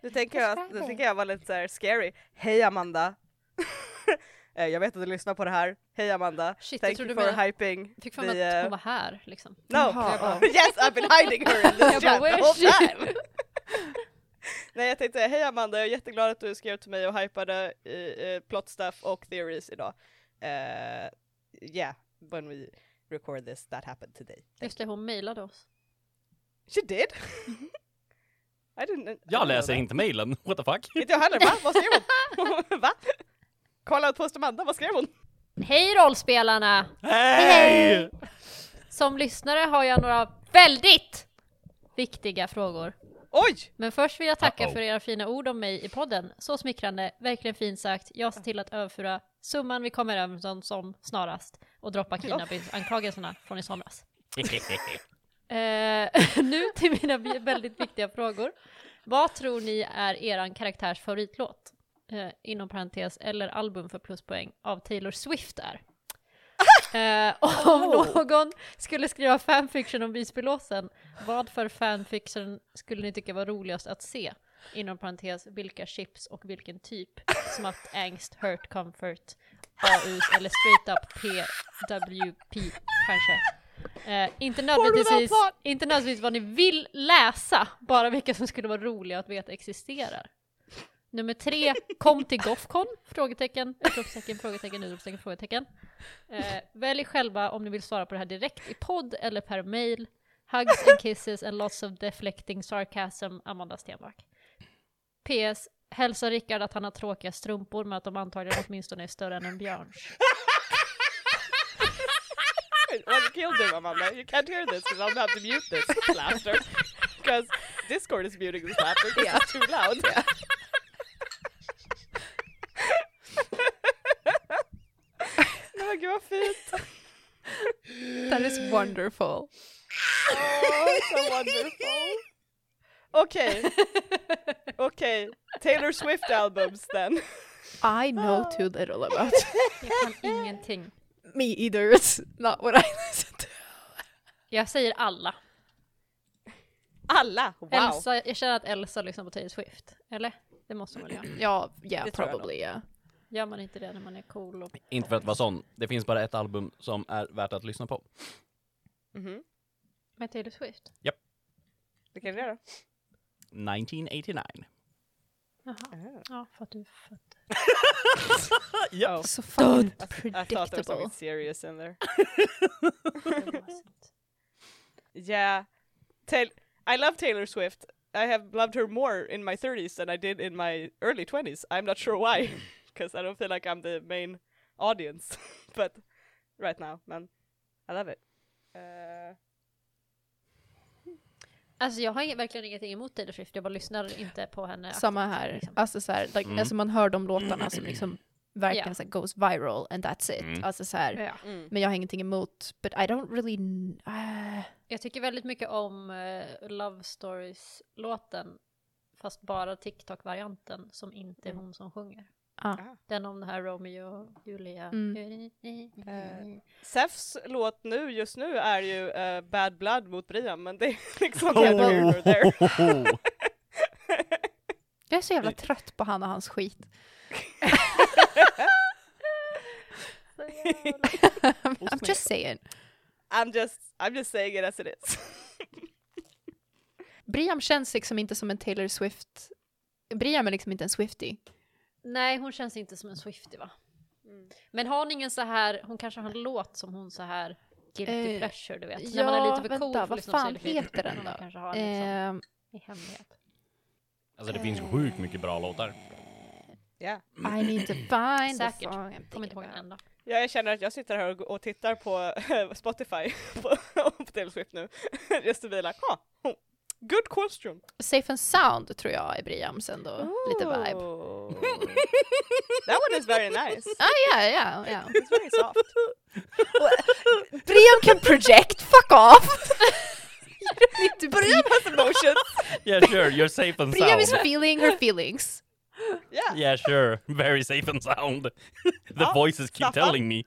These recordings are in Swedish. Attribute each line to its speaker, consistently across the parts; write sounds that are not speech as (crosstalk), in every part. Speaker 1: Nu tänker jag, nu tänker jag vara lite så här scary. Hej Amanda! (laughs) Eh, jag vet att du lyssnar på det här. Hej Amanda!
Speaker 2: Shit, jag
Speaker 1: Thank
Speaker 2: trodde
Speaker 1: you
Speaker 2: du
Speaker 1: for
Speaker 2: menade-
Speaker 1: hyping.
Speaker 2: Fick för mig
Speaker 1: Vi,
Speaker 2: att
Speaker 1: eh,
Speaker 2: hon var här liksom.
Speaker 1: No!
Speaker 3: Jaha,
Speaker 1: Jag bara, (laughs)
Speaker 3: ja.
Speaker 1: yes I've been hiding her in this
Speaker 2: (laughs) Jag bara,
Speaker 1: chat
Speaker 2: "Where
Speaker 1: the
Speaker 2: is
Speaker 1: whole
Speaker 2: she?"
Speaker 1: time! Nej jag tänkte, hej Amanda, jag är jätteglad att du skrev till mig och hypade uh, plot stuff och theories idag. Eh, yeah, when we record this that happened today.
Speaker 2: Just det, hon mejlade oss.
Speaker 1: She did? (laughs) I didn't, I didn't know
Speaker 4: Jag läser
Speaker 1: that.
Speaker 4: inte mejlen, (laughs) what the fuck?
Speaker 1: Inte jag heller, va? Vad skrev hon? (laughs) va? Kolla på Amanda, vad skrev hon?
Speaker 2: Hej rollspelarna!
Speaker 4: Hej!
Speaker 2: Som lyssnare har jag några väldigt viktiga frågor.
Speaker 1: Oj!
Speaker 2: Men först vill jag tacka
Speaker 4: Uh-oh.
Speaker 2: för era fina ord om mig i podden. Så smickrande, verkligen fint sagt. Jag ser till att överföra summan vi kommer överens om som snarast och droppa kidnappingsanklagelserna från i somras. Eh, (laughs) nu till mina vi- väldigt viktiga frågor. Vad tror ni är eran karaktärs favoritlåt? Eh, inom parentes, eller album för pluspoäng, av Taylor Swift är. Eh, om någon skulle skriva fanfiction om Visbylåsen, vad för fanfiction skulle ni tycka var roligast att se? Inom parentes, vilka chips och vilken typ? Smatt, angst, hurt, comfort, AUs eller straight up PWP kanske? Eh, inte, nödvändigtvis,
Speaker 1: plan?
Speaker 2: inte nödvändigtvis vad ni vill läsa, bara vilka som skulle vara roliga att veta existerar. Nummer tre, kom till Gothcon? Frågetecken, utropstecken, frågetecken, utropstecken, frågetecken. Eh, välj själva om ni vill svara på det här direkt i podd eller per mail. Hugs and kisses and lots of deflecting sarcasm, Amanda Stenmark. PS. Hälsa Rickard att han har tråkiga strumpor men att de antagligen åtminstone är större än en björns.
Speaker 1: I killed him, Amanda. You can't hear this because I'll have to mute this laughter. (laughs) Because Discord is muting this laughter because it's too loud. (laughs) Nej men gud vad fint!
Speaker 3: That is wonderful.
Speaker 1: Oh, so wonderful! Okej, okej. Taylor Swift albums then.
Speaker 3: I know too little about. (laughs)
Speaker 2: Jag kan ingenting.
Speaker 3: Me either, it's not what I listen to.
Speaker 2: Jag säger alla.
Speaker 1: Alla! Wow!
Speaker 2: Elsa, jag känner att Elsa lyssnar på Taylor Swift. Eller? Det måste man väl göra?
Speaker 3: (laughs) Ja, yeah,
Speaker 1: Det tror jag
Speaker 3: probably yeah.
Speaker 2: Gör man inte det när man är cool och...
Speaker 4: (laughs) Inte för att vara sån, det finns bara ett album som är värt att lyssna på.
Speaker 1: Mhm,
Speaker 2: Med Taylor Swift?
Speaker 1: Det kan du (laughs) göra.
Speaker 4: 1989.
Speaker 2: Jaha. Ja, för att du fattar.
Speaker 4: Ja.
Speaker 3: So fucking
Speaker 1: Alltså, I thought there was
Speaker 3: predictable.
Speaker 1: something serious in there.
Speaker 2: Det var sant.
Speaker 1: Yeah. Tail- I love Taylor Swift. I have loved her more in my 30s than I did in my early 20s. I'm not sure why, (laughs) because I don't feel like I'm the main audience. (laughs) but right now, man, I love it. Uh,
Speaker 2: Alltså jag har ing- verkligen ingenting emot Taylor Swift, jag bara lyssnar inte på henne.
Speaker 3: Samma här.
Speaker 2: liksom.
Speaker 3: Alltså, så här like,
Speaker 4: Mm.
Speaker 3: alltså man hör de låtarna som liksom verkligen
Speaker 2: Ja.
Speaker 3: så här, goes viral and that's it.
Speaker 4: Mm.
Speaker 3: Alltså så här,
Speaker 2: Ja.
Speaker 3: men jag har ingenting emot, but I don't really... kn- ah.
Speaker 2: Jag tycker väldigt mycket om eh, Love Stories-låten, fast bara TikTok-varianten som inte är hon som sjunger.
Speaker 3: Ah.
Speaker 1: Ah.
Speaker 2: Den om det här Romeo och Julia.
Speaker 1: Eh. Sefs låt nu, just nu, är ju eh, Bad Blood mot Brian, men det är (laughs) liksom
Speaker 4: Oh.
Speaker 1: neither here nor there.
Speaker 3: Jag är så jävla trött på han och hans
Speaker 4: (laughs)
Speaker 3: skit. (laughs) I'm just saying.
Speaker 1: I'm just, I'm just saying it as it is. (laughs)
Speaker 3: Briam känns liksom inte som en Taylor Swift. Briam är liksom inte en Swiftie.
Speaker 2: Nej, hon känns inte som en Swiftie va?
Speaker 3: Mm.
Speaker 2: Men har hon ingen så här, hon kanske har en låt som hon så här Guilty
Speaker 3: Eh,
Speaker 2: pleasure du vet, när
Speaker 3: ja,
Speaker 2: man är lite för
Speaker 3: vänta,
Speaker 2: cool för att
Speaker 3: vad
Speaker 2: lyssna på
Speaker 3: fan
Speaker 2: Taylor Swift.
Speaker 3: heter den
Speaker 2: Men
Speaker 3: då?
Speaker 2: hon kanske har en liksom,
Speaker 3: Ehm,
Speaker 2: i hemlighet.
Speaker 4: (laughs) Alltså det finns sjukt mycket bra låtar.
Speaker 1: Yeah.
Speaker 3: I need to find the
Speaker 2: Säkert.
Speaker 3: song I'm
Speaker 2: Kommer inte
Speaker 3: thinking
Speaker 2: ihåg en
Speaker 3: about.
Speaker 2: enda.
Speaker 1: Ja, jag känner att jag sitter här och, och tittar på (laughs) Spotify på, på Taylor Swift nu. (laughs) Just to be like, huh, oh, good question.
Speaker 3: Safe and sound tror jag är Briams ändå. Lite vibe.
Speaker 1: Ooh. Oh. (laughs) That one is very nice.
Speaker 3: Ah, ja, ja, ja.
Speaker 1: It's very soft.
Speaker 3: (laughs) Briam kan project, fuck off!
Speaker 1: Brian has emotions.
Speaker 4: Yeah sure, you're
Speaker 1: (laughs)
Speaker 4: safe
Speaker 3: (laughs)
Speaker 4: and
Speaker 3: Briam is
Speaker 4: sound.
Speaker 3: feeling her feelings.
Speaker 1: Yeah.
Speaker 4: Yeah sure, very safe and sound. (laughs) The
Speaker 1: Ja,
Speaker 4: voices keep
Speaker 1: Staffan.
Speaker 4: telling me.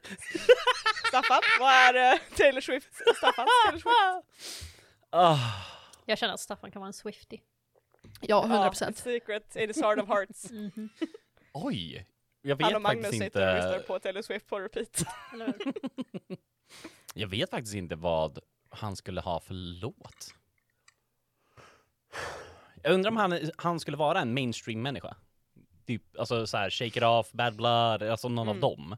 Speaker 1: Staffan, vad är eh, Taylor Swift? Staffan, Taylor Swift.
Speaker 4: Ah.
Speaker 2: Jag känner att Staffan kan vara en Swiftie.
Speaker 3: (laughs) Ja, 100
Speaker 1: Ja,
Speaker 3: procent.
Speaker 1: it's secret in his heart of
Speaker 3: (laughs)
Speaker 1: hearts.
Speaker 2: Mhm.
Speaker 4: Oj! Jag
Speaker 1: Han och
Speaker 4: vet
Speaker 1: Magnus
Speaker 4: faktiskt
Speaker 1: sitter och lyssnar
Speaker 4: inte...
Speaker 1: på Taylor Swift på
Speaker 3: (laughs)
Speaker 1: repeat.
Speaker 2: Eller hur?
Speaker 4: Jag vet faktiskt inte vad han skulle ha för låt. Jag undrar om han, han skulle vara en mainstream-människa. Typ, alltså så här, Shake It Off, Bad Blood, alltså någon av
Speaker 1: Mm.
Speaker 4: dem.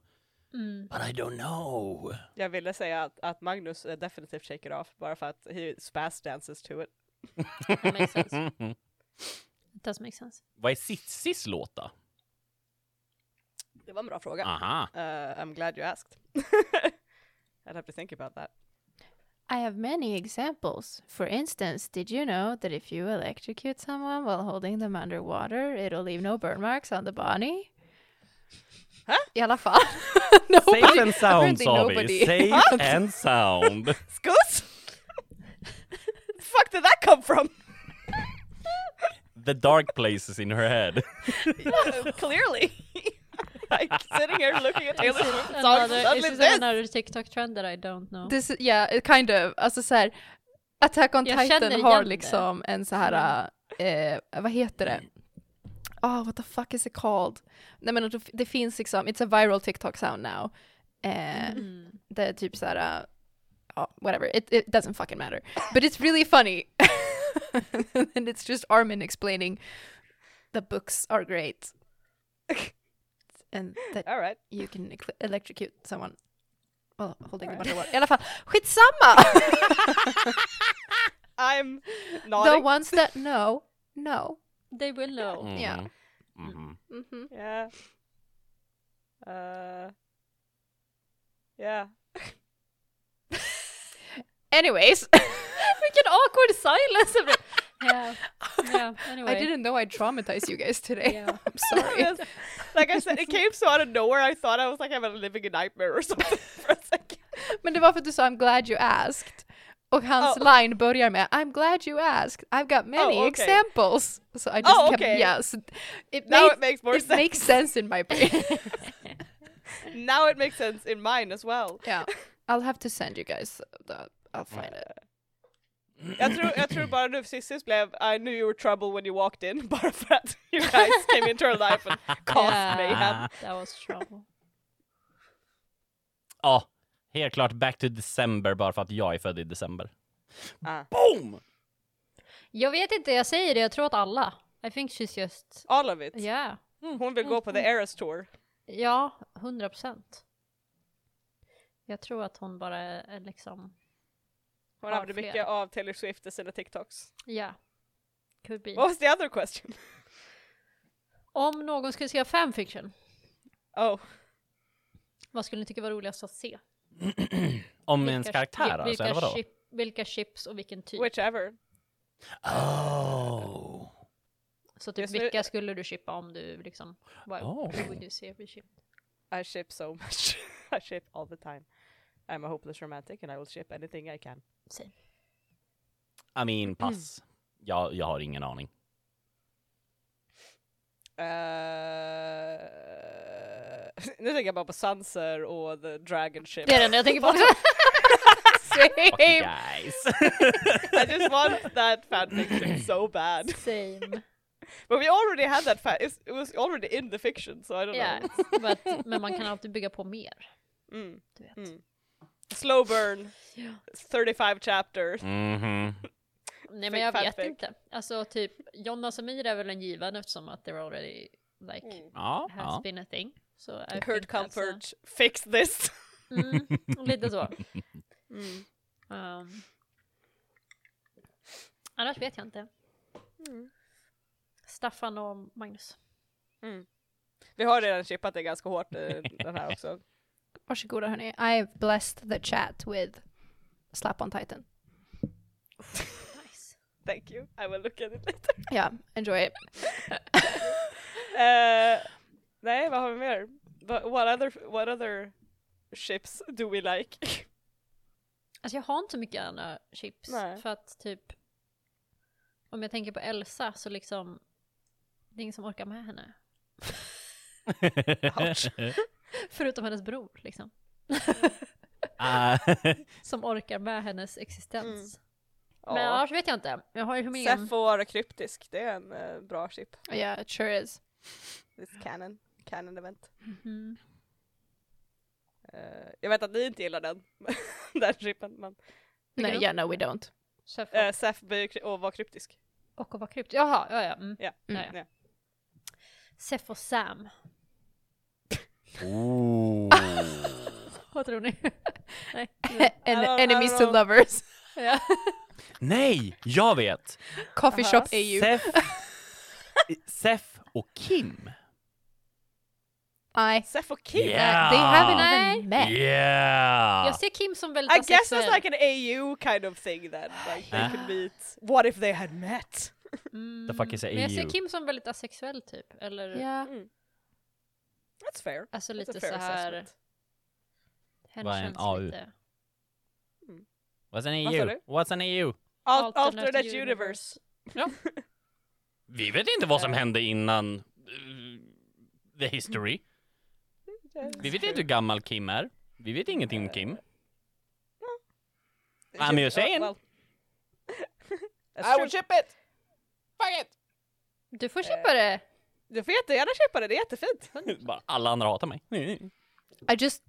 Speaker 2: Mm.
Speaker 4: But I don't know.
Speaker 1: Jag ville säga att, att Magnus eh, definitivt shake it off bara för att he spaz dances to it.
Speaker 2: That makes sense. (laughs) It does
Speaker 3: (laughs)
Speaker 2: make sense.
Speaker 4: (laughs) Vad är Sitsis låt då?
Speaker 1: Det var en bra fråga.
Speaker 4: Aha.
Speaker 1: Uh, I'm glad you asked. (laughs) I'd have to think about that.
Speaker 3: I have many examples. For instance, did you know that if you electrocute someone while holding them underwater, it'll leave no burn marks on the body?
Speaker 1: Huh?
Speaker 3: I alla fall. (laughs) nobody,
Speaker 4: Safe and sound
Speaker 3: apparently
Speaker 4: sa vi.
Speaker 3: nobody. (laughs)
Speaker 2: (laughs)
Speaker 4: Safe and sound.
Speaker 1: Skuss! The (laughs) fuck did that come from?
Speaker 4: The dark places in
Speaker 2: (laughs)
Speaker 4: her head.
Speaker 1: Clearly. (laughs) like sitting here looking at Taylor Swift songs
Speaker 2: Another, is
Speaker 1: suddenly
Speaker 2: this
Speaker 1: this.
Speaker 2: another TikTok trend that I don't know?
Speaker 3: This, is- yeah, it kind of. Alltså så här, Attack on
Speaker 2: Jag känner
Speaker 3: Titan
Speaker 2: igen
Speaker 3: har
Speaker 2: det.
Speaker 3: liksom en så här, eh, vad heter det? Oh, what the fuck is it called? Nej men det- det finns liksom, it's a viral TikTok sound now. Eh,
Speaker 2: Mm.
Speaker 3: Det är typ så här, uh, ja, whatever, it, it doesn't fucking matter. But it's really funny. (laughs) And it's just Armin explaining the books are great. And that
Speaker 1: All right.
Speaker 3: you can ec- electrocute someone while holding them
Speaker 1: Alright.
Speaker 3: underwater. I alla fall, skitsamma!
Speaker 2: (laughs)
Speaker 1: I'm
Speaker 3: The
Speaker 1: nodding.
Speaker 3: ones that know, know.
Speaker 2: They will know.
Speaker 4: Mhm.
Speaker 3: Ja.
Speaker 4: Mhm.
Speaker 2: Mm-hmm.
Speaker 3: Mhm.
Speaker 1: Yeah. Uh. Yeah.
Speaker 3: Anyways, (laughs)
Speaker 2: Vilken awkward silence! (laughs) det blev. yeah. yeah, anyway.
Speaker 3: I didn't know I traumatized you guys today.
Speaker 2: Yeah.
Speaker 3: I'm
Speaker 2: (laughs)
Speaker 1: (laughs)
Speaker 3: sorry.
Speaker 1: Yes. Like I said, it came so out of nowhere. I thought I was like having a living a nightmare or (laughs) something for a second.
Speaker 3: Men det var för att du sa I'm glad you asked. Och hans line börjar med I'm glad you asked. I've got many
Speaker 1: Oh, okay.
Speaker 3: examples. So I just
Speaker 1: Oh,
Speaker 3: kept
Speaker 1: okay.
Speaker 3: yes. It,
Speaker 1: Now
Speaker 3: made,
Speaker 1: it makes more
Speaker 3: it
Speaker 1: sense.
Speaker 3: makes sense in
Speaker 1: (laughs)
Speaker 3: my brain.
Speaker 1: now it makes sense in mine as well.
Speaker 3: yeah. I'll have to send you guys the I'll find it.
Speaker 1: Jag tror, jag tror bara nu sist blev I knew you were trouble when you walked in (laughs) bara för att you guys came into our life and caused
Speaker 2: Yeah.
Speaker 1: mayhem.
Speaker 2: That was trouble.
Speaker 4: Ja, helt klart back to december bara för att jag är född i december.
Speaker 1: Ah.
Speaker 4: Boom!
Speaker 2: Jag vet inte, jag säger det, jag tror att alla. I think she's just...
Speaker 1: All of it. Mm,
Speaker 2: Yeah.
Speaker 1: Hon vill gå på the Eras tour.
Speaker 2: Ja, 100 procent. Jag tror att hon bara är är liksom...
Speaker 1: Hon
Speaker 2: Har
Speaker 1: använder
Speaker 2: flera.
Speaker 1: mycket av Taylor Swift i sina TikToks.
Speaker 2: Ja. Could be.
Speaker 1: What was the other question? (laughs)
Speaker 2: Om någon skulle skriva fanfiction,
Speaker 1: Oh,
Speaker 2: vad skulle ni tycka var roligast att se?
Speaker 4: Om ens
Speaker 2: Vilka-
Speaker 4: karaktär
Speaker 2: vil-
Speaker 4: alltså,
Speaker 2: vilka,
Speaker 4: eller vadå?
Speaker 2: chip- vilka chips och vilken typ?
Speaker 1: whichever.
Speaker 4: Oh.
Speaker 2: Så typ
Speaker 1: Just nu-
Speaker 2: vilka skulle du chippa om du liksom... Vad
Speaker 4: Oh.
Speaker 2: who would you say we chip?
Speaker 1: I ship so much. (laughs) I ship all the time. I'm a hopeless romantic and I will ship anything I can.
Speaker 2: Same.
Speaker 4: I
Speaker 1: Mm.
Speaker 4: mean, pass. Jag, jag har ingen aning.
Speaker 1: Eh, Uh, (laughs) nu tänker jag bara på Sanser och the dragon ship.
Speaker 2: Det är det enda jag tänker på också.
Speaker 4: Fuck you
Speaker 1: (laughs)
Speaker 4: guys.
Speaker 1: (laughs) I just want that fanfiction so bad.
Speaker 2: Same.
Speaker 1: But we already had that fact. It was already in the fiction, so I don't
Speaker 2: (laughs) Yeah.
Speaker 1: know.
Speaker 2: But, men man kan alltid bygga på mer.
Speaker 1: Mm.
Speaker 2: Du vet.
Speaker 1: Mm. Slow burn,
Speaker 2: (laughs)
Speaker 1: 35 chapter. Mm-hmm.
Speaker 4: Mhm.
Speaker 2: Nej men
Speaker 1: Fake
Speaker 2: jag vet
Speaker 1: fanfic.
Speaker 2: inte. Alltså typ, Jonna och Samir är väl en given eftersom att they're already like
Speaker 4: Ja,
Speaker 2: has
Speaker 4: ja.
Speaker 2: been a thing. Så I
Speaker 1: Hurt
Speaker 2: think that's a-
Speaker 1: comfort, fix this. (laughs)
Speaker 2: Mm, lite så. Um, annars vet jag inte. Staffan och Magnus.
Speaker 1: Vi har redan chippat det ganska hårt, eh, den här också.
Speaker 3: (laughs) Varsågoda hörni. I've blessed the chat with Slap on Titan.
Speaker 2: Nice.
Speaker 1: Thank you, I will look at it later. (laughs)
Speaker 3: Yeah, enjoy it.
Speaker 1: Eh, nej, vad har vi mer? Va- What other, what other ships do we like? (laughs)
Speaker 2: Alltså jag har inte så mycket andra chips.
Speaker 1: Nej.
Speaker 2: För att typ, om jag tänker på Elsa så liksom, det är ingen som orkar med henne.
Speaker 4: (laughs)
Speaker 2: Förutom hennes bror liksom.
Speaker 4: Ah,
Speaker 2: Som orkar med hennes existens. Men annars vet jag inte. Jag har ju
Speaker 1: Seth
Speaker 2: humén.
Speaker 1: får vara kryptisk, det är en eh, bra chip.
Speaker 3: Yeah, it sure is.
Speaker 1: This canon, canon event.
Speaker 2: Mhm.
Speaker 1: Eh, jag vet att ni inte gillar den, (laughs) den chipen, men
Speaker 3: No,
Speaker 2: Vilken då?
Speaker 3: yeah, no, we don't.
Speaker 2: Seth får-
Speaker 1: uh, Seth blir ju kry- och var kryptisk.
Speaker 2: Och att vara krypt. Jaha, ja ja. Mm.
Speaker 1: Ja.
Speaker 2: ja, ja.
Speaker 1: ja.
Speaker 2: Seth och Sam.
Speaker 4: Ooh. Oh.
Speaker 2: Vad tror ni? Nej.
Speaker 3: And
Speaker 1: don't- I
Speaker 3: enemies
Speaker 1: don't
Speaker 3: to
Speaker 1: know.
Speaker 3: lovers. (laughs)
Speaker 2: Ja.
Speaker 4: Nej, jag vet!
Speaker 3: Coffee
Speaker 1: Uh-huh.
Speaker 3: shop AU.
Speaker 4: Sef,
Speaker 1: (laughs)
Speaker 4: Sef och Kim.
Speaker 3: I.
Speaker 1: Seth och Kim!
Speaker 4: Yeah.
Speaker 3: They haven't
Speaker 2: Yeah.
Speaker 3: even met.
Speaker 4: Yeah!
Speaker 2: Jag ser Kim som väldigt
Speaker 1: I guess
Speaker 2: asexuell.
Speaker 1: that's like an AU kind of thing then. Like they
Speaker 4: Ah.
Speaker 1: could meet. What if they had met?
Speaker 2: mm.
Speaker 4: The fuck is a
Speaker 2: Men jag
Speaker 4: EU?
Speaker 2: ser Kim som väldigt asexuell typ. Eller
Speaker 3: Yeah.
Speaker 1: Mm. That's fair.
Speaker 2: alltså
Speaker 1: That's
Speaker 2: lite
Speaker 1: a fair
Speaker 2: så här.
Speaker 1: assessment.
Speaker 2: Hen
Speaker 4: Vad är en
Speaker 2: känns
Speaker 4: AU?
Speaker 2: lite-
Speaker 4: What's an
Speaker 1: Vad sa
Speaker 4: EU?
Speaker 1: du?
Speaker 4: What's an EU?
Speaker 1: Al- alternate, universe.
Speaker 4: Vi vet inte vad
Speaker 1: Äh.
Speaker 4: som hände innan eh, the history. Vi vet inte hur gammal Kim är. Vi vet ingenting
Speaker 1: Äh.
Speaker 4: om Kim. I'm just
Speaker 1: (laughs)
Speaker 4: saying.
Speaker 1: Well, I would
Speaker 4: ship it! Fuck
Speaker 2: Du
Speaker 1: Eh.
Speaker 2: får köpa det!
Speaker 1: Du får jättegärna köpa det, det är jättefint.
Speaker 4: it! (laughs) Bara, Alla andra hatar mig.
Speaker 3: I just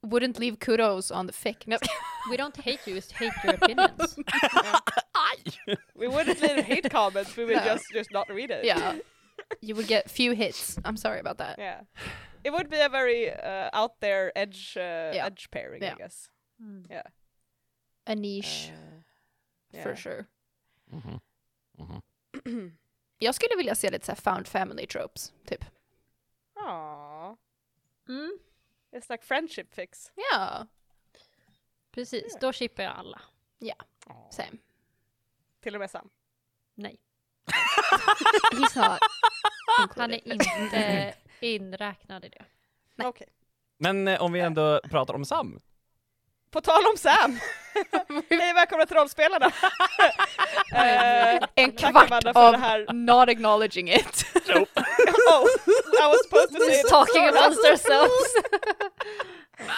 Speaker 3: wouldn't leave kudos on the fic. No.
Speaker 2: We don't hate you, we just hate your
Speaker 1: (laughs)
Speaker 2: opinions.
Speaker 4: Aj!
Speaker 1: We wouldn't leave hate comments, we (laughs) would
Speaker 3: No.
Speaker 1: just, just not read it.
Speaker 3: (laughs) yeah. You would get few hits. I'm sorry about that.
Speaker 1: Yeah. It would be a very uh, out there edge uh, edge pairing,
Speaker 3: Yeah.
Speaker 1: I guess.
Speaker 3: A niche for
Speaker 1: yeah.
Speaker 3: sure. (clears throat) Jag skulle vilja se lite så här found family tropes, typ.
Speaker 1: Aww.
Speaker 2: Mm.
Speaker 1: It's like friendship fix.
Speaker 3: Yeah.
Speaker 2: Precis, då chippar jag alla.
Speaker 3: Same.
Speaker 1: Till och med Sam.
Speaker 2: Nej.
Speaker 3: (laughs) He's not.
Speaker 1: Ah!
Speaker 2: Han är inte inräknad i det.
Speaker 1: (laughs) (laughs) Okej.
Speaker 4: Men eh, om vi ändå pratar om Sam.
Speaker 1: På tal om
Speaker 3: (laughs)
Speaker 1: Sam! Hej välkomna till Rollspelarna! Eh,
Speaker 3: (laughs) En
Speaker 1: Tack,
Speaker 3: kvart
Speaker 1: Amanda, för
Speaker 3: av
Speaker 1: det här. (laughs)
Speaker 3: not acknowledging it.
Speaker 1: oh, I was supposed to say it.
Speaker 2: Talking amongst
Speaker 1: Alltså,
Speaker 2: ourselves!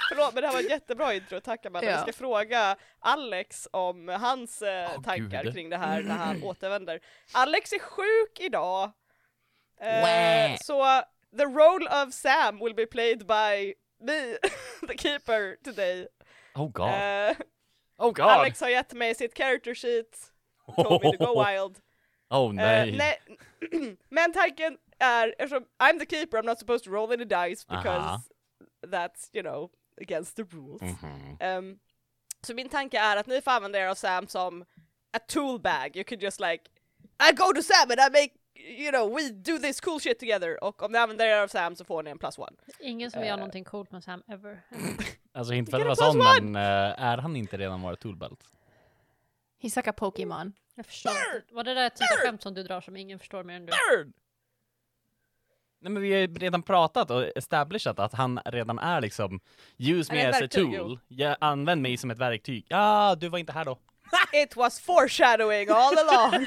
Speaker 1: Förlåt men det här var ett jättebra intro, tack Amanda.
Speaker 3: Ja.
Speaker 1: Vi ska fråga Alex om hans eh,
Speaker 4: Åh,
Speaker 1: tankar
Speaker 4: gud.
Speaker 1: kring det här när han (clears throat) återvänder. Alex är sjuk idag! Eh,
Speaker 4: Wah.
Speaker 1: så the role of Sam will be played by me, (laughs) the keeper, today.
Speaker 4: Oh god.
Speaker 1: Eh,
Speaker 4: oh god.
Speaker 1: Alex har gett mig sitt character sheet, told me to
Speaker 4: (laughs)
Speaker 1: go wild.
Speaker 4: Oh
Speaker 1: Eh,
Speaker 4: nej.
Speaker 1: nej. (clears throat) Men tanken är, eftersom I'm the keeper, I'm not supposed to roll any dice because
Speaker 4: Aha.
Speaker 1: that's, you know, against the rules.
Speaker 4: Mhm.
Speaker 1: Ehm, så min tanke är att ni får använda er av Sam som a tool bag. You could just like, I go to Sam and I make, you know, we do this cool shit together. Och om ni använder er av Sam så får ni en plus one.
Speaker 2: Ingen som gör
Speaker 1: Eh.
Speaker 2: någonting coolt med Sam ever.
Speaker 4: Alltså inte för att
Speaker 1: Get
Speaker 4: vara
Speaker 1: a
Speaker 4: sån
Speaker 1: plus one!
Speaker 4: men eh, är han inte redan vår toolbelt?
Speaker 3: He's like a Pokemon.
Speaker 2: Jag förstår inte. Var det där ett sånt där skämt som du drar som ingen förstår mer än du?
Speaker 4: Nej men vi har ju redan pratat och establishat att han redan är liksom Use me
Speaker 1: Han är ett
Speaker 4: as a
Speaker 1: verktyg,
Speaker 4: tool. Jag använd mig som ett verktyg. Ja, ah, du var inte här då.
Speaker 1: It was foreshadowing all along.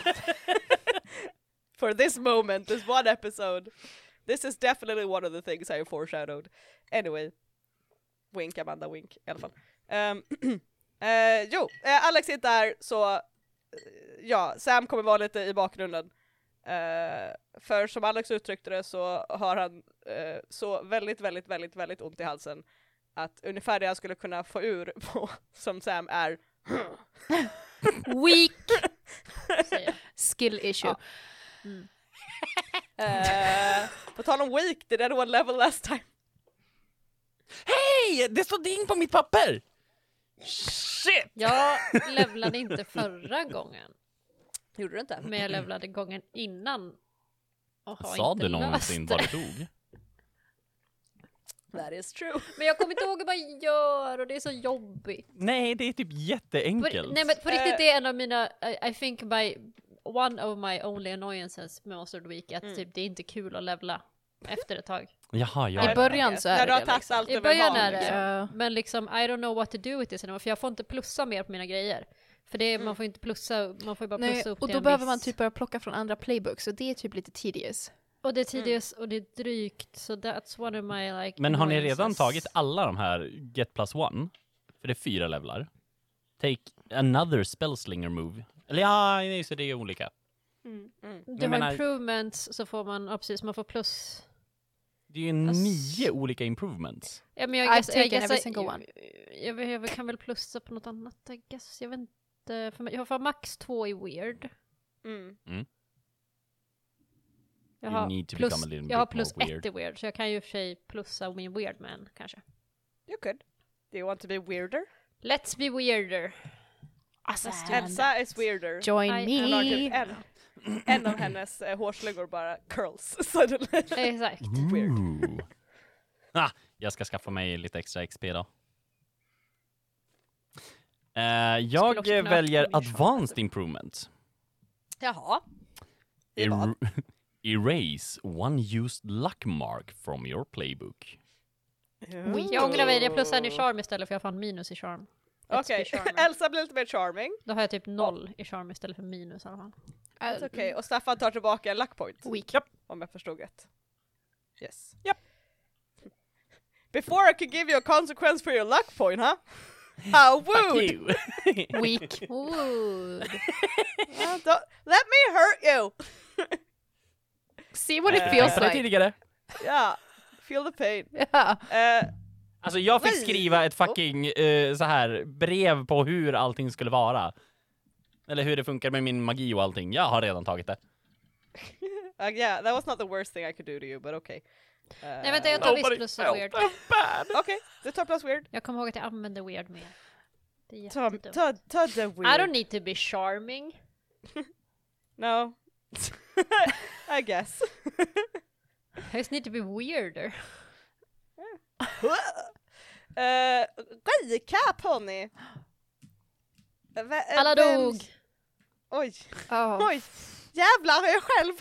Speaker 1: For this moment, this one episode. This is definitely one of the things I foreshadowed. Anyway. Wink, Amanda, wink. I alla fall. Ehm, (clears throat) eh, jo, eh, Alex är inte där, så eh, ja, Sam kommer vara lite i bakgrunden. Eh, för som Alex uttryckte det så har han eh, så väldigt, väldigt, väldigt, väldigt ont i halsen att ungefär det han skulle kunna få ur på, (laughs) som Sam är
Speaker 2: Weak! Säger jag.
Speaker 3: Skill issue.
Speaker 1: Eh, på tal om weak, did anyone level last time?
Speaker 4: Hej! Det står ding på mitt papper! Shit!
Speaker 2: Jag levlade inte förra gången,
Speaker 1: Gjorde du inte?
Speaker 2: men jag levlade gången innan. Och har
Speaker 4: Sa
Speaker 2: inte
Speaker 4: du
Speaker 2: löst
Speaker 4: någonsin
Speaker 2: det.
Speaker 4: vad det tog?
Speaker 1: That is true.
Speaker 2: Men jag kommer inte ihåg vad jag gör och det är så jobbigt.
Speaker 4: Nej, det är typ
Speaker 2: På-
Speaker 4: jätteenkelt.
Speaker 2: Nej men på riktigt,
Speaker 1: Eh.
Speaker 2: det är en av mina, I, I think my, one of my only annoyances med Monster of the Week, är
Speaker 3: Mm.
Speaker 2: att typ, det är inte kul att levla efter ett tag.
Speaker 4: Jaha,
Speaker 3: I
Speaker 4: jag...
Speaker 3: början så är
Speaker 1: När du
Speaker 3: det
Speaker 1: har
Speaker 3: det,
Speaker 1: tagit
Speaker 3: liksom.
Speaker 1: allt
Speaker 2: I
Speaker 1: över
Speaker 2: början
Speaker 1: hagen,
Speaker 2: är det.
Speaker 1: liksom.
Speaker 3: Ja.
Speaker 2: Men liksom, I don't know what to do with this anymore, för jag får inte plussa mer på mina grejer. För det, är- man får inte plussa, man får ju bara
Speaker 3: Mm. Nej,
Speaker 2: plussa upp
Speaker 3: och
Speaker 2: till
Speaker 3: då
Speaker 2: en
Speaker 3: behöver
Speaker 2: viss-
Speaker 3: man typ börja plocka från andra playbooks och det är typ lite tedious.
Speaker 2: Och det är
Speaker 3: Mm.
Speaker 2: tidigt och det är drygt, så that's one of my like...
Speaker 4: Men har ni redan
Speaker 2: annoyances.
Speaker 4: tagit alla de här Get Plus One? För det är fyra levlar. take another spellslinger move. Eller ja, nej, så det är olika.
Speaker 2: Du
Speaker 4: Jag
Speaker 2: har
Speaker 4: menar-
Speaker 2: improvements så får man, ja, precis, man får plus.
Speaker 4: Det är ju nio olika improvements.
Speaker 2: Ja, men
Speaker 3: I've
Speaker 2: jag, guess, jag,
Speaker 3: taken
Speaker 2: guess,
Speaker 3: every single one.
Speaker 2: Jag, jag, jag kan väl plussa på något annat, I guess. Jag vet inte. För mig, jag får max två i weird.
Speaker 1: Mm.
Speaker 2: Jag
Speaker 4: You
Speaker 2: har
Speaker 4: need to
Speaker 2: plus,
Speaker 4: become a little
Speaker 2: jag har
Speaker 4: bit more
Speaker 2: plus ett
Speaker 4: weird.
Speaker 2: i weird, så jag kan ju i och för sig plussa min weird man kanske.
Speaker 1: You could. Do you want to be weirder?
Speaker 2: Let's be
Speaker 3: (laughs)
Speaker 2: weirder.
Speaker 3: Alltså,
Speaker 2: Let's do it.
Speaker 1: Elsa is weirder.
Speaker 3: Join
Speaker 2: I-
Speaker 1: Hon har typ
Speaker 3: me!
Speaker 1: en, en av hennes eh, hårslingor bara curls. (laughs) Så det
Speaker 2: Exakt.
Speaker 4: Mm.
Speaker 1: weird.
Speaker 4: Ooh. ah, jag ska skaffa mig lite extra XP då. Eh,
Speaker 2: Skulle
Speaker 4: jag
Speaker 2: också kunna
Speaker 4: väljer
Speaker 2: öppna min shop,
Speaker 4: advanced improvement.
Speaker 1: Jaha. I vad?
Speaker 4: Er- (laughs) erase one used luck mark from your playbook.
Speaker 2: Jag ångrar mig, jag plussar en i charm istället för jag fann minus i charm. Let's
Speaker 1: Okej,
Speaker 3: (laughs)
Speaker 2: be charmer.
Speaker 1: Elsa blir lite mer charming.
Speaker 2: Då har jag typ noll i charm istället för minus i alla fall.
Speaker 3: Äh,
Speaker 1: Okej,
Speaker 2: Mm.
Speaker 1: och Staffan tar tillbaka en luckpoint.
Speaker 3: Weak.
Speaker 1: Om jag förstod rätt. Yes. Yep. Before I could give you a consequence for your luck point, (laughs) huh? How rude! (laughs)
Speaker 3: Weak.
Speaker 2: Ooh.
Speaker 1: Well, don't- Let me hurt you!
Speaker 3: See
Speaker 4: (laughs)
Speaker 3: what it
Speaker 1: Eh,
Speaker 3: feels
Speaker 1: tänkte
Speaker 4: det
Speaker 3: like.
Speaker 4: tidigare.
Speaker 1: Yeah, feel the pain.
Speaker 3: (laughs) Yeah.
Speaker 1: Eh,
Speaker 4: Alltså jag fick
Speaker 1: Nej.
Speaker 4: skriva ett fucking eh, så här brev på hur allting skulle vara. Eller hur det funkar med min magi och allting. Jag har redan tagit det.
Speaker 1: uh, yeah, that was not the worst thing I could do to you, but okay. Eh,
Speaker 2: Nej vänta, jag tar visst plus i weird.
Speaker 1: Okej, du tar plus weird.
Speaker 2: Jag kommer ihåg att jag använde weird mer. Det är
Speaker 1: Ta,
Speaker 2: jättedumt.
Speaker 1: ta, ta the
Speaker 2: I
Speaker 1: weird.
Speaker 2: don't need to be charming.
Speaker 1: No. (laughs) I guess. (laughs)
Speaker 2: I just need to be weirder.
Speaker 5: (laughs) Eh,
Speaker 1: uh, recap hörni! Ve- eh,
Speaker 2: Alla
Speaker 1: vems-
Speaker 2: dog!
Speaker 1: Oj,
Speaker 3: Oh.
Speaker 1: oj! Jävlar, jag själv!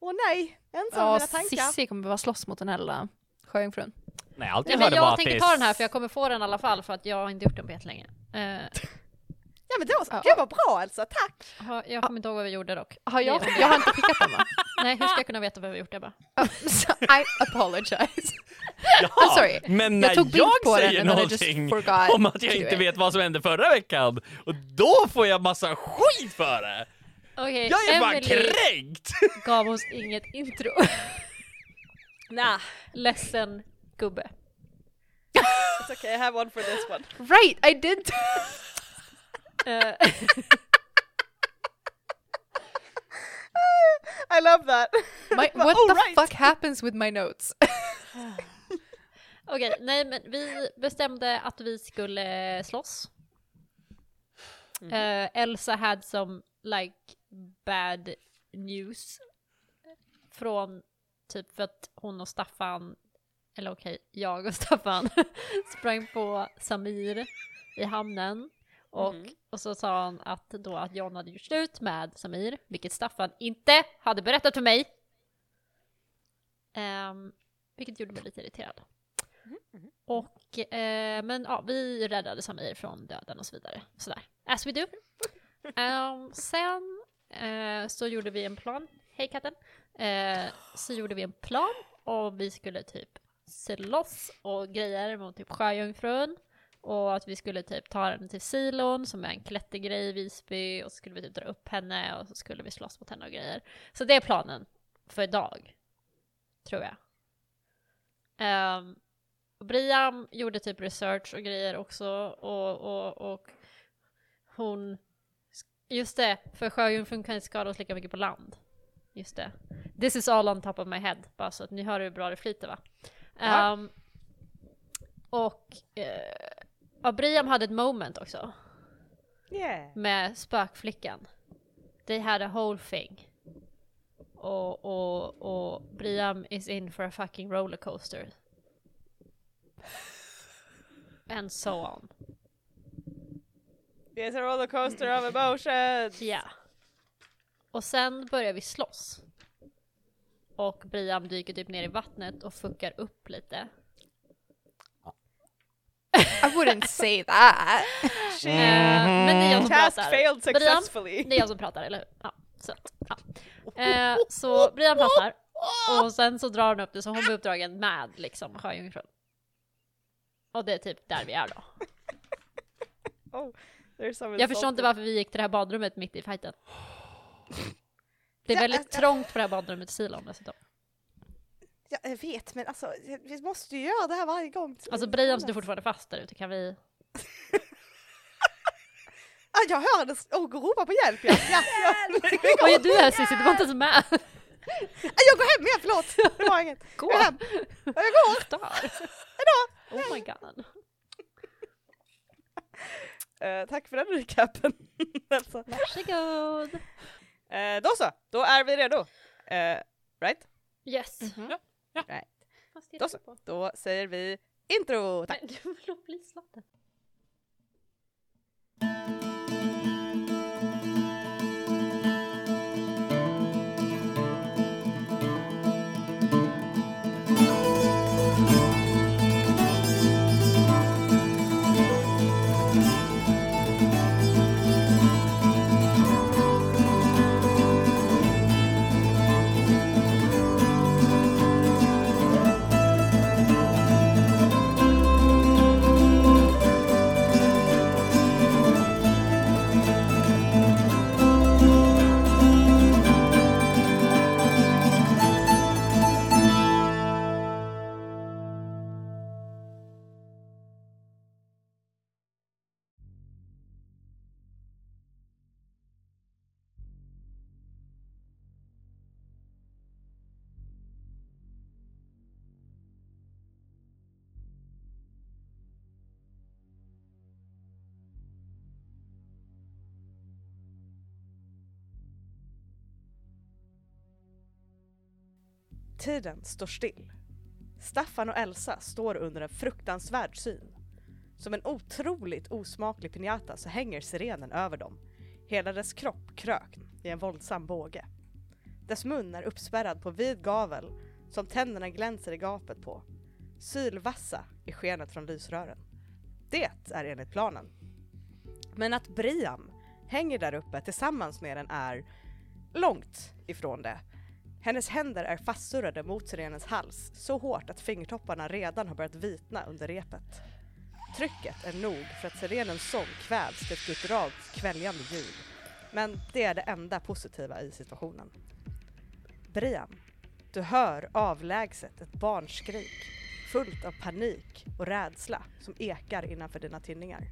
Speaker 1: Åh nej, ensam
Speaker 3: Ja,
Speaker 1: mina tankar.
Speaker 3: Cissi kommer behöva slåss mot den här lilla sjöjungfrun.
Speaker 4: Nej, allt
Speaker 2: Nej,
Speaker 4: jag
Speaker 2: men
Speaker 4: hörde var
Speaker 2: jag
Speaker 4: att det
Speaker 2: tänker
Speaker 4: är
Speaker 2: ta den här för jag
Speaker 4: (laughs)
Speaker 2: kommer få den i alla fall för att jag har inte gjort den på jättelänge. Eh,
Speaker 1: Ja men det var,
Speaker 3: Ja.
Speaker 1: gud vad bra
Speaker 5: alltså.
Speaker 1: Elsa, tack!
Speaker 2: har- jag kommer inte ihåg vad vi gjorde dock.
Speaker 3: Har jag,
Speaker 2: Det är-
Speaker 3: jag har inte skickat den
Speaker 1: (laughs)
Speaker 3: (laughs) va?
Speaker 2: Nej, hur ska jag kunna veta vad vi har gjort Ebba?
Speaker 3: Oh, so I apologize.
Speaker 4: Jaha,
Speaker 3: I'm (laughs) sorry.
Speaker 4: Men när
Speaker 3: Jag
Speaker 4: jag,
Speaker 3: tog bild på den
Speaker 4: säger
Speaker 3: and then I just
Speaker 4: någonting
Speaker 3: forgot
Speaker 4: om att jag
Speaker 3: to do
Speaker 4: inte
Speaker 3: it.
Speaker 4: vet vad som hände förra veckan, och då får jag massa skit för det!
Speaker 2: Okej,
Speaker 4: Jag är bara
Speaker 2: Emily
Speaker 4: kränkt!
Speaker 2: gav oss inget
Speaker 1: (laughs)
Speaker 2: intro. nah. Ledsen gubbe.
Speaker 1: It's okay, I have one for this
Speaker 5: (laughs)
Speaker 1: one.
Speaker 3: Right, I did.
Speaker 2: Eh,
Speaker 1: I love that!
Speaker 3: (laughs) My,
Speaker 1: Bara,
Speaker 3: what
Speaker 1: "Oh,
Speaker 3: the
Speaker 1: right."
Speaker 3: fuck happens with my notes? (laughs)
Speaker 2: Okej, nej men vi bestämde att vi skulle slåss. Eh, Elsa had some like bad news. Från typ för att hon och Staffan, eller okej, jag och (laughs) Staffan sprang på Samir i hamnen. Och, och så sa han att då att John hade gjort slut med Samir, vilket Staffan inte hade berättat för mig. Ehm, vilket gjorde mig lite irriterad. Och, eh, men ja, vi räddade Samir från döden och så vidare. Sådär. As we do. Ehm, sen eh, så gjorde vi en plan. Hej katten. Eh, så gjorde vi en plan och vi skulle typ slåss och grejer mot typ sjöjungfrun. Och att vi skulle typ ta henne till silon som är en klättergrej i Visby och så skulle vi typ dra upp henne och så skulle vi slåss mot henne och grejer. Så det är planen för idag. Tror jag. Ehm, och Briam gjorde typ research och grejer också och, och, och hon... Just det, för sjöjungfrun kan ju skada oss lika mycket på land. Just det. This is all on top of my head, bara så att ni hör hur bra det flyter va?
Speaker 1: Ja.
Speaker 2: Ehm, och eh, ja, Briam hade ett moment också
Speaker 1: Yeah.
Speaker 2: med spökflickan. They had a whole thing. Och, och, och Briam is in for a fucking rollercoaster. And so on.
Speaker 1: It's a roller coaster of emotions!
Speaker 2: Ja. Och sen börjar vi slåss. Och Briam dyker typ ner i vattnet och fuckar upp lite. Eh,
Speaker 3: I wouldn't say that.
Speaker 1: She
Speaker 2: Eh, men det är jag som
Speaker 1: Mm-hmm. task
Speaker 2: pratar.
Speaker 1: failed
Speaker 2: Briam,
Speaker 1: successfully!
Speaker 2: Det är jag som pratar, eller hur? Ja, så, ja. Eh, så Brian pratar. Och sen så drar hon upp det, så hon blir uppdragen med liksom sjöjungfrun. Och det är typ där vi är då.
Speaker 1: Oh, There's some
Speaker 2: Jag förstår inte
Speaker 1: insulting.
Speaker 2: varför vi gick till det här badrummet mitt i fighten. Det är
Speaker 5: Ja,
Speaker 2: väldigt
Speaker 5: alltså-
Speaker 2: trångt på det här badrummet i Silon dessutom.
Speaker 5: Ja, jag vet, men alltså vi måste ju göra det här varje gång.
Speaker 2: Alltså Brian sitter fortfarande fast där ute, kan vi?
Speaker 5: Ja, jag hörde och ropa på hjälp. Ja. Ja,
Speaker 1: (laughs)
Speaker 5: ja.
Speaker 2: Vad gör du här Cissi? Du var inte ens med.
Speaker 5: Ja, Jag går hem igen, förlåt. Det var inget.
Speaker 2: Gå!
Speaker 5: Jag går hem. Ja, Jag går.
Speaker 2: Dör. Oh my god.
Speaker 1: Eh, tack för den recapen. (laughs) alltså.
Speaker 2: Varsågod.
Speaker 1: Eh, då så, då är vi redo. Eh, right?
Speaker 2: Yes.
Speaker 4: Ja, ja.
Speaker 1: Right.
Speaker 2: Fast
Speaker 1: Då så. Då säger vi intro! Tack.
Speaker 2: Men du får lov bli slatten.
Speaker 1: Tiden står still. Staffan och Elsa står under en fruktansvärd syn. Som en otroligt osmaklig piñata så hänger sirenen över dem. Hela dess kropp krökt i en våldsam båge. Dess mun är uppspärrad på vid gavel som tänderna glänser i gapet på. Sylvassa i skenet från lysrören. Det är enligt planen. Men att Brian hänger där uppe tillsammans med den är långt ifrån det. Hennes händer är fastsurrade mot sirenens hals så hårt att fingertopparna redan har börjat vitna under repet. Trycket är nog för att sirenens sång kvävs till ett gutturalt kväljande ljud. Men det är det enda positiva i situationen. Brian, du hör avlägset ett barnskrik fullt av panik och rädsla som ekar innanför dina tinningar.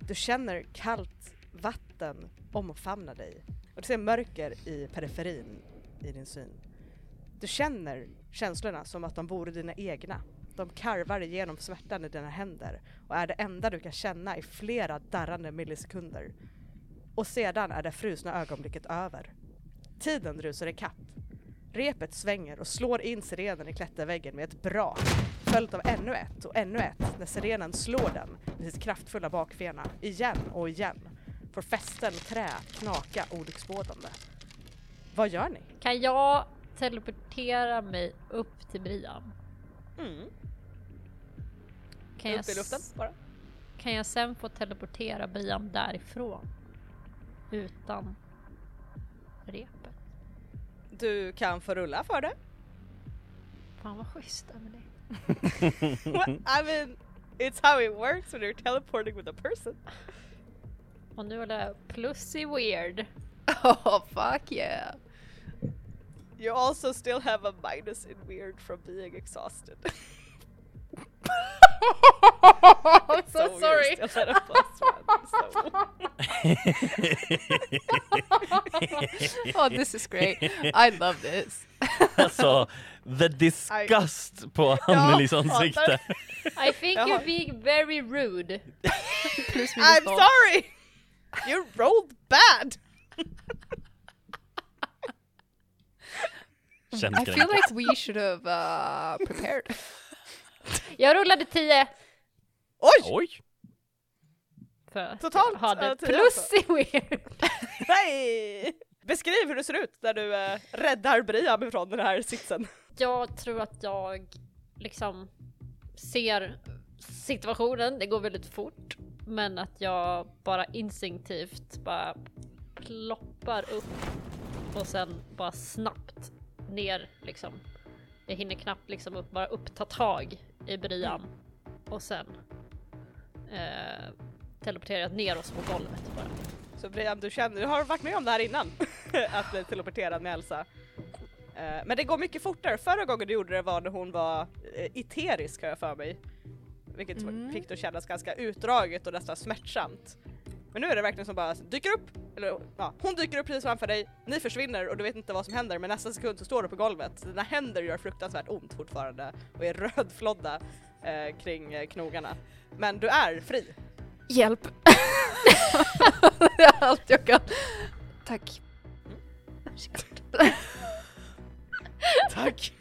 Speaker 1: Du känner kallt vatten omfamna dig och du ser mörker i periferin i din syn. Du känner känslorna som att de vore dina egna. De karvar igenom smärtan i dina händer och är det enda du kan känna i flera darrande millisekunder. Och sedan är det frusna ögonblicket över. Tiden rusar ikapp. Repet svänger och slår in sirenen i klätterväggen med ett brak följt av ännu ett och ännu ett när sirenen slår den med sitt kraftfulla bakfena igen och igen får fästen och trä att knaka olycksbådande. Vad gör ni?
Speaker 2: Kan jag teleportera mig upp till Brian? Kan jag,
Speaker 1: Mm. Upp i luften
Speaker 2: s-
Speaker 1: bara.
Speaker 2: kan jag sen få teleportera Brian därifrån? Utan repet?
Speaker 1: Du kan få rulla för (laughs) det.
Speaker 2: Fan vad schysst Emelie.
Speaker 1: I mean, it's how it works when you're teleporting with a person.
Speaker 2: Och nu håller jag plus
Speaker 1: (laughs)
Speaker 2: i weird.
Speaker 3: (laughs) Oh fuck yeah.
Speaker 1: You also still have a minus in weird from being exhausted. (laughs)
Speaker 3: (laughs) (laughs) I'm so,
Speaker 1: you're
Speaker 3: sorry.
Speaker 1: still at a plus one, so.
Speaker 3: (laughs) oh, this is great.
Speaker 1: (laughs)
Speaker 3: I love this.
Speaker 4: (laughs) alltså, the disgust på Annelies ansikte.
Speaker 2: I think
Speaker 1: Jaha.
Speaker 2: you're being very rude.
Speaker 3: Plus minus
Speaker 1: I'm
Speaker 3: noll.
Speaker 1: sorry! You rolled bad!
Speaker 4: Känns
Speaker 3: I feel
Speaker 4: grejen.
Speaker 3: like we should have uh, prepared.
Speaker 2: Jag rullade 10
Speaker 1: Oj!
Speaker 4: Oj!
Speaker 2: för att
Speaker 1: Totalt,
Speaker 2: jag hade
Speaker 1: eh, 10
Speaker 2: plus i weird.
Speaker 1: Nej! Beskriv hur du ser ut när du eh, räddar Brian ifrån den här sitsen.
Speaker 2: Jag tror att jag liksom ser situationen, det går väldigt fort. Men att jag bara instinktivt bara ploppar upp och sen bara snabbt ner liksom. Jag hinner knappt liksom upp, bara upp, ta tag i Brian och sen eh, teleporterat ner oss på golvet bara.
Speaker 1: Så Brian, du känner, du har varit med om det här innan, (laughs) att bli teleporterad med Elsa. Eh, Men det går mycket fortare. Förra gången du gjorde det var när hon var eh, iterisk har jag för mig. Vilket
Speaker 3: Mm.
Speaker 1: fick det att kännas ganska utdraget och nästan smärtsamt. Men nu är det verkligen som bara dyker upp, eller ja, hon dyker upp precis framför dig, ni försvinner och du vet inte vad som händer men nästa sekund så står du på golvet. Dina händer gör fruktansvärt ont fortfarande och är rödflodda eh, kring eh, knogarna. Men du är fri.
Speaker 3: (laughs) Hjälp! det är (laughs) allt jag kan. Tack.
Speaker 1: Tack!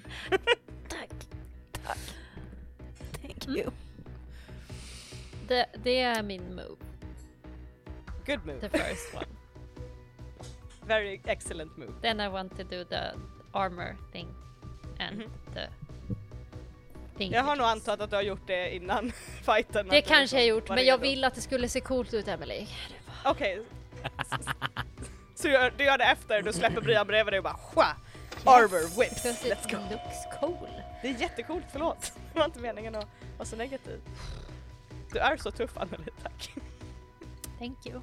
Speaker 2: Tack!
Speaker 3: Thank
Speaker 2: you. Det, det är min move,
Speaker 1: Good move.
Speaker 2: the first one.
Speaker 1: Very excellent move.
Speaker 2: Then I want to do the armor thing and the thing.
Speaker 1: Mhm. Jag har
Speaker 2: with
Speaker 1: nog
Speaker 2: this.
Speaker 1: antagit att du har gjort det innan (laughs) fighten.
Speaker 2: Det
Speaker 1: att du
Speaker 2: kanske jag
Speaker 1: liksom
Speaker 2: gjort,
Speaker 1: var
Speaker 2: men jag
Speaker 1: redo.
Speaker 2: vill att det skulle se coolt ut, Emily.
Speaker 1: Okej. (laughs) S- Så gör, du gör det efter, du släpper Brian bredvid dig och bara Sjua! Armor whips,
Speaker 2: because
Speaker 1: let's
Speaker 2: it
Speaker 1: go!
Speaker 2: looks cool.
Speaker 1: Det är jättecoolt, förlåt. (laughs) Det var inte meningen att vara så negativ. Du är så tuff Anneli, tack.
Speaker 2: Thank you.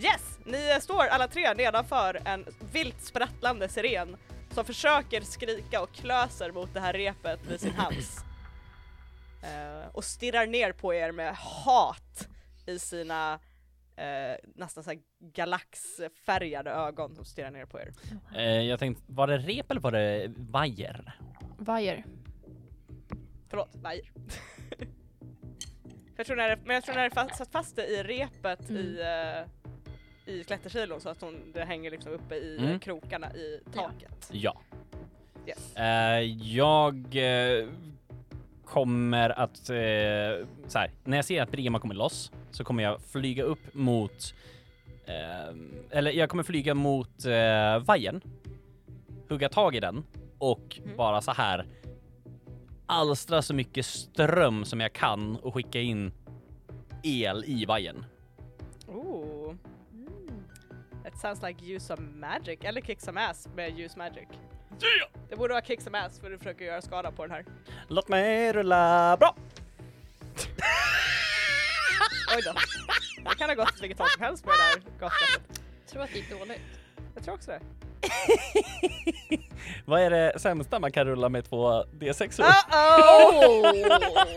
Speaker 1: Yes! Ni eh, står alla tre nedanför en vilt sprattlande siren som försöker skrika och klöser mot det här repet med sin hals.
Speaker 4: (clears throat)
Speaker 1: Eh, och stirrar ner på er med hat i sina eh, nästan så här galaxfärgade ögon som stirrar ner på er.
Speaker 4: Eh, jag tänkte, var det rep eller var det vajer?
Speaker 3: Vajer.
Speaker 1: Förlåt, vajer. (laughs) jag tror när det, men jag tror när det fast, satt fast det i repet i,
Speaker 4: Mm.
Speaker 1: eh, i klätterkilon så att hon, det hänger liksom uppe i eh,
Speaker 4: Mm.
Speaker 1: krokarna i taket.
Speaker 4: Ja.
Speaker 1: Yes.
Speaker 4: Eh, jag eh, kommer att, eh, så här, när jag ser att Brema kommer loss så kommer jag flyga upp mot, eh, eller jag kommer flyga mot eh, vajern, hugga tag i den och
Speaker 1: Mm.
Speaker 4: bara så här alstra så mycket ström som jag kan och skicka in el i vajern.
Speaker 1: Ooh.
Speaker 3: Mm.
Speaker 1: It sounds like use some magic, eller kick some ass med use magic. Det borde vara kick some ass för du försöker göra skada på den här.
Speaker 4: Låt mig rulla bra!
Speaker 1: Oj då. Det kan ha gått åt vilket håll som helst med det där gasskaftet.
Speaker 2: Tror att det
Speaker 1: (laughs)
Speaker 2: gick dåligt.
Speaker 1: Jag tror också det.
Speaker 4: Vad är det sämsta man kan rulla med två D6? -or? (laughs)
Speaker 1: Uh-oh!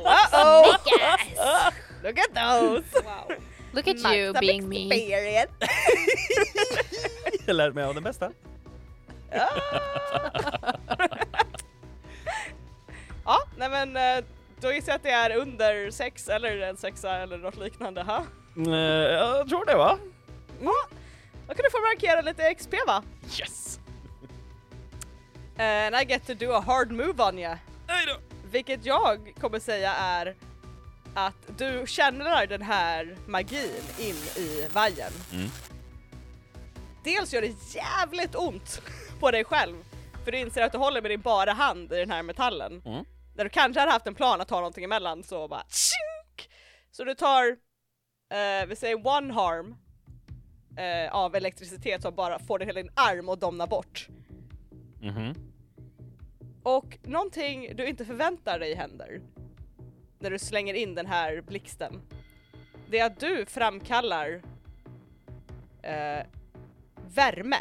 Speaker 1: Uh-oh! Look at those!
Speaker 2: Wow.
Speaker 3: Look at you being me.
Speaker 5: Experience.
Speaker 4: Jag lär mig av den bästa.
Speaker 1: Ah. Ja, nej men eh, då gissar jag att det är under sex eller en sexa eller något liknande. Ha?
Speaker 4: Mm, eh, jag tror det va?
Speaker 1: Ja, då kan du få markera lite XP va?
Speaker 4: Yes!
Speaker 1: Eh, And I get to do a hard move on you.
Speaker 4: Hej då!
Speaker 1: Vilket jag kommer säga är att du känner den här magin in i vajern.
Speaker 4: Mm.
Speaker 1: Dels gör det jävligt ont (laughs) på dig själv för du inser att du håller med din bara hand i den här metallen.
Speaker 4: Mm.
Speaker 1: Där du kanske hade haft en plan att ta någonting emellan så bara tjink! Så du tar, eh, vi säger one harm eh, av elektricitet som bara får din hela din arm att domna bort.
Speaker 4: Mhm.
Speaker 1: Och någonting du inte förväntar dig händer när du slänger in den här blixten. Det är att du framkallar eh, värme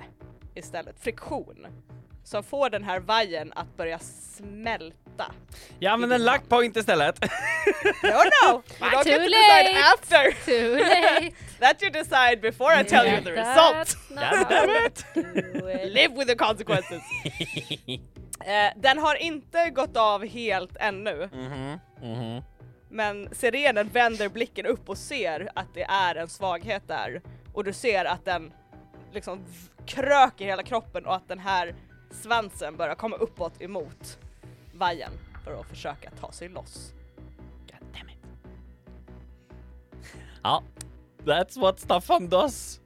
Speaker 1: istället, friktion. Som får den här vajern att börja
Speaker 2: (laughs)
Speaker 1: smälta.
Speaker 4: Jag använder luck point istället.
Speaker 1: No no! You don't get
Speaker 2: Oh, Too
Speaker 1: to decide
Speaker 2: late.
Speaker 1: after!
Speaker 2: (laughs) Too late.
Speaker 1: That you decide before I tell you the result! (laughs)
Speaker 4: God (laughs) damn it.
Speaker 1: Live with the
Speaker 2: (laughs)
Speaker 1: consequences! eh, den har inte gått av helt ännu.
Speaker 4: Mhm, mhm.
Speaker 1: Men sirenen vänder blicken upp och ser att det är en svaghet där. Och du ser att den liksom v- kröker hela kroppen och att den här svansen börjar komma uppåt emot vajern för att försöka ta sig loss.
Speaker 4: God damn it. Ja, that's what Staffan does.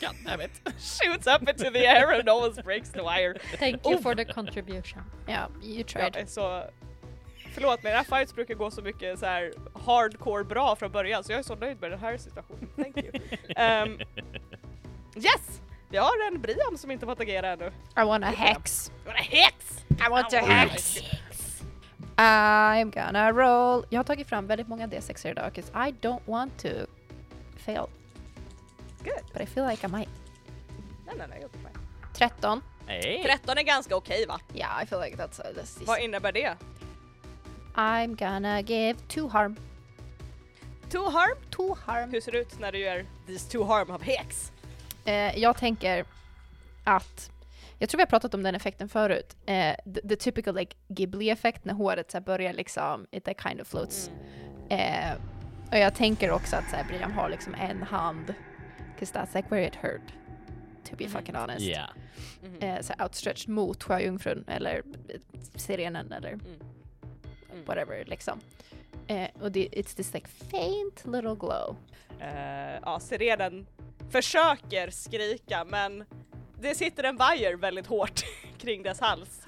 Speaker 4: God damn it.
Speaker 1: Shoots up into the air and almost breaks the wire.
Speaker 2: Thank
Speaker 1: Oh.
Speaker 2: you for the contribution.
Speaker 3: Ja, you
Speaker 1: Jag
Speaker 3: tried.
Speaker 1: är så... Förlåt men era fights brukar gå så mycket så här hardcore bra från början så jag är så nöjd med den här situationen. Thank you. Ehm, yes! Vi har en Brian som inte fått agera ännu.
Speaker 3: I want a hex.
Speaker 1: What a hits!
Speaker 3: I want a hex. I'm gonna roll. Jag har tagit fram väldigt många D6 idag because I don't want to fail.
Speaker 5: Good.
Speaker 3: But I feel like I might.
Speaker 5: Nej, nej, nej, jag är fine.
Speaker 3: 13.
Speaker 4: Nej.
Speaker 1: 13 är ganska okej va?
Speaker 3: Yeah, I feel like that's, uh, that's
Speaker 1: Vad innebär det?
Speaker 3: I'm gonna give two harm.
Speaker 1: Two harm?
Speaker 3: Two harm.
Speaker 1: Hur ser det ut när du gör these two harm av hex?
Speaker 3: Eh, jag tänker att, jag tror vi har pratat om den effekten förut, eh, the, the typical like Ghibli-effekt när håret så här, börjar liksom, it like, kind of floats. Eh, och jag tänker också att så här, Brian har liksom en hand, 'cause that's like where it hurt. To be
Speaker 1: Mm.
Speaker 3: fucking honest.
Speaker 4: Ja.
Speaker 1: Mhm.
Speaker 3: Eh, så här, outstretched mot sjöjungfrun eller eh, sirenen eller
Speaker 1: Mm.
Speaker 3: whatever liksom. Eh, och det, it's this like faint little glow.
Speaker 1: Eh, ja, sirenen försöker skrika men det sitter en vajer väldigt hårt (laughs) kring dess hals.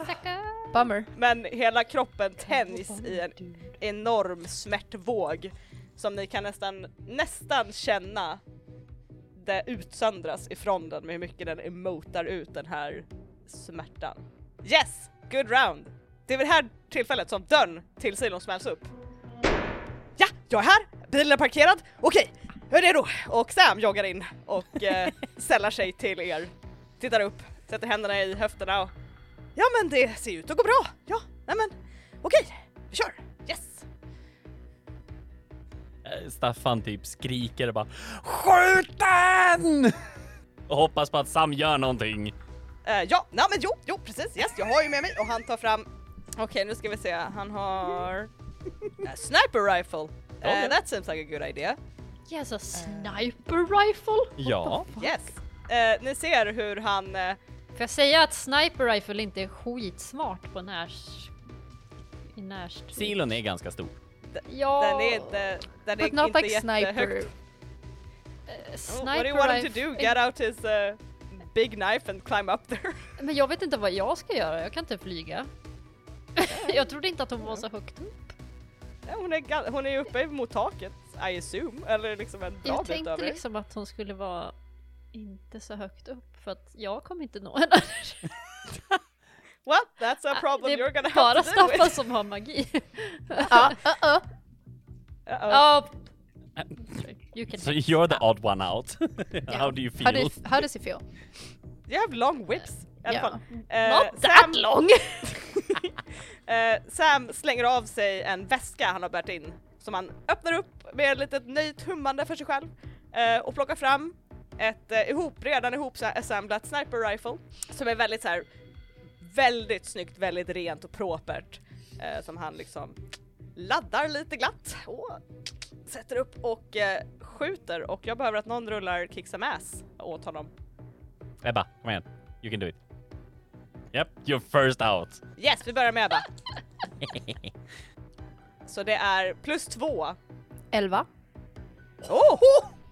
Speaker 3: Bummer.
Speaker 1: Men hela kroppen tänjs i en enorm smärtvåg som ni kan nästan, nästan känna det utsöndras ifrån den med hur mycket den emotar ut den här smärtan. Yes! Good round! Det är vid det här tillfället som dörren till silon smälls upp. Ja, jag är här! Bilen är parkerad! Okej, jag är redo! Och Sam joggar in och eh, sällar sig till er. Tittar upp, sätter händerna i höfterna och Ja men det ser ut att gå bra. Ja, nej men okej, vi kör. Yes!
Speaker 4: Eh, Staffan typ skriker bara Skjut den! (laughs) Och hoppas på att Sam gör någonting.
Speaker 1: Eh, ja, nej men jo, jo precis, yes jag har ju med mig och han tar fram, okej nu ska vi se, han
Speaker 3: (laughs)
Speaker 1: har Eh, sniper rifle. Eh,
Speaker 4: ja.
Speaker 1: that seems like a good idea.
Speaker 2: Yes, a sniper rifle?
Speaker 4: Uh. Ja.
Speaker 1: Yes. Eh, ni ser hur han, eh,
Speaker 2: Får jag säga att sniper rifle inte är skitsmart på närs... I närstrid?
Speaker 4: Silon är ganska stor.
Speaker 2: Ja.
Speaker 1: den är inte, den är
Speaker 3: Oh. But not
Speaker 1: inte
Speaker 3: like sniper.
Speaker 1: jättehögt.
Speaker 2: eh,
Speaker 1: Oh,
Speaker 2: Sniper
Speaker 1: What do you want him to
Speaker 2: rifle-
Speaker 1: do? Get out his eh, big knife and climb up there? (laughs)
Speaker 2: Men jag vet inte vad jag ska göra, jag kan inte flyga. (laughs) jag trodde inte att hon var så högt upp.
Speaker 1: Ja, hon, är, ga- hon är uppe mot taket, I assume, eller liksom en bra
Speaker 2: Jag
Speaker 1: bit
Speaker 2: tänkte
Speaker 1: över.
Speaker 2: liksom att hon skulle vara inte så högt upp för att jag kommer inte nå henne.
Speaker 1: Well, that's a problem
Speaker 2: det
Speaker 1: you're gonna
Speaker 2: är
Speaker 1: have
Speaker 2: bara
Speaker 1: to deal with.
Speaker 2: Staffan som har magi.
Speaker 3: Ja, uh -oh.
Speaker 1: (laughs) Uh-oh.
Speaker 2: (laughs) Ja. you can
Speaker 4: So you're the odd one (laughs) out. How do you
Speaker 3: How,
Speaker 4: feel?
Speaker 3: do you, f- how does it feel?
Speaker 1: You have long whips i alla
Speaker 3: Ja.
Speaker 1: fall. Eh,
Speaker 2: Not that
Speaker 1: Sam,
Speaker 2: long!
Speaker 1: (laughs)
Speaker 2: (laughs)
Speaker 1: eh, Sam slänger av sig en väska han har bärt in som han öppnar upp med ett litet nöjt hummande för sig själv eh, och plockar fram ett eh, ihop, redan ihop så här assemblat sniper rifle som är väldigt så här väldigt snyggt, väldigt rent och propert eh, som han liksom laddar lite glatt och sätter upp och eh, skjuter och jag behöver att någon rullar kick some ass åt honom.
Speaker 4: Ebba, kom igen. You can do it. Yep, you're first out.
Speaker 1: Yes, vi börjar med Ebba. Så det är plus två.
Speaker 3: 11.
Speaker 1: Oh!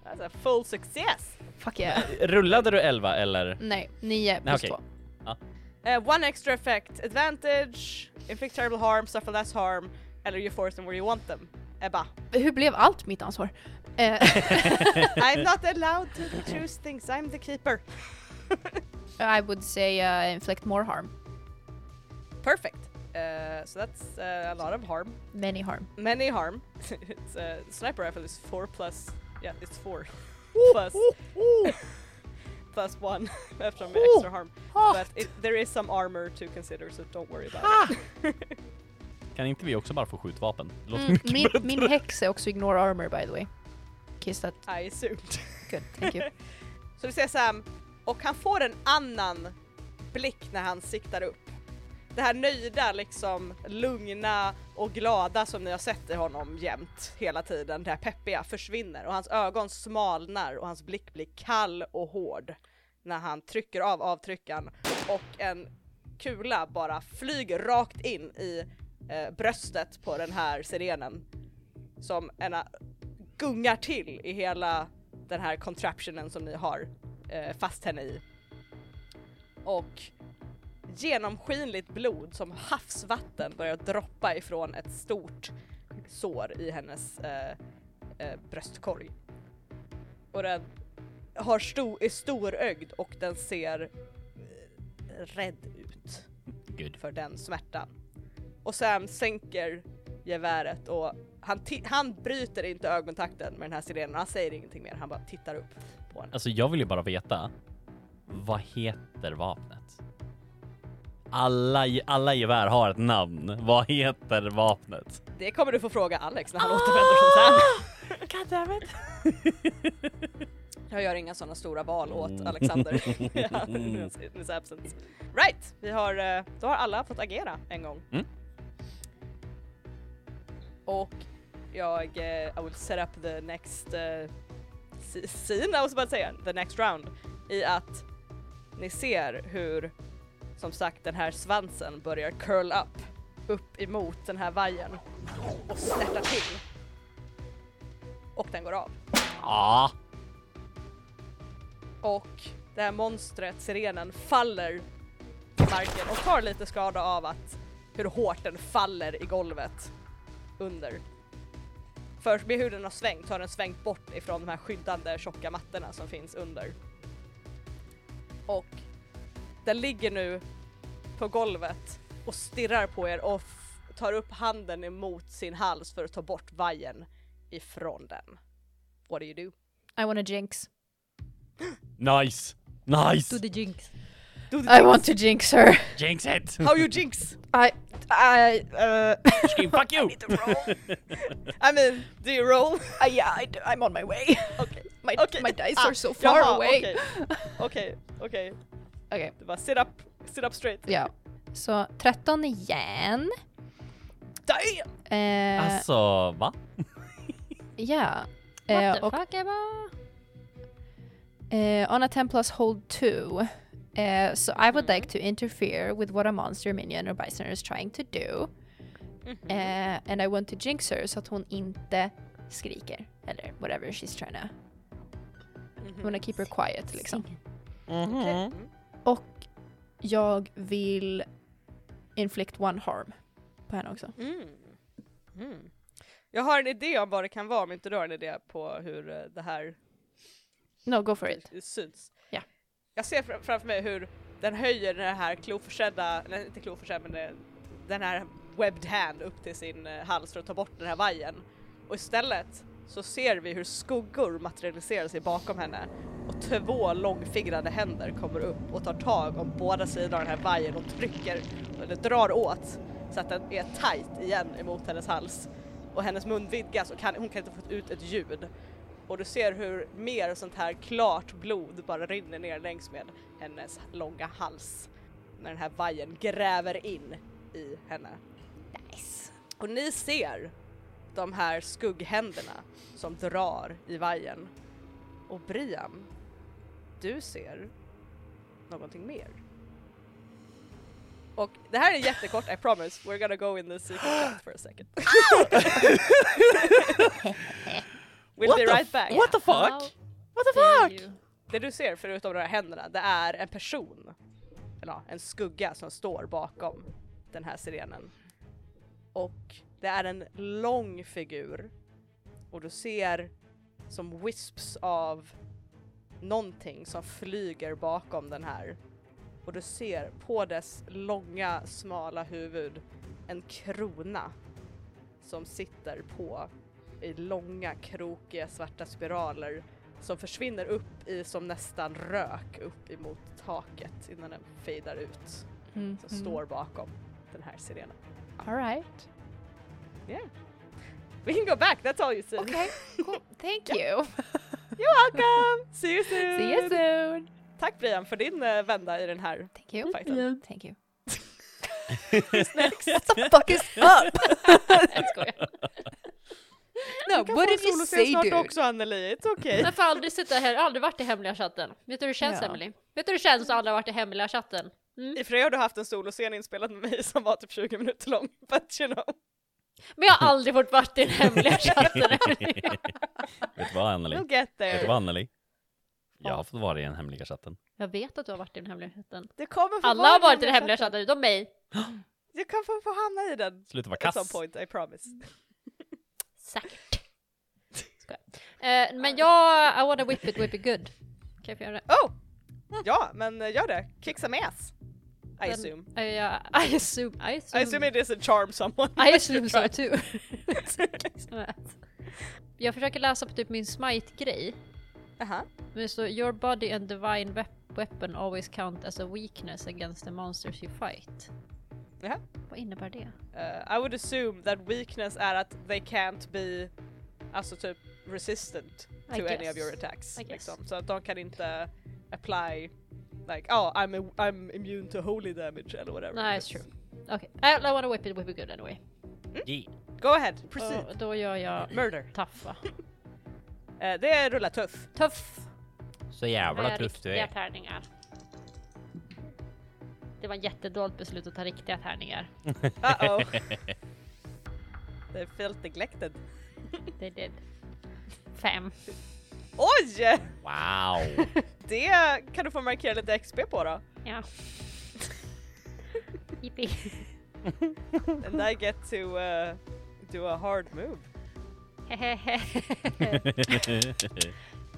Speaker 1: That's a full success!
Speaker 3: Fuck yeah.
Speaker 4: Rullade du 11 eller?
Speaker 3: Nej, 9 plus
Speaker 4: okej.
Speaker 3: 2.
Speaker 1: Eh, one extra effect, advantage, inflict terrible harm, suffer less harm, eller you force them where you want them. Ebba.
Speaker 3: Hur blev allt mitt ansvar? Eh, (laughs)
Speaker 1: I'm not allowed to choose things, I'm the keeper.
Speaker 3: I would say uh, inflict more harm.
Speaker 1: Perfect. Eh, so that's eh, a lot of harm.
Speaker 3: Many harm.
Speaker 1: Many harm. (laughs) it's, eh, sniper rifle is four plus, yeah it's four. plus,
Speaker 3: Oh!
Speaker 1: plus one (laughs) eftersom det är extra harm. But it, there is some armor to consider so don't worry about it.
Speaker 4: Kan inte vi också bara få skjutvapen? Det låter
Speaker 3: Mm,
Speaker 4: mycket
Speaker 3: min,
Speaker 4: bättre.
Speaker 3: min häx är också ignore armor by the way. Kiss that
Speaker 1: I assumed.
Speaker 3: good, thank you.
Speaker 1: Så du ser Sam, och han får en annan blick när han siktar upp. Det här nöjda liksom, lugna och glada som ni har sett i honom jämt hela tiden, det här peppiga försvinner och hans ögon smalnar och hans blick blir kall och hård när han trycker av avtryckan och en kula bara flyger rakt in i eh, bröstet på den här sirenen som ena gungar till i hela den här contraptionen som ni har eh, fast henne i. Och genomskinligt blod som havsvatten börjar droppa ifrån ett stort sår i hennes eh, eh, bröstkorg. Och den har stor, är storögd och den ser eh, rädd ut
Speaker 4: Good.
Speaker 1: för den smärtan. Och Sam sänker geväret och han, ti- han bryter inte ögonkontakten med den här sirenen. Han säger ingenting mer, han bara tittar upp på den.
Speaker 4: Alltså jag vill ju bara veta, vad heter vapnet? Alla, ge- alla gevär har ett namn. Vad heter vapnet?
Speaker 1: Det kommer du få fråga Alex när han återvänder från Sam.
Speaker 5: Goddammit.
Speaker 1: (laughs) Jag gör inga sådana stora val åt Alexander (laughs) in his absence. Right, vi har, eh, då har alla fått agera en gång.
Speaker 4: Mm.
Speaker 1: Och jag, eh, I will set up the next eh, s- scene, I was about to say, the next round, i att ni ser hur, som sagt, den här svansen börjar curl up, upp emot den här vajern och snärtar till. Och den går av.
Speaker 4: Ja,
Speaker 1: och det här monstret, sirenen, faller på marken och tar lite skada av att hur hårt den faller i golvet under. För med hur den har svängt så har den svängt bort ifrån de här skyddande tjocka mattorna som finns under. Och den ligger nu på golvet och stirrar på er och f- tar upp handen emot sin hals för att ta bort vajern ifrån den. What do you do?
Speaker 3: I wanna jinx.
Speaker 4: nice! Nice!
Speaker 2: the jinx.
Speaker 3: I want to jinx her. (laughs)
Speaker 4: Jinx it!
Speaker 1: How you jinx?
Speaker 3: I... I... Uh,
Speaker 4: Fucking Fuck you!
Speaker 1: I mean, do you roll?
Speaker 3: I yeah, I do, I'm on my (laughs) way.
Speaker 1: Okej.
Speaker 3: My,
Speaker 1: Okej.
Speaker 3: my dice
Speaker 1: Ah,
Speaker 3: are so far
Speaker 1: jaha,
Speaker 3: away. (laughs)
Speaker 1: Okej, okej. okej.
Speaker 3: Okej.
Speaker 1: Det var sit up, sit up straight.
Speaker 3: Ja. Så 13 igen.
Speaker 1: Damn!
Speaker 3: Eh,
Speaker 4: Alltså, va?
Speaker 3: Ja.
Speaker 2: What
Speaker 3: Eh,
Speaker 2: the
Speaker 3: och
Speaker 2: fuck Ebba?
Speaker 3: eh, on a 10 plus hold 2. Eh, so I would like to interfere with what a monster minion or bisoner is trying to do.
Speaker 1: Mm-hmm.
Speaker 3: Eh, and I want to jinx her så att hon inte skriker. Eller whatever she's trying to... I
Speaker 1: Mm-hmm.
Speaker 3: wanna keep her quiet liksom. Och jag vill inflict one harm på henne också.
Speaker 1: Mm. Mm. Jag har en idé om vad det kan vara om inte du har en idé på hur eh, det här
Speaker 3: No, go for it.
Speaker 1: Det syns.
Speaker 3: Ja.
Speaker 1: Jag ser fram- framför mig hur den höjer den här kloförsedda, nej inte kloförsedd men eh, den här webbed hand upp till sin eh, hals för att ta bort den här vajern. Och istället så ser vi hur skuggor materialiserar sig bakom henne och två långfingrade händer kommer upp och tar tag om båda sidor av den här vajern och trycker, eller drar åt så att den är tight igen emot hennes hals. Och hennes mun vidgas och kan, hon kan inte få ut ett ljud och du ser hur mer sånt här klart blod bara rinner ner längs med hennes långa hals när den här vajern gräver in i henne. Nice. Och ni ser de här skugghänderna som drar i vajern. Och Brian, du ser någonting mer. Och det här är jättekort, I promise, we're gonna go in the secret chat for a second. (laughs) we'll be right back.
Speaker 4: What the
Speaker 2: How
Speaker 4: fuck?
Speaker 2: What the fuck?
Speaker 1: Det du ser förutom de här händerna, det är en person, eller ja, en skugga som står bakom den här sirenen. Och det är en lång figur och du ser som wisps av någonting som flyger bakom den här. Och du ser på dess långa smala huvud en krona som sitter på i långa krokiga svarta spiraler som försvinner upp i som nästan rök upp emot taket innan den fejdar ut.
Speaker 3: Mm.
Speaker 1: Som står bakom den här sirenen.
Speaker 3: Alright.
Speaker 1: We can go back, that's all you see.
Speaker 3: Okay, cool. Thank you.
Speaker 1: You're welcome! See you soon!
Speaker 3: See you soon.
Speaker 1: Tack Brian för din eh, vända i den här
Speaker 3: Thank you.
Speaker 1: fighten.
Speaker 3: Thank you. What the fuck is up?
Speaker 2: Jag skojar.
Speaker 3: No,
Speaker 1: Du kan
Speaker 3: what
Speaker 1: få
Speaker 3: did
Speaker 1: en
Speaker 3: you
Speaker 1: soloscen
Speaker 3: say
Speaker 1: snart
Speaker 3: dude?
Speaker 1: också Anneli, it's
Speaker 3: (laughs)
Speaker 1: okay.
Speaker 2: Varför har aldrig sitta här, aldrig varit i hemliga chatten? Vet du hur det känns
Speaker 3: Ja.
Speaker 2: Emily? Vet du hur det känns att aldrig ha varit i hemliga chatten? Mm.
Speaker 1: I fredag har du haft en soloscen inspelad med mig som var typ 20 minuter lång. (laughs) But you know.
Speaker 2: Men jag har aldrig fått varit i den hemliga chatten. Emily.
Speaker 4: (laughs) Vet du vad Anneli?
Speaker 1: We'll get
Speaker 4: Vet du
Speaker 1: there.
Speaker 4: vad Anneli? Jag har fått vara i den hemliga chatten.
Speaker 2: jag vet att du har varit i den hemliga chatten.
Speaker 1: Du kommer få
Speaker 2: Alla
Speaker 1: vara
Speaker 2: har varit i den hemliga
Speaker 1: hemliga
Speaker 2: chatten utom mig.
Speaker 1: Du kan få, få hamna i den.
Speaker 4: Sluta vara
Speaker 1: At some
Speaker 4: kass.
Speaker 1: point, I promise.
Speaker 2: Säkert. Skojar. Eh, men jag, I wanna whip it, whip it good. Kan jag få göra det?
Speaker 1: Oh! Ja, men eh, gör det. Kick some ass. I
Speaker 2: Den-
Speaker 1: assume.
Speaker 2: I, uh, I assume, I assume.
Speaker 1: I assume it is a charm someone. (laughs)
Speaker 2: I assume so too. (laughs) Jag försöker läsa på typ min smite-grej.
Speaker 1: Aha.
Speaker 2: Men det står your body and divine wep- weapon always count as a weakness against the monsters you fight.
Speaker 1: Jaha.
Speaker 2: Vad innebär det?
Speaker 1: Eh, I would assume that weakness är att they can't be, alltså typ resistant
Speaker 2: I
Speaker 1: to any
Speaker 2: guess.
Speaker 1: of your attacks.
Speaker 2: I guess.
Speaker 1: Liksom. Så att de kan inte apply, like oh I'm, a, I'm immune to holy damage eller whatever.
Speaker 2: Nej, it's true. Okej, I, I wanna whip it, whip it good anyway.
Speaker 4: Yeah.
Speaker 1: Go ahead, proceed.
Speaker 2: Då, då gör jag
Speaker 1: Murder.
Speaker 2: taffa.
Speaker 1: Eh, det är rulla tuff.
Speaker 2: Tuff!
Speaker 4: Så jävla
Speaker 2: Med
Speaker 4: tuff du
Speaker 2: riktiga
Speaker 4: är.
Speaker 2: tärningar. Det var ett jättedåligt beslut att ta riktiga tärningar.
Speaker 1: Uh-oh.
Speaker 2: (laughs)
Speaker 1: They felt neglected.
Speaker 2: They did. Fem.
Speaker 1: Oj!
Speaker 4: Wow!
Speaker 1: Det kan du få markera lite XP på då.
Speaker 2: Ja. Yippee. (laughs)
Speaker 1: And I get to uh, do a hard move.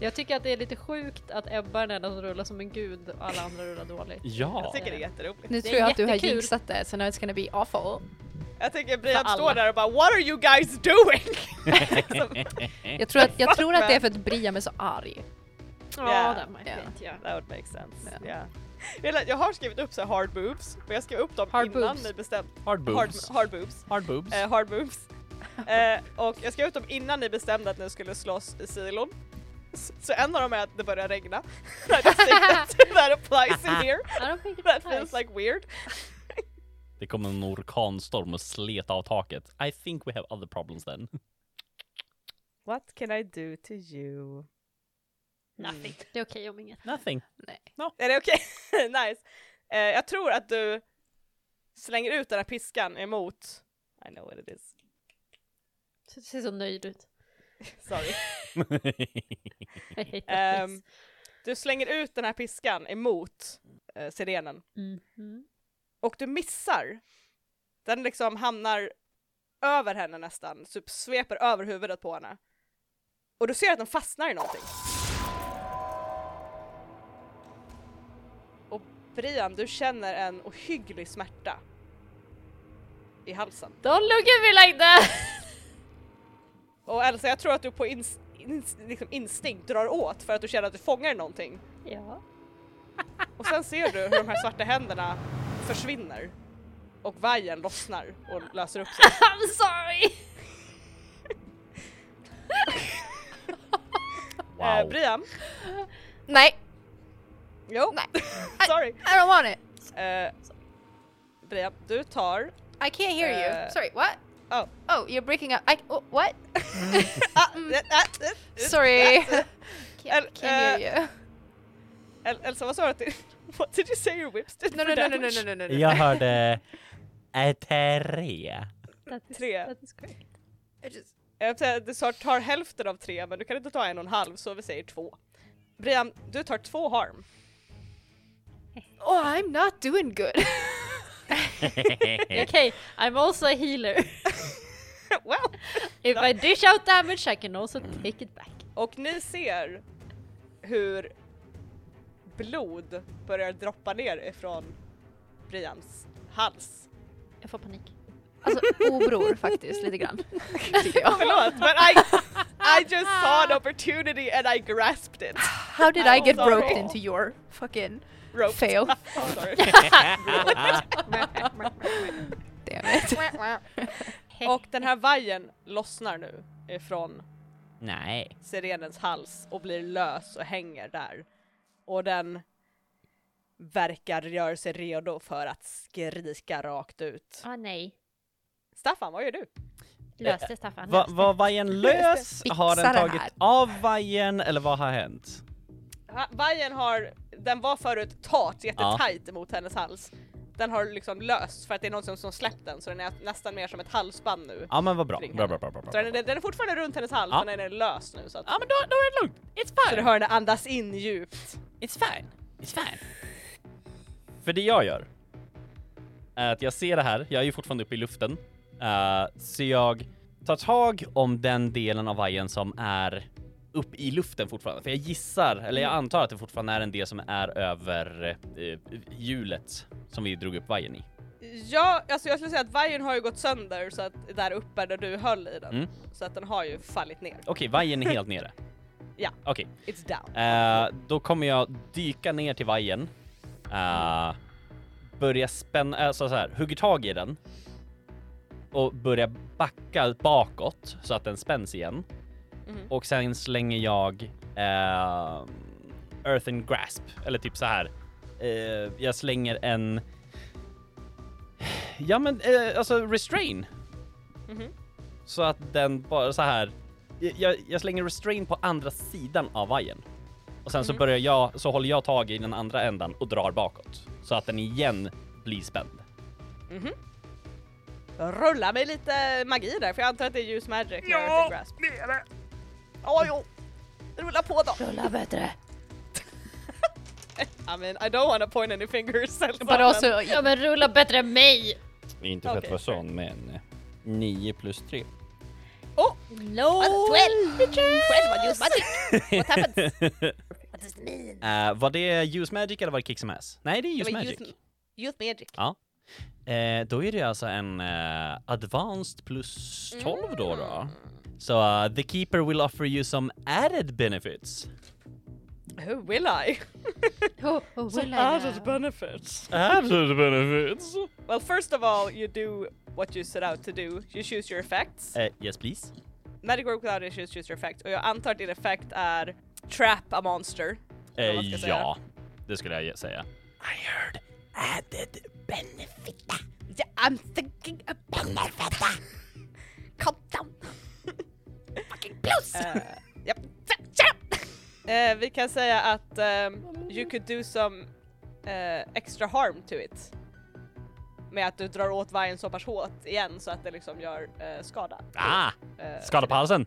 Speaker 2: Jag tycker att det är lite sjukt att Ebba är den enda som rullar som en gud och alla andra rullar dåligt.
Speaker 1: Jag
Speaker 4: ja!
Speaker 1: tycker det är jätteroligt.
Speaker 3: Nu
Speaker 2: Det är
Speaker 3: tror jag att du har
Speaker 2: jättekul.
Speaker 3: jinxat det, så nu it's gonna be awful.
Speaker 1: Jag tänker Brian
Speaker 2: För alla.
Speaker 1: står där och bara What are you guys doing? Liksom.
Speaker 4: (laughs)
Speaker 3: Jag tror att, jag
Speaker 1: Fuck
Speaker 3: tror att det
Speaker 1: man.
Speaker 3: är för att Brian är så arg.
Speaker 2: Ja,
Speaker 1: Ja,
Speaker 2: det might
Speaker 3: ja.
Speaker 2: be it, ja.
Speaker 1: (laughs) That would make sense. Yeah. Eller, Jag har skrivit upp så här hard boobs, men jag skrev upp dem
Speaker 2: Hard
Speaker 1: innan
Speaker 2: boobs.
Speaker 1: ni bestämde...
Speaker 4: Hard boobs.
Speaker 1: Hard, hard boobs.
Speaker 4: Hard boobs.
Speaker 1: Eh, hard boobs. Eh, och jag skrev ut dem innan ni bestämde att ni skulle slåss i silon. S- Så en av dem är att det börjar regna. (laughs) I just think that, that applies in here.
Speaker 2: I don't think
Speaker 1: That
Speaker 2: it's
Speaker 1: feels
Speaker 2: nice.
Speaker 1: like weird.
Speaker 4: Det kom en orkanstorm och slet av taket. I think we have other problems then.
Speaker 1: What can I do to you?
Speaker 2: Nothing. Det är okej om inget.
Speaker 4: (laughs) Nothing.
Speaker 3: Eh,
Speaker 1: Är det okej? (laughs) nice. Eh, jag tror att du slänger ut den här piskan emot... I know what it is.
Speaker 2: Du ser så nöjd ut. (laughs)
Speaker 1: Sorry.
Speaker 2: Ehm,
Speaker 1: Ehm, du slänger ut den här piskan emot eh, sirenen
Speaker 2: mhm.
Speaker 1: och du missar. Den liksom hamnar över henne nästan, typ sveper över huvudet på henne. Och du ser att den fastnar i någonting. Och Brian, du känner en ohygglig smärta i halsen.
Speaker 2: Don't look at me like that! (laughs)
Speaker 1: Och Elsa, jag tror att du på ins- ins- liksom instinkt drar åt för att du känner att du fångar någonting.
Speaker 2: ja. (laughs)
Speaker 1: Och sen ser du hur de här svarta händerna försvinner och vajern lossnar och löser upp sig.
Speaker 2: I'm sorry!
Speaker 1: Eh,
Speaker 4: Wow.
Speaker 1: Brian?
Speaker 3: (laughs) Nej,
Speaker 1: Jo?
Speaker 3: Nej.
Speaker 1: (laughs) Sorry.
Speaker 3: I don't want it.
Speaker 1: Eh, Brian, du tar...
Speaker 3: I can't hear
Speaker 1: Eh.
Speaker 3: you. Sorry, what?
Speaker 1: Oh.
Speaker 3: Oh, you're breaking up. I, oh, what? (laughs) Mm,
Speaker 1: Ah, eh, eh, eh,
Speaker 3: Sorry.
Speaker 1: El-
Speaker 3: (laughs) can't, can't hear you.
Speaker 1: El- Elsa, vad sa du att du... (laughs) What did you say your whips did
Speaker 3: No, no,
Speaker 1: for
Speaker 3: no, no, no,
Speaker 1: damage?
Speaker 3: no, no, no.
Speaker 4: Jag hörde... Eterea.
Speaker 2: That is,
Speaker 1: Tre.
Speaker 2: That is great.
Speaker 3: I just-
Speaker 1: Jag vill säga att du sa- tar hälften av tre, men du kan inte ta en och en halv, så vi säger två. Brian, du tar två harm. (laughs)
Speaker 3: Oh, I'm not doing good. (laughs)
Speaker 2: Okej, okay, I'm also a healer. (laughs)
Speaker 1: well.
Speaker 2: If I dish out damage I can also take it back.
Speaker 1: Och ni ser hur blod börjar droppa ner ifrån Brians hals.
Speaker 3: (laughs)
Speaker 2: Jag får panik.
Speaker 3: Alltså, obror faktiskt, lite (laughs) grann. Tycker jag.
Speaker 1: Förlåt men I, I just saw an opportunity and I grasped it.
Speaker 3: How did I get
Speaker 1: Sorry.
Speaker 3: roped into your fucking
Speaker 1: Rope. (laughs)
Speaker 3: fail?
Speaker 1: Oh, sorry.
Speaker 3: Damn it.
Speaker 1: och den här vajern lossnar nu ifrån
Speaker 4: (laughs) Nej.
Speaker 1: sirenens hals och blir lös och hänger där. Och den verkar göra sig redo för att skrika rakt ut.
Speaker 2: Åh nej.
Speaker 1: Staffan, vad gör du?
Speaker 2: Löste Staffan.
Speaker 4: Eh, Va,
Speaker 2: löste.
Speaker 4: var vajern lös?
Speaker 3: Fixa
Speaker 4: Har den
Speaker 3: det här.
Speaker 4: tagit av vajern eller vad har hänt?
Speaker 1: Ha- Vajern har, den var förut tat jättetajt emot hennes hals. Den har liksom löst för att det är någon som, som släppt den så den är nästan mer som ett halsband nu.
Speaker 4: Ja men vad bra.
Speaker 1: Kring
Speaker 4: Bra, bra, bra, bra, bra.
Speaker 1: Så den, är- den är fortfarande runt hennes hals
Speaker 4: Ja.
Speaker 1: men den är lös nu så att
Speaker 4: Ja men då, då är det lugnt. It's
Speaker 1: så du
Speaker 4: fine.
Speaker 1: hör henne andas in djupt.
Speaker 4: It's fine. It's fine. För det jag gör är att jag ser det här, jag är ju fortfarande uppe i luften, eh, så jag tar tag om den delen av vajern som är upp i luften fortfarande. För jag gissar, eller jag antar att det fortfarande är en del som är över eh, hjulet som vi drog upp vajern i.
Speaker 1: Ja, alltså jag skulle säga att vajern har ju gått sönder så att där uppe där du höll i den.
Speaker 4: Mm.
Speaker 1: Så att den har ju fallit ner.
Speaker 4: Okej, vajern (laughs) är helt nere.
Speaker 1: Ja.
Speaker 4: Okej,
Speaker 1: It's down.
Speaker 4: eh, då kommer jag dyka ner till vajern. eh, börja spänna, alltså så här, hugger tag i den. Och börja backa bakåt så att den spänns igen.
Speaker 1: Mhm.
Speaker 4: Och sen slänger jag eh, Earthen Grasp, eller typ så här. Eh, jag slänger en... Ja men eh, alltså Restrain.
Speaker 1: Mhm.
Speaker 4: Så att den bara så här. Jag, jag slänger Restrain på andra sidan av vajern. Och sen så
Speaker 1: Mm.
Speaker 4: börjar jag, så håller jag tag i den andra ändan och drar bakåt. Så att den igen blir spänd.
Speaker 1: Rulla med lite magi där för jag antar att det är ljus magic. Ja, grasp.
Speaker 5: det är det.
Speaker 1: Ja, jo. Rulla på då.
Speaker 3: Rulla bättre.
Speaker 1: I mean, I don't wanna point any fingers. alltså,
Speaker 3: But also,
Speaker 2: Ja men rulla bättre än mig!
Speaker 4: Inte
Speaker 1: för att Okej, vara fair. sån,
Speaker 4: men 9 plus 3.
Speaker 1: Oh,
Speaker 2: No!
Speaker 3: (laughs)
Speaker 5: What does it mean?
Speaker 4: Eh, var det use magic eller var det kick som ass? Nej, det är use
Speaker 1: men
Speaker 4: magic.
Speaker 1: Youth, youth magic.
Speaker 4: Eh, då är det alltså en eh, advanced plus 12 då då.
Speaker 1: Mm.
Speaker 4: Så eh, the keeper will offer you some added benefits.
Speaker 1: Who will I?
Speaker 2: Oh, oh,
Speaker 1: Some
Speaker 2: well,
Speaker 4: Ah,
Speaker 1: added
Speaker 2: uh,
Speaker 1: benefits.
Speaker 4: Added benefits?
Speaker 1: Well, first of all, you do what you set out to do. You choose your effects.
Speaker 4: Eh, yes please.
Speaker 1: Magic Orb Cloud issues choose your effect. Och jag antar att din effekt är Trap a Monster. eller vad man ska
Speaker 4: Eh,
Speaker 1: säga.
Speaker 4: ja, det skulle jag säga. I heard added benefit.
Speaker 1: Yeah, I'm thinking about that. Calm
Speaker 3: (laughs)
Speaker 1: down. Fucking plus!
Speaker 3: Uh,
Speaker 1: Japp. Eh, vi kan säga att ehm, you could do some eh, extra harm to it. Med att du drar åt vajern så pass hårt igen så att det liksom gör eh, skada.
Speaker 4: Ah,
Speaker 1: Eh,
Speaker 4: skada på halsen.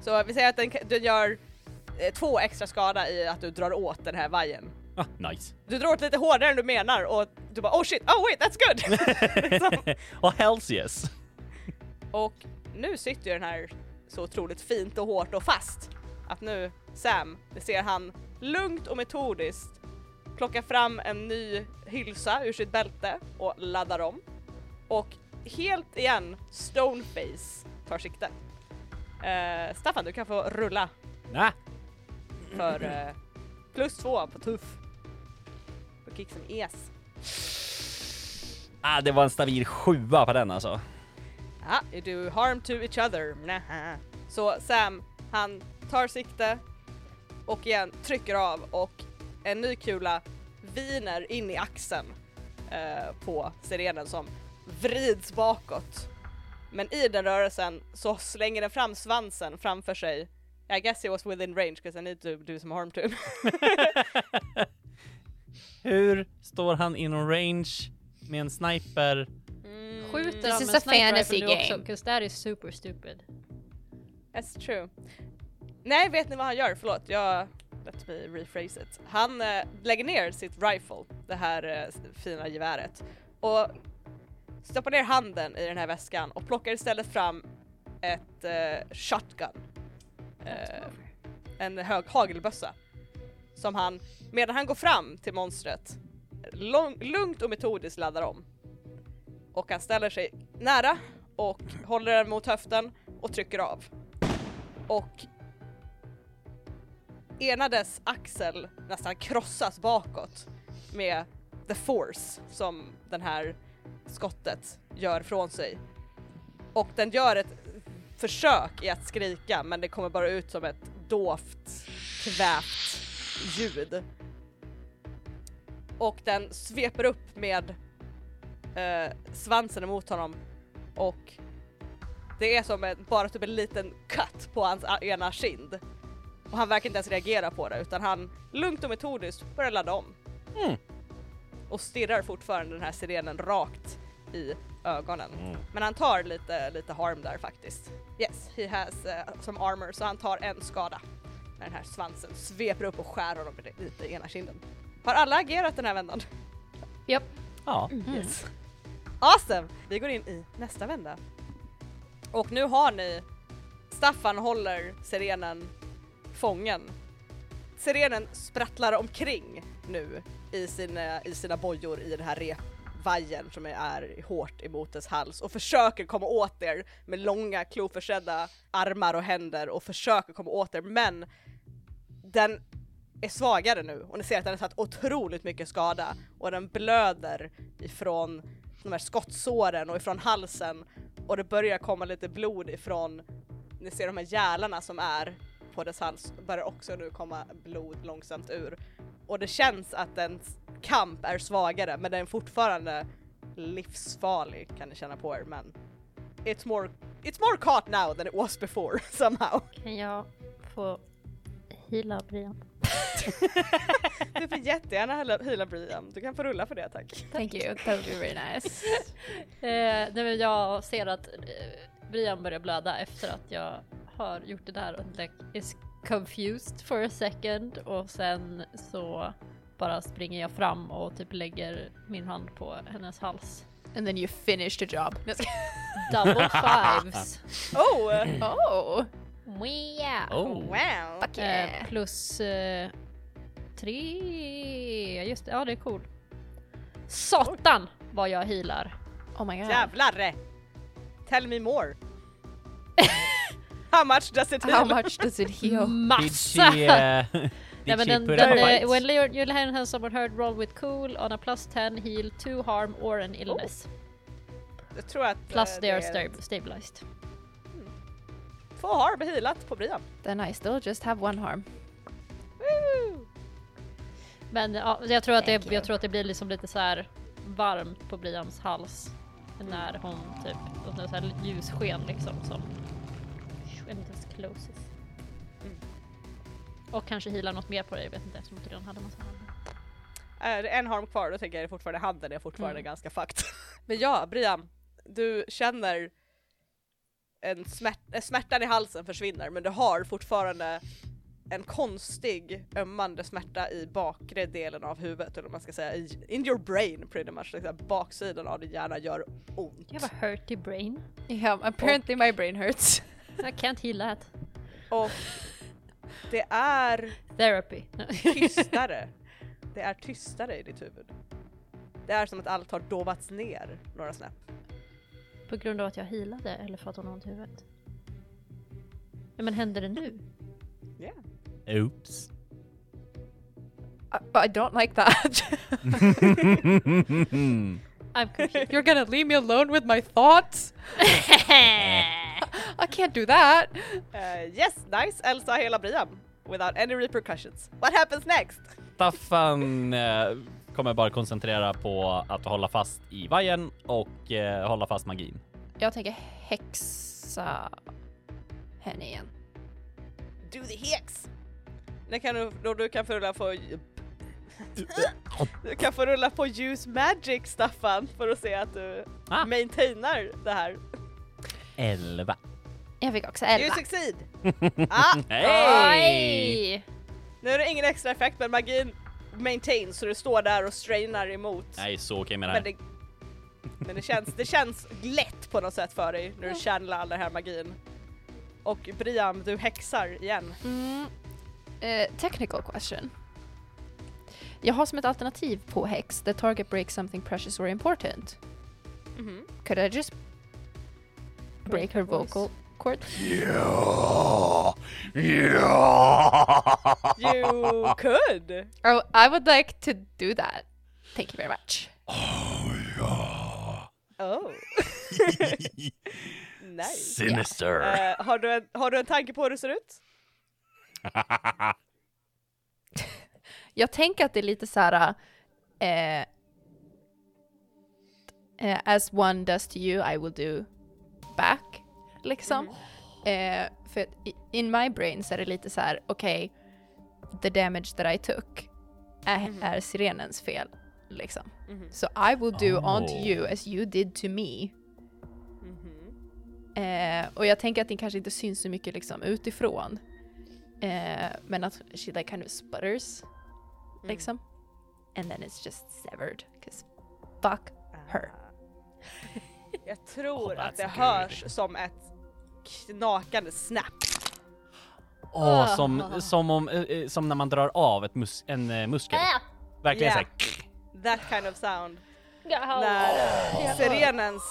Speaker 1: Så vi säger att den, den gör eh, två extra skada i att du drar åt den här vajern.
Speaker 4: Ah, nice.
Speaker 1: Du drar åt lite hårdare än du menar och du bara oh shit, oh wait that's good! (laughs) Liksom.
Speaker 4: (laughs) Och hells yes.
Speaker 1: och nu sitter ju den här så otroligt fint och hårt och fast att nu Sam, det ser han lugnt och metodiskt plockar fram en ny hylsa ur sitt bälte och laddar om. Och helt igen Stoneface tar sikte. Eh, Staffan du kan få rulla
Speaker 4: Ah,
Speaker 1: för eh, plus två på tuff. På kick som es.
Speaker 4: ah, det var en stabil sjua på den alltså.
Speaker 1: Ja, you do harm to each other. Nähä. Så Sam, han tar sikte och igen trycker av och en ny kula viner in i axeln eh, på sirenen som vrids bakåt. Men i den rörelsen så slänger den fram svansen framför sig. I guess it was within range because I need to do some harm to him.
Speaker 4: Hur står han inom range med en sniper?
Speaker 2: Skjuter
Speaker 3: This
Speaker 2: han
Speaker 3: is
Speaker 2: med
Speaker 3: a
Speaker 2: sniper rifle
Speaker 3: fantasy
Speaker 2: nu
Speaker 3: game.
Speaker 2: också? 'Cause that is super stupid.
Speaker 1: That's true. Nej, vet ni vad han gör? Förlåt, jag... Let me rephrase it. Han eh, lägger ner sitt rifle, det här eh, s- fina geväret, och stoppar ner handen i den här väskan och plockar istället fram ett eh, shotgun. Eh, en hög hagelbössa. Som han, medan han går fram till monstret, lång, lugnt och metodiskt laddar om. Och han ställer sig nära och håller den mot höften och trycker av. Och enades axel nästan krossas bakåt med the force som den här skottet gör från sig. Och den gör ett försök i att skrika men det kommer bara ut som ett dovt kvävt ljud. Och den sveper upp med eh, svansen emot honom och det är som en, bara typ en liten cut på hans a- ena kind. Och han verkar inte ens reagera på det utan han lugnt och metodiskt börjar ladda om.
Speaker 4: Mm.
Speaker 1: Och stirrar fortfarande den här sirenen rakt i ögonen.
Speaker 4: Mm.
Speaker 1: Men han tar lite, lite harm där faktiskt. Yes, he has eh, som armor så han tar en skada. När den här svansen sveper upp och skär honom i- lite i ena kinden. Har alla agerat den här vändan?
Speaker 2: Japp.
Speaker 4: Ja.
Speaker 2: Mm.
Speaker 1: Yes. Awesome! Vi går in i nästa vända. Och nu har ni Staffan håller sirenen fången. Sirenen sprattlar omkring nu i sina, i sina bojor i den här repvajern som är hårt emot dess hals och försöker komma åt er med långa kloförsedda armar och händer och försöker komma åt er men den är svagare nu och ni ser att den har tagit otroligt mycket skada och den blöder ifrån de här skottsåren och ifrån halsen och det börjar komma lite blod ifrån, ni ser de här gälarna som är på dess hals, börjar också nu komma blod långsamt ur. Och det känns att dens kamp är svagare men den är fortfarande livsfarlig kan ni känna på er men it's more, it's more caught now than it was before (laughs) somehow.
Speaker 2: Kan jag få heala Brian?
Speaker 1: Du får jättegärna hela- hila Brian, du kan få rulla för det tack.
Speaker 3: Thank you, that would be very (laughs) nice.
Speaker 2: Eh, nej men jag ser att eh, Brian börjar blöda efter att jag har gjort det där och like is confused for a second och sen så bara springer jag fram och typ lägger min hand på hennes hals.
Speaker 3: And then you finish the job. (laughs)
Speaker 2: Double fives!
Speaker 1: Oh!
Speaker 3: (clears throat) oh!
Speaker 2: Yeah.
Speaker 4: Oh.
Speaker 5: Wow!
Speaker 3: Fuck
Speaker 2: Eh,
Speaker 3: yeah.
Speaker 2: plus eh, tre, just det, ja det är cool. Satan vad jag healar!
Speaker 3: Oh my god.
Speaker 1: Jävlar! Tell me more! How much does it
Speaker 3: (laughs) How
Speaker 1: heal?
Speaker 3: much does it heal?
Speaker 4: Did she,
Speaker 2: Massa! (laughs)
Speaker 4: uh, did
Speaker 2: Nej, men
Speaker 4: she
Speaker 2: den,
Speaker 4: put
Speaker 2: den,
Speaker 4: up
Speaker 2: eh,
Speaker 4: fights?
Speaker 2: when your, your hand has someone hurt, roll with cool on a plus 10 heal, two harm or an illness.
Speaker 1: Jag tror att...
Speaker 2: Plus
Speaker 1: eh,
Speaker 2: they are
Speaker 1: Oh, det är
Speaker 2: stab- stabilized.
Speaker 1: Två har healat på Brian.
Speaker 3: Then I still just have one harm.
Speaker 2: Men ja, jag, tror att det,
Speaker 3: Thank you.
Speaker 2: jag tror att det blir liksom lite så här varmt på Brians hals. När hon typ, och det är så här ljussken liksom som skämtes closes. Mm. Och kanske healar något mer på dig, jag vet inte eftersom inte redan hade massa hand.
Speaker 1: Är det en harm kvar då tänker jag det är fortfarande handen är fortfarande ganska fucked. Mm. (laughs) Men ja, Brian, du känner en smärt, eh, smärtan i halsen försvinner men du har fortfarande en konstig ömmande smärta i bakre delen av huvudet eller vad man ska säga, i, in your brain pretty much. Liksom, baksidan av din hjärna gör ont.
Speaker 2: Jag har hurty brain.
Speaker 3: Yeah, apparently my brain hurts.
Speaker 2: I can't heal that.
Speaker 1: Och det är
Speaker 2: (laughs) Therapy.
Speaker 1: tystare. (laughs) Det är tystare i ditt huvud. Det är som att allt har dovats ner några snäpp.
Speaker 2: På grund av att jag healade eller för att hon har ont i huvudet? Ja, men händer det nu? (laughs)
Speaker 4: Oops.
Speaker 3: (laughs)
Speaker 4: (laughs)
Speaker 3: Uh, but I don't like that. (laughs)
Speaker 2: I'm confused. (laughs)
Speaker 3: You're gonna leave me alone with my thoughts? I can't do that.
Speaker 1: Uh, yes, nice Elsa hela Brian. Without any repercussions. What happens next?
Speaker 4: Staffan eh, kommer bara koncentrera på att hålla fast i vajern och eh, hålla fast magin.
Speaker 3: Jag tänker häxa henne igen.
Speaker 1: Do the hex! Det kan du, då du kan få rulla på... Du kan få rulla på use magic Staffan för att se att du
Speaker 4: Ah.
Speaker 1: maintainar det här.
Speaker 4: Elva.
Speaker 3: Jag fick också
Speaker 1: You
Speaker 3: elva.
Speaker 1: succeed! ah,
Speaker 4: Hej!
Speaker 2: Oj!
Speaker 1: nu är det ingen extra effekt men magin maintains så du står där och strainar emot.
Speaker 4: Jag är så okej med det
Speaker 1: Men
Speaker 4: här.
Speaker 1: det, men det känns, det känns lätt på något sätt för dig när du känner all den här magin. Och Brian, du häxar igen.
Speaker 3: Mm. Eh, technical question. Jag har som ett alternativ på häx, the target breaks something precious or important.
Speaker 1: Mhm.
Speaker 3: Could I just break her vocal cord?
Speaker 4: (laughs)
Speaker 1: You could!
Speaker 3: Oh, I would like to do that. Thank you very much.
Speaker 1: Oh. nice.
Speaker 4: Sinister.
Speaker 1: Eh, har, du en, har du en tanke på hur det ser ut?
Speaker 3: Jag tänker att det är lite så här... Eh, eh, as one does to you, I will do back. Liksom. Eh, för att i- in my brain så är det lite så här, okej, the damage that I took är, är sirenens fel. Liksom. So I will do unto
Speaker 4: Oh.
Speaker 3: you as you did to me. Eh, och jag tänker att den kanske inte syns så mycket liksom utifrån. Eh, men att she like kind of sputters. Liksom. And then it's just severed. 'cause fuck her.
Speaker 1: Eh, Jag tror
Speaker 4: Oh,
Speaker 1: att
Speaker 4: that's
Speaker 1: det
Speaker 4: good.
Speaker 1: hörs som ett, knakande snap.
Speaker 4: Åh, som, som, om, eh, eh, som när man drar av ett mus- en
Speaker 2: (laughs)
Speaker 4: eh, muskel.
Speaker 1: Ja.
Speaker 4: Verkligen såhär.
Speaker 1: That kind of sound.
Speaker 2: Yeah.
Speaker 1: När
Speaker 4: Oh.
Speaker 1: sirenens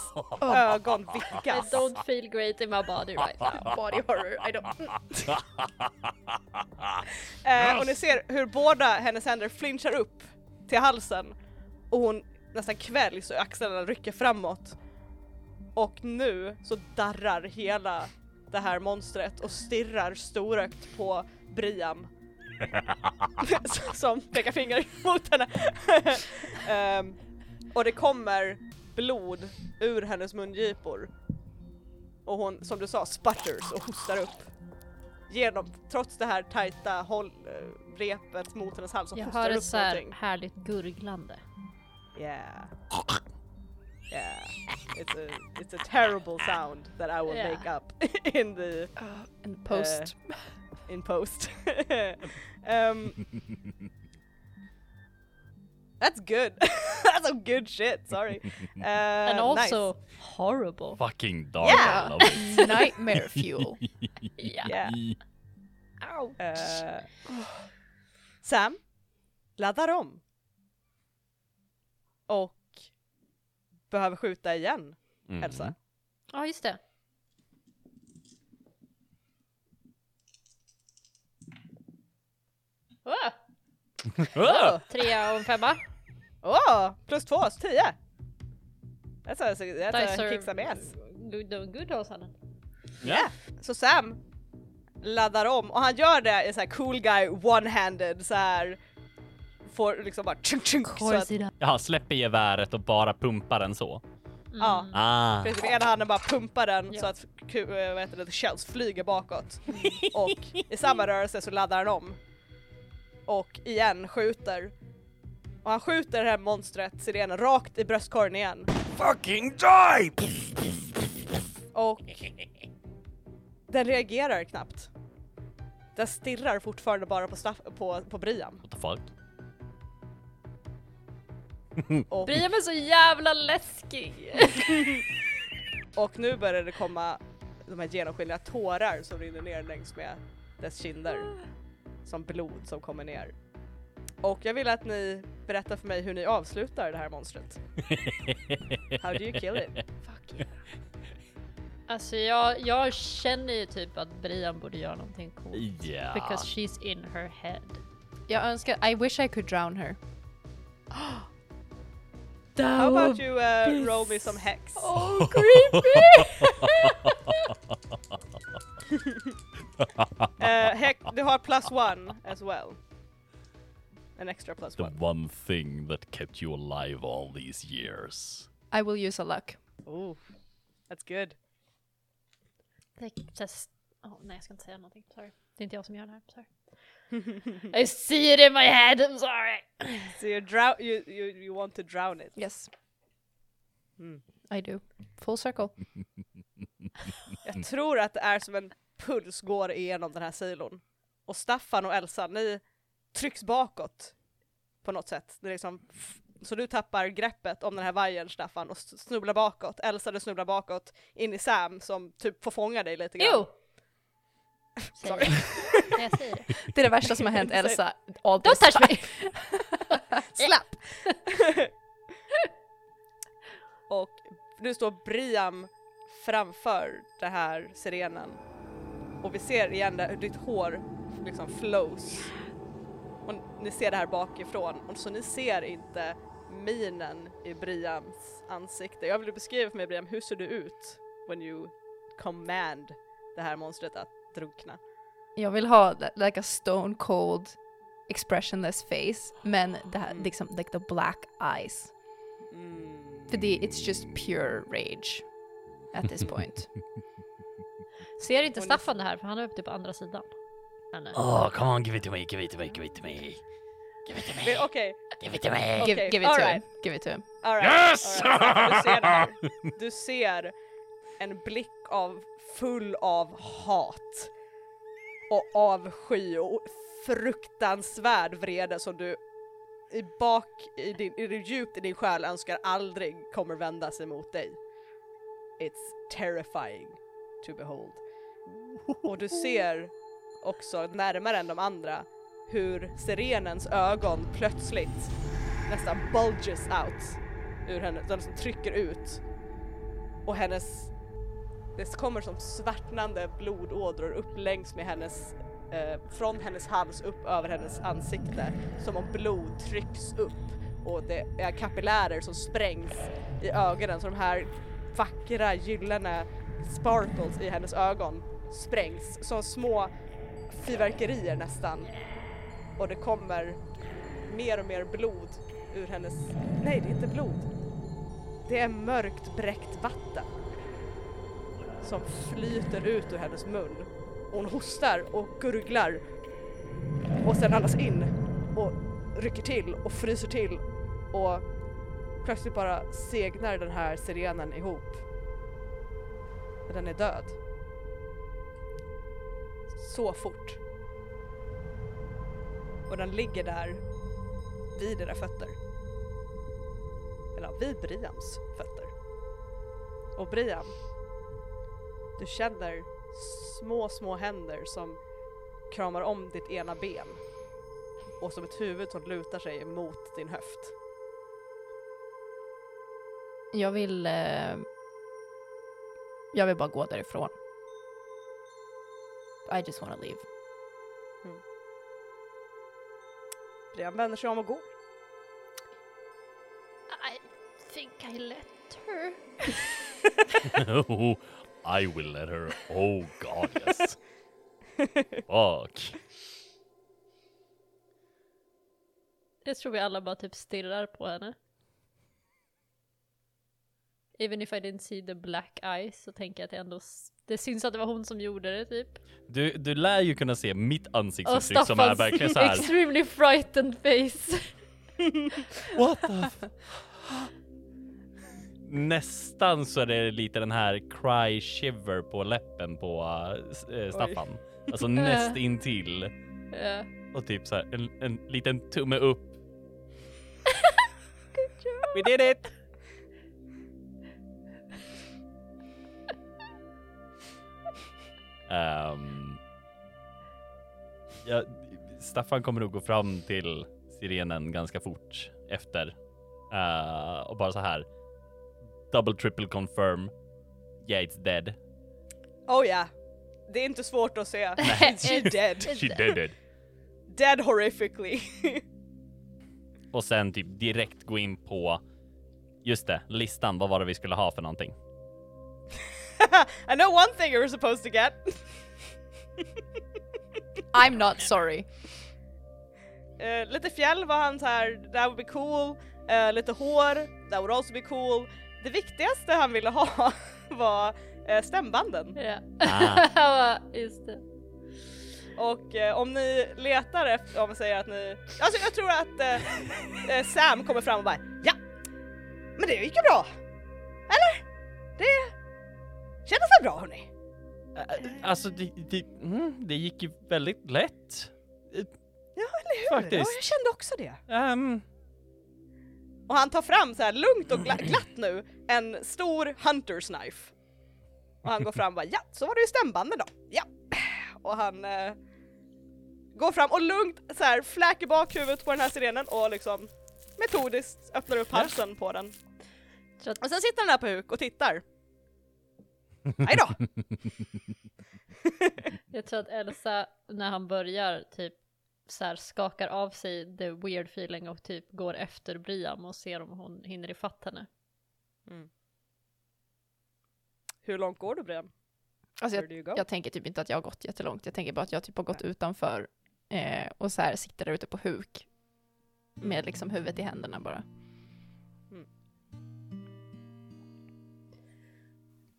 Speaker 1: ögon
Speaker 2: I
Speaker 1: vickas.
Speaker 2: don't feel great in my body
Speaker 3: (laughs)
Speaker 2: right now.
Speaker 3: Body horror, I don't... (laughs) uh,
Speaker 1: Eh, och ni ser hur båda hennes händer flinchar upp till halsen och hon nästan kväljs och axlarna rycker framåt. Och nu så darrar hela det här monstret och stirrar storögt på Briam. S- (laughs) som pekar finger (laughs) mot henne. Ehm, och det kommer blod ur hennes mungipor. Och hon, som du sa, sputters och hostar upp genom, trots det här tajta håll, eh, repet mot hennes hals och
Speaker 2: Jag
Speaker 1: hostar
Speaker 2: hör
Speaker 1: upp
Speaker 2: ett så här
Speaker 1: någonting.
Speaker 2: härligt gurglande.
Speaker 1: Yeah. Yeah. It's a, it's a terrible sound that I will
Speaker 2: Yeah.
Speaker 1: make up (laughs) in the
Speaker 3: And post.
Speaker 1: in post. (laughs) um, that's good. (laughs) that's some good shit. Sorry. Uh,
Speaker 2: And also
Speaker 1: nice.
Speaker 2: horrible.
Speaker 4: Fucking dark.
Speaker 1: Yeah.
Speaker 4: I
Speaker 3: (laughs)
Speaker 4: love it.
Speaker 3: Uh, Nightmare fuel.
Speaker 2: Yeah.
Speaker 1: Yeah.
Speaker 2: Ow.
Speaker 1: Uh, Sam laddar om. Och behöver skjuta igen,
Speaker 4: Mm.
Speaker 1: Elsa.
Speaker 4: (laughs)
Speaker 2: Ja just det. Åh, Oh,
Speaker 4: Ah!
Speaker 2: trea och en femma.
Speaker 1: Åh! plus två, så tio! That's a, that's a
Speaker 2: Dice
Speaker 1: kick some
Speaker 2: are
Speaker 1: ass.
Speaker 2: Good, doing good hos henne.
Speaker 4: Yeah.
Speaker 1: Så Sam laddar om och han gör det i så här cool guy one-handed så här Får liksom bara tjunk tjunk så att,
Speaker 4: Jaha, släpper geväret och bara pumpar den så.
Speaker 1: ja.
Speaker 4: Ah.
Speaker 1: Precis, med ena handen bara pumpar den
Speaker 2: Ja.
Speaker 1: så att ku- eh, vad heter det, shells flyger bakåt. Och i samma rörelse så laddar han om. Och igen skjuter. Och han skjuter det här monstret, sirenen, rakt i bröstkorgen igen.
Speaker 4: Fucking die!
Speaker 1: Och den reagerar knappt. Den stirrar fortfarande bara på, staff, på, på Brian.
Speaker 4: What the fuck?
Speaker 1: Och,
Speaker 2: Brian är så jävla läskig!
Speaker 1: och nu börjar det komma de här genomskinliga tårar som rinner ner längs med dess kinder. Som blod som kommer ner. Och jag vill att ni berättar för mig hur ni avslutar det här monstret. How do you kill it?
Speaker 2: alltså jag, jag känner ju typ att Brian borde göra någonting coolt.
Speaker 4: Yeah.
Speaker 2: Because she's in her head.
Speaker 3: Jag önskar, I wish I could drown her.
Speaker 1: How about you uh, roll me some hex?
Speaker 2: Oh creepy!
Speaker 1: Uh, hex du har plus one as well. An extra plus
Speaker 6: The
Speaker 1: one.
Speaker 6: one thing that kept you alive all these years.
Speaker 3: I will use a luck.
Speaker 1: Ooh, that's good.
Speaker 2: Det- test- Åh, nej, jag ska inte säga någonting. Sorry. Det är inte jag som gör det här. Sorry. (laughs) I see it in my head, I'm sorry!
Speaker 1: So you drown, you, you, you want to drown it.
Speaker 3: Yes. Hmm. I do. Full circle.
Speaker 1: Jag tror att det är som en puls går igenom den här silon. Och Staffan och Elsa, ni trycks bakåt på något sätt. Det är liksom, så du tappar greppet om den här vajern Staffan och s- snubblar bakåt. Elsa du snubblar bakåt in i Sam som typ får fånga dig lite grann.
Speaker 2: Jo! Säger
Speaker 1: Sorry.
Speaker 2: jag. Nej, (laughs) jag säger det.
Speaker 3: Det är det värsta som har hänt Elsa. All
Speaker 2: Don't
Speaker 3: this
Speaker 2: touch me!
Speaker 3: (laughs)
Speaker 1: Slapp! och nu står Briam framför den här sirenen. Och vi ser igen där hur ditt hår liksom flows. Och ni ser det här bakifrån. Och så ni ser inte minen i Briams ansikte. Jag vill beskriva för mig Briam, hur ser du ut when you command det här monstret att drunkna?
Speaker 3: Jag vill ha li- like a stone cold expressionless face men det här liksom like the black eyes. För det it's just pure rage at this point.
Speaker 2: Ser inte Staffan det här för han är uppe på andra sidan. Men, eh,
Speaker 4: Oh, come on, give it to me, give it to me, give it to me. Give it to me,
Speaker 1: Men Okej,
Speaker 4: give it to me.
Speaker 1: Okej,
Speaker 3: give, give it
Speaker 1: all
Speaker 3: to him.
Speaker 1: right.
Speaker 3: Give it to him.
Speaker 1: All right.
Speaker 4: Yes!
Speaker 1: All right. Du, ser det här. du ser en blick av full av hat och avsky och fruktansvärd vrede som du i bak i din, i din djupt i din själ önskar aldrig kommer vända sig mot dig. It's terrifying to behold. Och du ser också närmare än de andra hur sirenens ögon plötsligt nästan bulges out ur henne, den som trycker ut. Och hennes, det kommer som svartnande blodådror upp längs med hennes, eh, från hennes hals upp över hennes ansikte. Som om blod trycks upp och det är kapillärer som sprängs i ögonen så de här vackra gyllene sparkles i hennes ögon sprängs som små fyrverkerier nästan. Och det kommer mer och mer blod ur hennes... Nej, det är inte blod. Det är mörkt bräckt vatten som flyter ut ur hennes mun. Hon hostar och gurglar och sen andas in och rycker till och fryser till och plötsligt bara segnar den här sirenen ihop. Den är död. Så fort. Och den ligger där vid era fötter. Eller ja, vid Briams fötter. Och Briam, du känner små, små händer som kramar om ditt ena ben och som ett huvud som lutar sig mot din höft.
Speaker 3: Jag vill... Eh, jag vill bara gå därifrån. I just wanna leave.
Speaker 1: Briam vänder sig om och går.
Speaker 2: I think I let her.
Speaker 4: oh, I will let her. Oh god, yes. Fuck.
Speaker 2: Jag tror vi alla bara typ stirrar på henne. Even if I didn't see the black eyes så tänker jag att det ändå... s- Det syns att det var hon som gjorde det typ.
Speaker 4: Du, du lär ju kunna se mitt
Speaker 2: Och
Speaker 4: ansiktsuttryck som Liksom, är
Speaker 2: Staffans
Speaker 4: verkligen
Speaker 2: (laughs)
Speaker 4: så här.
Speaker 2: extremely frightened
Speaker 4: (laughs)
Speaker 2: face.
Speaker 4: What the f- Nästan så är det lite den här cry shiver på läppen på eh, s-
Speaker 2: (laughs)
Speaker 4: eh, Staffan. Alltså näst intill
Speaker 2: Ja. (laughs)
Speaker 4: och typ så här en, en liten tumme upp.
Speaker 1: We did it!
Speaker 4: (laughs) Ehm, ja, Staffan kommer nog gå fram till sirenen ganska fort efter Eh, och bara så här. Double triple confirm. Yeah, it's dead.
Speaker 1: Oh ja, det är inte svårt att se. She's dead.
Speaker 4: She dead. dead.
Speaker 1: Dead horrifically. (laughs)
Speaker 4: Och sen typ direkt gå in på just det, listan. Vad var det vi skulle ha för någonting?
Speaker 1: I know one thing you were supposed to get.
Speaker 3: I'm not sorry.
Speaker 1: Eh, lite fjäll var han så här, that would be cool. Eh, lite hår, that would also be cool. Det viktigaste han ville ha (laughs) var eh, stämbanden.
Speaker 2: Ja.
Speaker 4: Ah.
Speaker 2: (laughs) Just det.
Speaker 1: Och eh, om ni letar efter, om man säger att ni... Alltså jag tror att eh, (laughs) eh, Sam kommer fram och bara ja, men det gick ju bra. Eller? Det kändes väl bra hörni?
Speaker 4: Eh, Alltså, det, det, mm, det gick ju väldigt lätt.
Speaker 1: Ja eller hur? Ja,
Speaker 4: Faktiskt.
Speaker 1: jag kände också det.
Speaker 4: Ehm,
Speaker 1: Och han tar fram så här lugnt och gla- glatt nu en stor hunters knife. Och han går fram och bara ja, så var det ju stämbanden då. Ja. Och han eh, går fram och lugnt så här fläker bak huvudet på den här sirenen och liksom metodiskt öppnar upp halsen på den.
Speaker 2: Så att-
Speaker 1: Och sen sitter han där på huk och tittar. Nej då.
Speaker 2: Jag tror att Elsa, när han börjar, typ så här skakar av sig the weird feeling och typ går efter Briam och ser om hon hinner ifatt henne.
Speaker 1: Hur långt går du Brian?
Speaker 3: Alltså
Speaker 1: Where
Speaker 3: jag,
Speaker 1: do you go?
Speaker 3: jag tänker typ inte att jag har gått jättelångt. Jag tänker bara att jag typ har gått utanför eh, och så här sitter där ute på huk. Med liksom huvudet i händerna bara.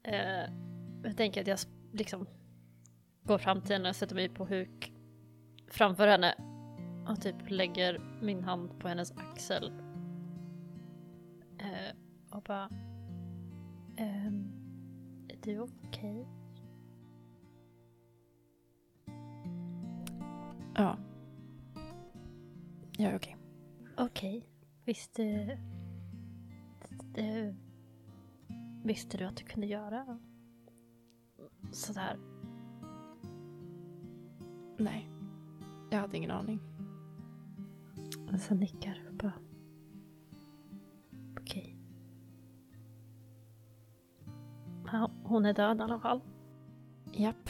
Speaker 2: Eh, jag tänker att jag sp- liksom går fram till henne och sätter mig på huk framför henne och typ lägger min hand på hennes axel. Eh, och bara... ehm, är du okej?
Speaker 3: Ja. Ja, okej.
Speaker 2: Okej. Visste... eh, Det, visste du att du kunde göra sådär?
Speaker 3: Nej. Jag hade ingen aning.
Speaker 2: Elsa nickar och bara... Okej. Ja, hon är död i alla fall.
Speaker 3: Japp.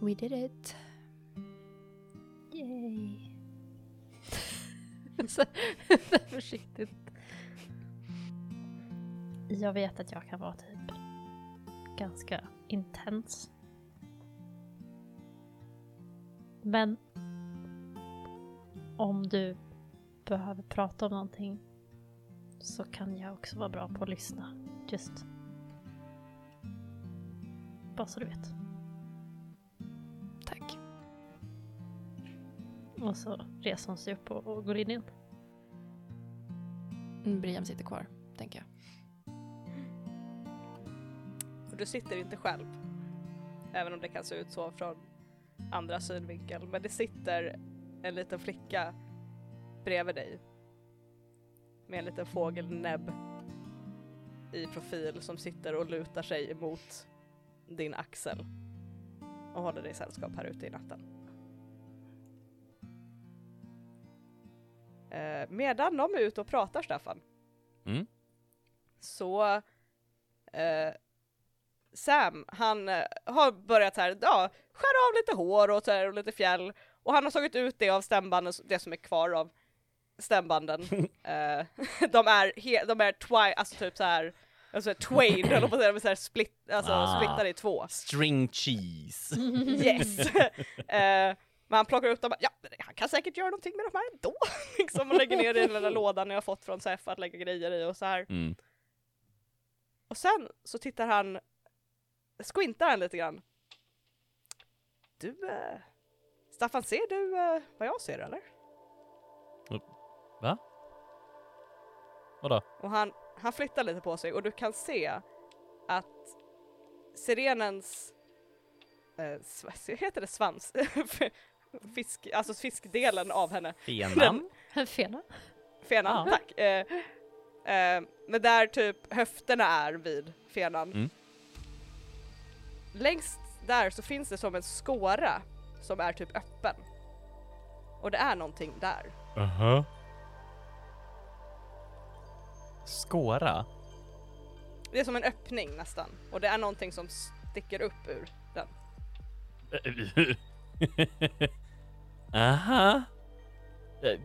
Speaker 3: We did it.
Speaker 2: Yay. (laughs) så, så försiktigt. Jag vet att jag kan vara typ ganska intens. Men om du behöver prata om någonting så kan jag också vara bra på att lyssna. Just bara så du vet.
Speaker 3: Tack.
Speaker 2: Och så reser hon sig upp och, och går in igen.
Speaker 3: Mm, Brian sitter kvar, tänker jag.
Speaker 1: För du sitter inte själv. Även om det kan se ut så från andra synvinkel. Men det sitter en liten flicka bredvid dig. Med en liten fågelnäbb i profil som sitter och lutar sig emot din axel. Och håller dig sällskap här ute i natten. Eh, medan de är ute och pratar Staffan.
Speaker 6: Mm.
Speaker 1: Så eh, Sam, han eh, har börjat så här, ja, skära av lite hår och, så här, och lite fjäll och han har tagit ut det av stämbanden, det som är kvar av stämbanden. Eh, (laughs) de är, he- de är twi, alltså typ så här, alltså twain, eller på att säga, de är så här split, alltså
Speaker 6: Ah.
Speaker 1: splittade i två.
Speaker 6: String
Speaker 4: (laughs)
Speaker 6: cheese.
Speaker 1: Yes! (laughs) Eh, men han plockar upp dem, ja han kan säkert göra någonting med de här ändå, (laughs) liksom och lägger ner i den lilla lådan jag har fått från Sef att lägga grejer i och så här.
Speaker 6: Mm.
Speaker 1: Och sen så tittar han, squintar han lite grann. Du, eh, Staffan ser du eh, vad jag ser eller?
Speaker 6: Va? Vadå?
Speaker 1: Och han, han flyttar lite på sig och du kan se att sirenens, eh, sv- heter det svans? (laughs) Fisk, alltså fiskdelen av henne.
Speaker 6: Fenan?
Speaker 2: Fena.
Speaker 1: Fenan,
Speaker 6: Ja.
Speaker 1: tack. Eh, eh, men där typ höfterna är vid fenan.
Speaker 6: Mm.
Speaker 1: Längst där så finns det som en skåra som är typ öppen. Och det är någonting där.
Speaker 6: Aha.
Speaker 4: (laughs)
Speaker 6: Skåra?
Speaker 1: Det är som en öppning nästan. Och det är någonting som sticker upp ur den.
Speaker 6: Aha. Eh,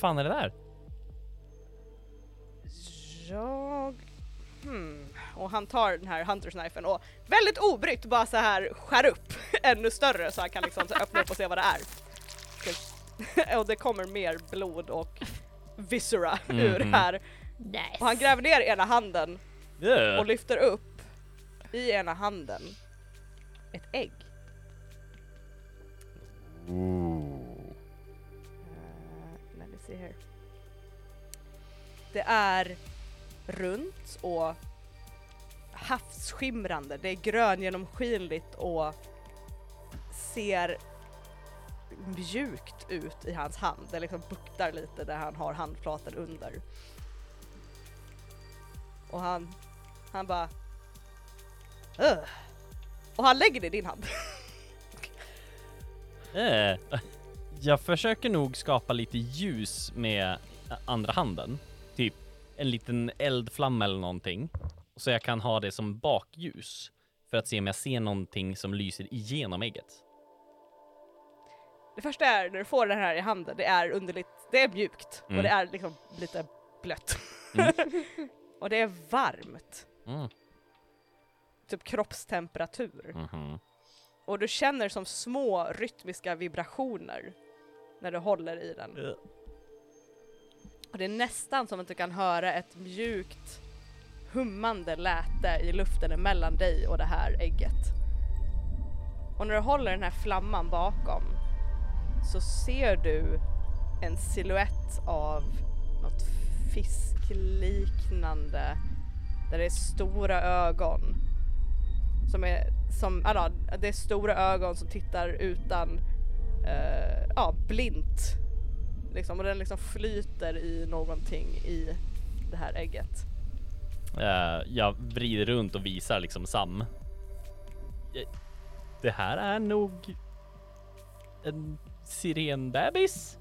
Speaker 6: Fan är det där?
Speaker 1: Jag... Hmm. Och han tar den här Hunters Knifen och väldigt obrytt bara så här skär upp (laughs) ännu större så han kan liksom så öppna upp och se vad det är. Ska- (laughs) och det kommer mer blod och viscera ur
Speaker 6: Mhm.
Speaker 1: här.
Speaker 2: Nice.
Speaker 1: Och han gräver ner ena handen
Speaker 6: Ugh.
Speaker 1: och lyfter upp i ena handen ett ägg.
Speaker 6: Ooh.
Speaker 1: Eh, let me see here. Det är runt och havsskimrande. Det är grön genomskinligt och ser mjukt ut i hans hand. Det liksom buktar lite där han har handflatan under. Och han, han bara... "Ugh." Och han lägger det i din hand.
Speaker 6: Eh, Jag försöker nog skapa lite ljus med eh, andra handen. Typ en liten eldflamma eller någonting. Så jag kan ha det som bakljus. För att se om jag ser någonting som lyser igenom ägget.
Speaker 1: Det första är när du får den här i handen, det är underligt, det är mjukt och
Speaker 6: Mm.
Speaker 1: det är liksom lite blött. (laughs) och det är varmt,
Speaker 6: Mm.
Speaker 1: typ
Speaker 4: Mm.
Speaker 1: kroppstemperatur.
Speaker 6: Mhm.
Speaker 1: Och du känner som små rytmiska vibrationer när du håller i den.
Speaker 6: Ugh.
Speaker 1: Och det är nästan som att du kan höra ett mjukt hummande läte i luften emellan dig och det här ägget. Och när du håller den här flamman bakom så ser du en silhuett av något fiskliknande där det är stora ögon som är som, ja, då, det är stora ögon som tittar utan, eh, ja blint liksom och den liksom flyter i någonting i det här ägget.
Speaker 6: Eh, jag vrider runt och visar liksom Sam. Eh, Det här är nog
Speaker 4: en sirenbebis,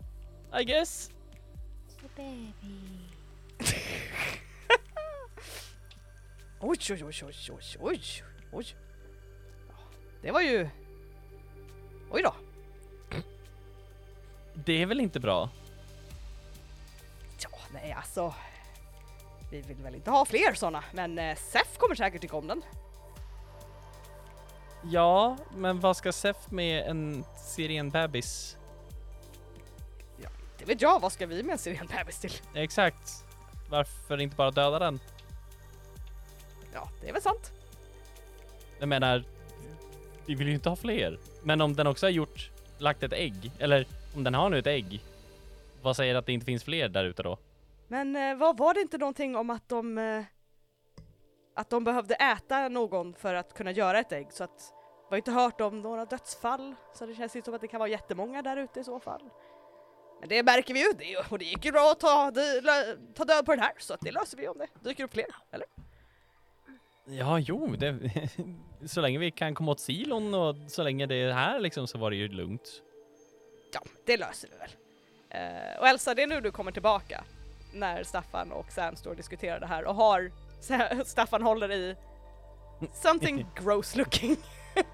Speaker 4: I guess.
Speaker 1: Oj, oj, oj, oj, oj, oj, oj. Ja, Det var ju... Oj då.
Speaker 4: Det är väl inte bra?
Speaker 1: Ja, nej alltså. Vi vill väl inte ha fler sådana, men eh, SEF kommer säkert tycka om den.
Speaker 4: Ja, men vad ska Sef med en sirenbebis?
Speaker 1: Det vet jag, vad ska vi med en sirenbebis till?
Speaker 4: Exakt. Varför inte bara döda den?
Speaker 1: Ja, det är väl sant.
Speaker 4: Jag menar, vi vill ju inte ha fler. Men om den också har gjort, lagt ett ägg, eller om den har nu ett ägg, vad säger att det inte finns fler där ute då?
Speaker 1: Men eh, vad var det inte någonting om att de... Eh, att de behövde äta någon för att kunna göra ett ägg, så att... Vi har inte hört om några dödsfall, så det känns inte som att det kan vara jättemånga där ute i så fall. Men det märker vi ju, det, och det gick ju bra att ta, det, lö- ta död på den här, så att det löser vi om det dyker upp fler, eller?
Speaker 4: Ja, jo, det, (laughs) så länge vi kan komma åt silon och så länge det är här liksom så var det ju lugnt.
Speaker 1: Ja, det löser vi väl. Eh, och Elsa, det är nu du kommer tillbaka. När Staffan och Sam står och diskuterar det här och har (laughs) Staffan håller i something gross looking.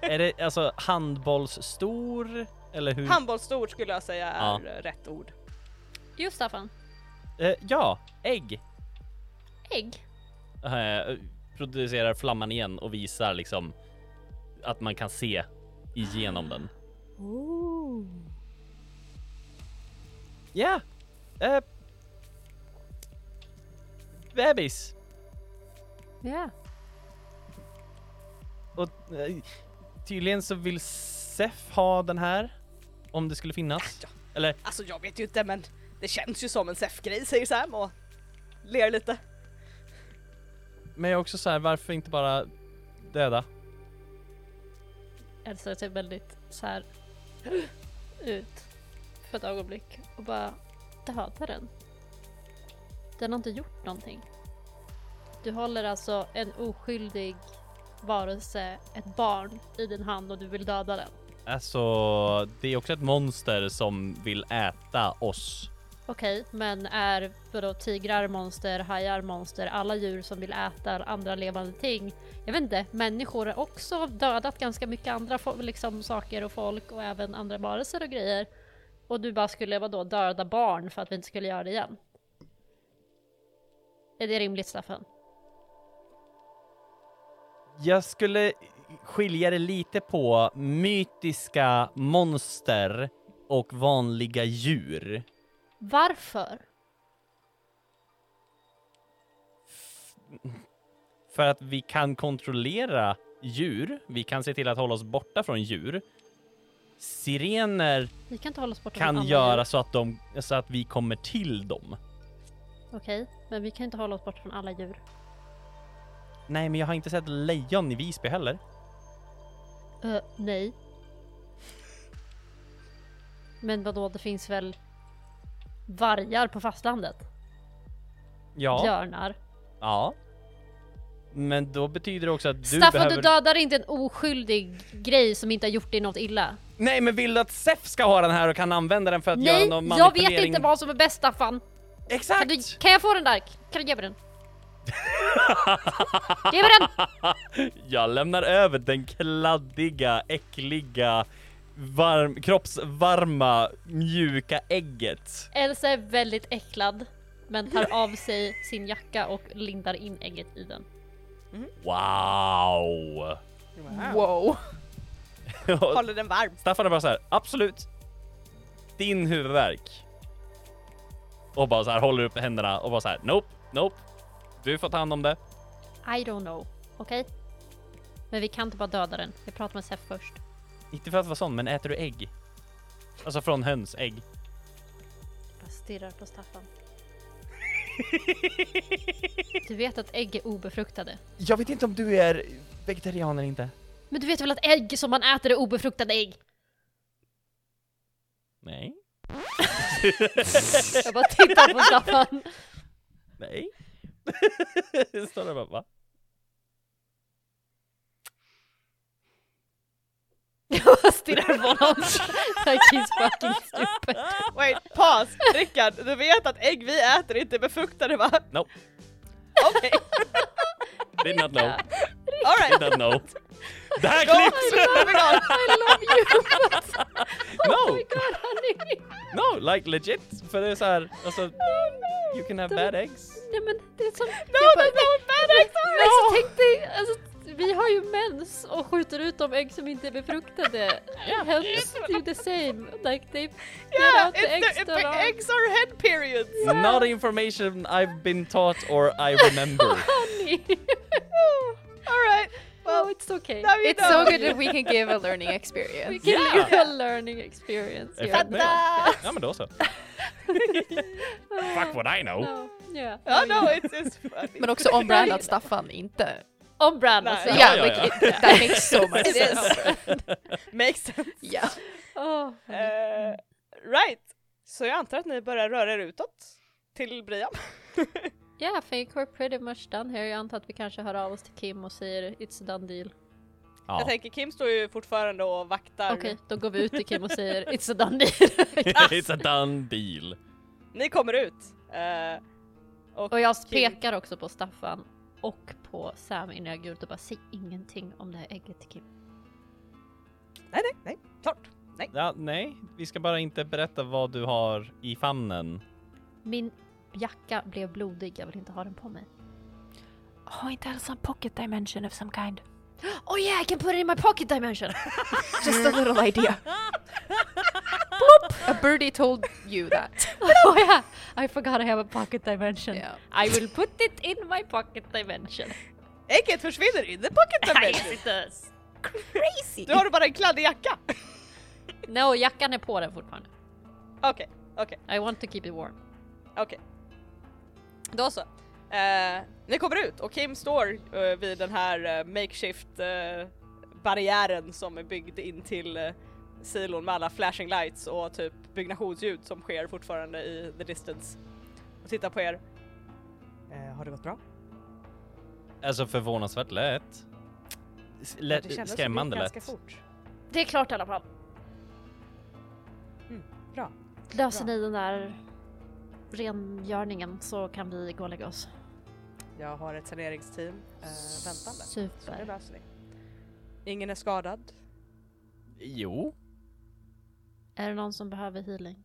Speaker 4: är det alltså handbollsstor eller hur?
Speaker 1: Handbollsstor skulle jag säga är
Speaker 4: Mm. Ja.
Speaker 1: eh, rätt ord.
Speaker 2: Jo Staffan,
Speaker 4: eh, ja, ägg.
Speaker 2: ägg.
Speaker 4: Eh, producerar flamman igen och visar liksom att man kan se igenom den. Ja. Eh, bebis.
Speaker 2: Ja.
Speaker 4: Och eh, tydligen så vill Sef ha den här. Om det skulle finnas.
Speaker 1: Ja.
Speaker 4: Eller
Speaker 1: Alltså jag vet ju inte men det känns ju som en SEF-grej säger Sam och ler lite.
Speaker 4: Men jag är också så här, varför inte bara döda?
Speaker 2: Elsa ser typ väldigt så här (gasps) ut för ett ögonblick och bara döda den. Den har inte gjort någonting. Du håller alltså en oskyldig varelse, ett barn, i din hand och du vill döda den.
Speaker 4: Alltså, det är också ett monster som vill äta oss.
Speaker 2: Okej, men är vadå, tigrar monster, hajar monster, alla djur som vill äta andra levande ting? Jag vet inte, människor har också dödat ganska mycket andra fo- liksom, saker och folk och även andra varelser och grejer. Och du bara skulle vadå, döda barn för att vi inte skulle göra det igen? Är det rimligt Staffan?
Speaker 4: Jag skulle skilja det lite på mytiska monster och vanliga djur.
Speaker 2: Varför?
Speaker 4: För att vi kan kontrollera djur, vi kan se till att hålla oss borta från djur. Sirener
Speaker 2: Vi kan inte hålla oss borta från
Speaker 4: kan
Speaker 2: andra
Speaker 4: göra
Speaker 2: djur.
Speaker 4: så att, de, så att vi kommer till dem.
Speaker 2: Okej, men vi kan inte hålla oss borta från alla djur.
Speaker 4: Nej, men jag har inte sett lejon i Visby heller.
Speaker 2: Eh, nej. Men vadå, det finns väl vargar på fastlandet?
Speaker 4: Ja.
Speaker 2: Björnar.
Speaker 4: Ja. Men då betyder det också att du
Speaker 2: Staffan,
Speaker 4: behöver...
Speaker 2: du dödar inte en oskyldig grej som inte har gjort dig något illa.
Speaker 4: Nej men vill du att Sef ska ha den här och kan använda den för att göra
Speaker 2: nej,
Speaker 4: någon
Speaker 2: jag
Speaker 4: manipulering?
Speaker 2: vet inte vad som är bäst Staffan. Kan,
Speaker 4: Exakt!
Speaker 2: du, kan jag få den där? Kan du ge mig den? ge mig den!
Speaker 4: Jag lämnar över den kladdiga, äckliga, varm, kroppsvarma, mjuka ägget.
Speaker 2: Elsa är väldigt äcklad, men tar av sig sin jacka och lindar in ägget i den.
Speaker 4: (laughs) Wow!
Speaker 7: Wow.
Speaker 4: Och
Speaker 1: Håller den varm.
Speaker 4: Staffan är bara så här, absolut. Din huvudvärk. Och bara så här håller upp händerna och bara så här, nope, nope. Du får ta hand om det.
Speaker 2: I don't know, okej? Men vi kan inte bara döda den. Jag pratar med Sef först.
Speaker 4: Inte för att vara sån, men äter du ägg? Alltså från hönsägg.
Speaker 2: Jag stirrar på Staffan. Du vet att ägg är obefruktade.
Speaker 4: Jag vet inte om du är vegetarian eller inte.
Speaker 2: Men du vet väl att ägg som man äter är obefruktade ägg?
Speaker 6: (laughs)
Speaker 4: Nej.
Speaker 2: Jag bara tittar på Staffan.
Speaker 6: (laughs)
Speaker 4: Nej. Står där bara, va?
Speaker 2: Jag bara där var någon. Like he's fucking stupid.
Speaker 1: Wait, paus! Rickard, du vet att ägg vi äter inte är befruktade va?
Speaker 6: Nope.
Speaker 1: Okej,
Speaker 6: Did not know.
Speaker 1: alright!
Speaker 6: Did not know. Det här
Speaker 2: Oh
Speaker 1: Då
Speaker 4: Alltså,
Speaker 6: klipps!
Speaker 1: kör vi igång!
Speaker 2: I love you!
Speaker 6: (laughs)
Speaker 2: Oh
Speaker 6: No!
Speaker 2: my god honey!
Speaker 6: No! Like legit! För det är såhär, alltså... You can have bad eggs.
Speaker 2: Nej men det är som...
Speaker 1: No,
Speaker 2: jag bara-
Speaker 1: there's no bad eggs!
Speaker 2: Men alltså, tänk dig, alltså, vi har ju mens och skjuter ut de ägg som inte är befruktade. Helps do the same. Like they get
Speaker 1: Yeah,
Speaker 2: out the
Speaker 1: it's
Speaker 2: eggs
Speaker 1: the,
Speaker 2: that
Speaker 1: the
Speaker 2: are...
Speaker 1: eggs are head periods!
Speaker 6: Not information I've been taught or I remember.
Speaker 2: (laughs) honey!
Speaker 1: Alright, (laughs)
Speaker 2: oh
Speaker 1: well,
Speaker 2: it's okay.
Speaker 1: now you
Speaker 3: It's
Speaker 1: know.
Speaker 3: so good that we can give a learning
Speaker 2: We
Speaker 3: experience.
Speaker 2: can
Speaker 6: Yeah.
Speaker 2: live a learning experience
Speaker 6: If
Speaker 2: here.
Speaker 6: it may. Ja men då så. Fuck what I know.
Speaker 2: Oh, No, yeah.
Speaker 1: Oh no, it's, it's funny.
Speaker 3: Men också ombrand att Staffan inte...
Speaker 2: On brand
Speaker 1: Nej.
Speaker 2: alltså.
Speaker 6: ja,
Speaker 3: Ja,
Speaker 6: ja.
Speaker 3: like, it- that makes so much
Speaker 2: It
Speaker 3: sense.
Speaker 2: is.
Speaker 3: (laughs)
Speaker 1: Makes sense.
Speaker 3: Yeah.
Speaker 2: Oh,
Speaker 1: Eh, right, så jag antar att ni börjar röra er utåt till Brian.
Speaker 2: yeah, I think we're pretty much done here. Jag antar att vi kanske hör av oss till Kim och säger it's a done deal.
Speaker 6: Ja.
Speaker 1: Jag tänker Kim står ju fortfarande och vaktar.
Speaker 2: Okej, då går vi ut till Kim och (laughs) säger it's a done deal.
Speaker 6: (laughs) It's a done deal.
Speaker 1: Ni kommer ut. eh,
Speaker 2: Och jag
Speaker 1: Kim.
Speaker 2: pekar också på Staffan och på Sam innan jag går ut och bara säg ingenting om det här ägget till Kim.
Speaker 1: nej, nej, nej, klart.
Speaker 6: Ja, nej, vi ska bara inte berätta vad du har i famnen.
Speaker 2: Min jacka blev blodig, jag vill inte ha den på mig.
Speaker 3: Ha inte alls en pocket dimension of some kind.
Speaker 2: (gasps) Oh yeah, I can put it in my pocket dimension!
Speaker 3: Just a little idea. A birdie told you (laughs) that.
Speaker 2: (laughs) oh (laughs) yeah, I forgot I have a pocket dimension.
Speaker 3: Yeah.
Speaker 2: I will put it in my pocket dimension.
Speaker 1: Ägget försvinner in the pocket
Speaker 2: (laughs) yes
Speaker 1: dimension. (laughs)
Speaker 2: it does!
Speaker 3: Crazy!
Speaker 1: Du har bara en kladdig jacka. (laughs)
Speaker 2: No, jackan är på den fortfarande.
Speaker 1: Okej, okej,
Speaker 2: I want to keep it warm.
Speaker 1: okej. Då så. Eh, ni kommer ut och Kim står eh, vid den här eh, makeshift eh, barriären som är byggd in till eh, silon med alla flashing lights och typ byggnationsljud som sker fortfarande i the distance. Och tittar på er. Eh, har det gått bra?
Speaker 6: Alltså förvånansvärt lätt. S- lätt
Speaker 1: Ja, det kändes som
Speaker 6: skrämmande
Speaker 1: det gick ganska
Speaker 6: lätt.
Speaker 1: fort.
Speaker 2: Det är klart i alla fall.
Speaker 1: Mm, bra.
Speaker 2: Löser
Speaker 1: Bra.
Speaker 2: ni den där rengörningen så kan vi gå och lägga oss.
Speaker 1: Jag har ett saneringsteam eh, väntande. Så det
Speaker 2: Super.
Speaker 1: löser ni. Ingen är skadad.
Speaker 6: Jo,
Speaker 2: Är det någon som behöver healing?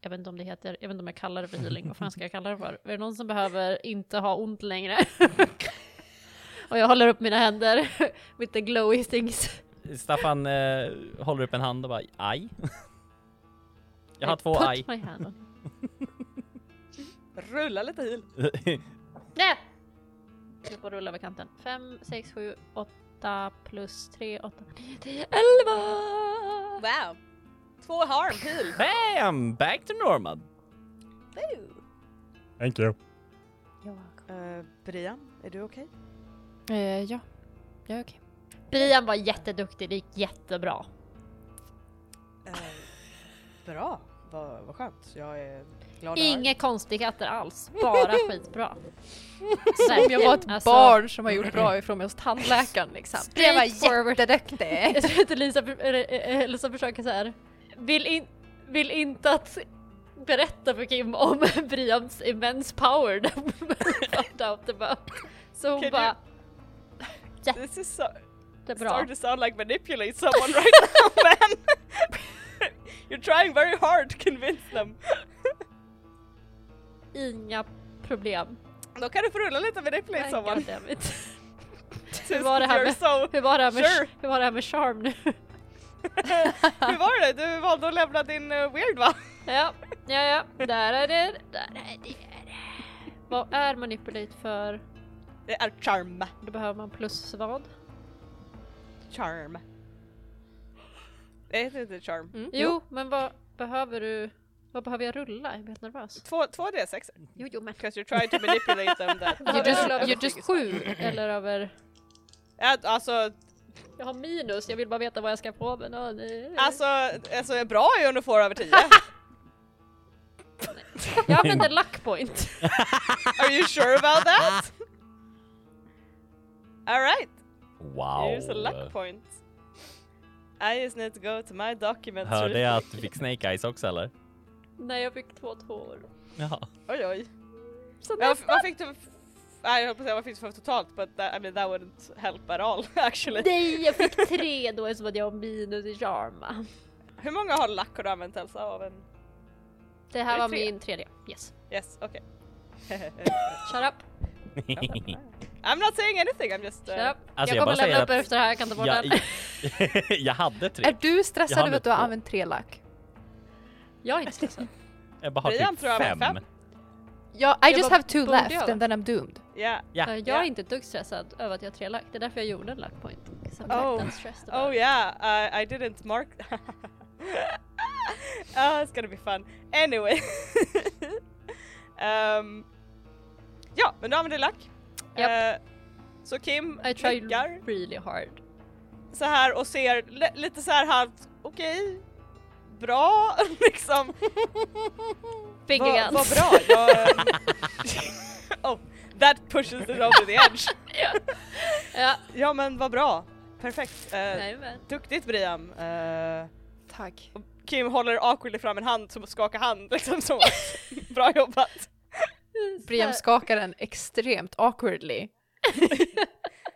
Speaker 2: Jag vet inte om det heter, jag vet inte om jag kallar det för healing, vad fan ska jag kalla det för? Är det någon som behöver inte ha ont längre? (laughs) Och jag håller upp mina händer (laughs) with the glowy things.
Speaker 6: Staffan eh, håller upp en hand och bara aj. Jag har
Speaker 2: I
Speaker 6: två
Speaker 2: put
Speaker 6: aj. (laughs)
Speaker 2: my hand on.
Speaker 1: Rulla lite heal.
Speaker 2: Nej! Jag får rulla över kanten. 5, 6, 7, 8 plus 3, 8, 9, 10, 11!
Speaker 1: Wow! Två harm heal.
Speaker 6: Bam! Back to normal.
Speaker 4: Thank you.
Speaker 1: Eh, Brian, är du okej?
Speaker 3: Eh, ja. Ja, okej.
Speaker 2: Brian var jätteduktig, det gick jättebra.
Speaker 1: Eh, bra, vad vad skönt. Jag är glad
Speaker 2: Inga konstigheter alls, bara skitbra. Alltså, Som
Speaker 3: Om jag var ett barn som har gjort
Speaker 2: Mm.
Speaker 3: bra ifrån mig hos tandläkaren liksom. Det var
Speaker 2: Straightforward.
Speaker 3: jätteduktig!
Speaker 2: Jag tror inte Lisa, eller, eh, Elsa försöker så här. Vill, in, vill inte att berätta för Kim om (laughs) Brians immense power that we found out about. Så hon
Speaker 1: Can you-
Speaker 2: bara,
Speaker 1: har... This is so...
Speaker 2: jättebra.
Speaker 1: Start to sound like manipulate someone right now (laughs) man! You're trying very hard to convince them.
Speaker 2: Inga problem.
Speaker 1: Då kan du få rulla lite manipulate
Speaker 2: Nej,
Speaker 1: someone.
Speaker 2: goddammit.
Speaker 1: Hur
Speaker 2: var det här med-
Speaker 1: so... (laughs)
Speaker 2: Hur var det här med,
Speaker 1: Sure.
Speaker 2: hur var det här med charm nu?
Speaker 1: Hur var det? Du valde att lämna din eh, weird va?
Speaker 2: Ja, ja, ja. Där är det. Där är det. Vad är manipulate för?
Speaker 1: Det är charm.
Speaker 2: Då behöver man plus vad?
Speaker 1: Charm. Det heter inte charm.
Speaker 2: Jo, men vad behöver du? Vad behöver jag rulla? Jag blir helt nervös.
Speaker 1: Två, två D6
Speaker 2: Jo, jo, men.
Speaker 1: because you're trying to manipulate them that...
Speaker 2: Jag
Speaker 3: You're just,
Speaker 2: rullar över
Speaker 3: you're just
Speaker 2: sju
Speaker 3: sju.
Speaker 2: eller över...
Speaker 1: Ja, Alltså,
Speaker 2: Jag har minus, jag vill bara veta vad jag ska få men... åh, nej.
Speaker 1: alltså, alltså är bra är ju om du får över 10.
Speaker 2: Jag använder luck point.
Speaker 1: Are you sure about that? Alright,
Speaker 6: Wow.
Speaker 1: here's a luck point. I just need to go to my documents.
Speaker 4: Hörde jag att du fick Snake Eyes också eller?
Speaker 2: Nej, jag fick två tvåor.
Speaker 4: Jaha.
Speaker 1: Oj oj.
Speaker 2: Så
Speaker 1: Ja, vad fick du? Nej, jag höll på att säga vad fick du för totalt but that, I mean that wouldn't help at all (laughs) actually.
Speaker 2: Nej, jag fick tre då eftersom att jag har minus i charm.
Speaker 1: Hur många har lack har du använt Elsa av en?
Speaker 2: Det
Speaker 1: Är
Speaker 2: här
Speaker 1: det
Speaker 2: var
Speaker 1: tre?
Speaker 2: min tredje. Yes.
Speaker 1: Yes, okej. (laughs)
Speaker 2: Shut up,
Speaker 1: I'm not saying anything, I'm just...
Speaker 2: shut
Speaker 1: Uh,
Speaker 2: up.
Speaker 4: Alltså, jag
Speaker 2: jag kommer lämna
Speaker 4: bara säger
Speaker 2: upp
Speaker 4: att-
Speaker 2: efter det här, jag kan ta bort
Speaker 4: Jag,
Speaker 2: den.
Speaker 6: (laughs)
Speaker 4: jag hade tre.
Speaker 3: Är du
Speaker 4: Jag
Speaker 3: stressad
Speaker 4: hann
Speaker 3: över att du har
Speaker 4: inte.
Speaker 3: använt tre lack?
Speaker 2: (laughs) Jag är inte stressad.
Speaker 4: Jag bara har
Speaker 1: Brian
Speaker 4: typ
Speaker 1: tror jag var
Speaker 4: fem.
Speaker 1: fem.
Speaker 3: Ja, I
Speaker 2: Jag
Speaker 3: just
Speaker 2: bara,
Speaker 3: have two
Speaker 2: borde jag
Speaker 3: left
Speaker 2: det?
Speaker 3: and then I'm doomed.
Speaker 1: yeah.
Speaker 4: Ja.
Speaker 2: Jag är
Speaker 1: Ja.
Speaker 2: inte ett dugg stressad över att jag har tre lack. Det är därför jag gjorde en lack point. 'Cause I'm
Speaker 1: Oh.
Speaker 2: not that stressed about
Speaker 1: Oh
Speaker 2: it.
Speaker 1: yeah, I, I didn't mark... (laughs) oh, it's gonna be fun. Anyway. (laughs) um, ja, men du använder lack.
Speaker 2: Japp.
Speaker 1: Eh, så Kim
Speaker 2: I tried
Speaker 1: nickar
Speaker 2: really hard.
Speaker 1: så här och ser li- lite så här halvt, okej, bra (laughs) liksom.
Speaker 2: Big
Speaker 1: Vad
Speaker 2: again.
Speaker 1: vad bra. Jag, (laughs) oh, that pushes it over the
Speaker 2: (laughs)
Speaker 1: edge.
Speaker 2: (laughs) ja,
Speaker 1: Ja men vad bra. Perfekt. Eh,
Speaker 2: jajamän.
Speaker 1: Duktigt Briam. Eh,
Speaker 3: Tack.
Speaker 1: Kim håller awkwardly fram en hand som skakar hand (laughs) liksom
Speaker 2: (laughs)
Speaker 1: som att, bra jobbat.
Speaker 3: Briam skakar den extremt awkwardly.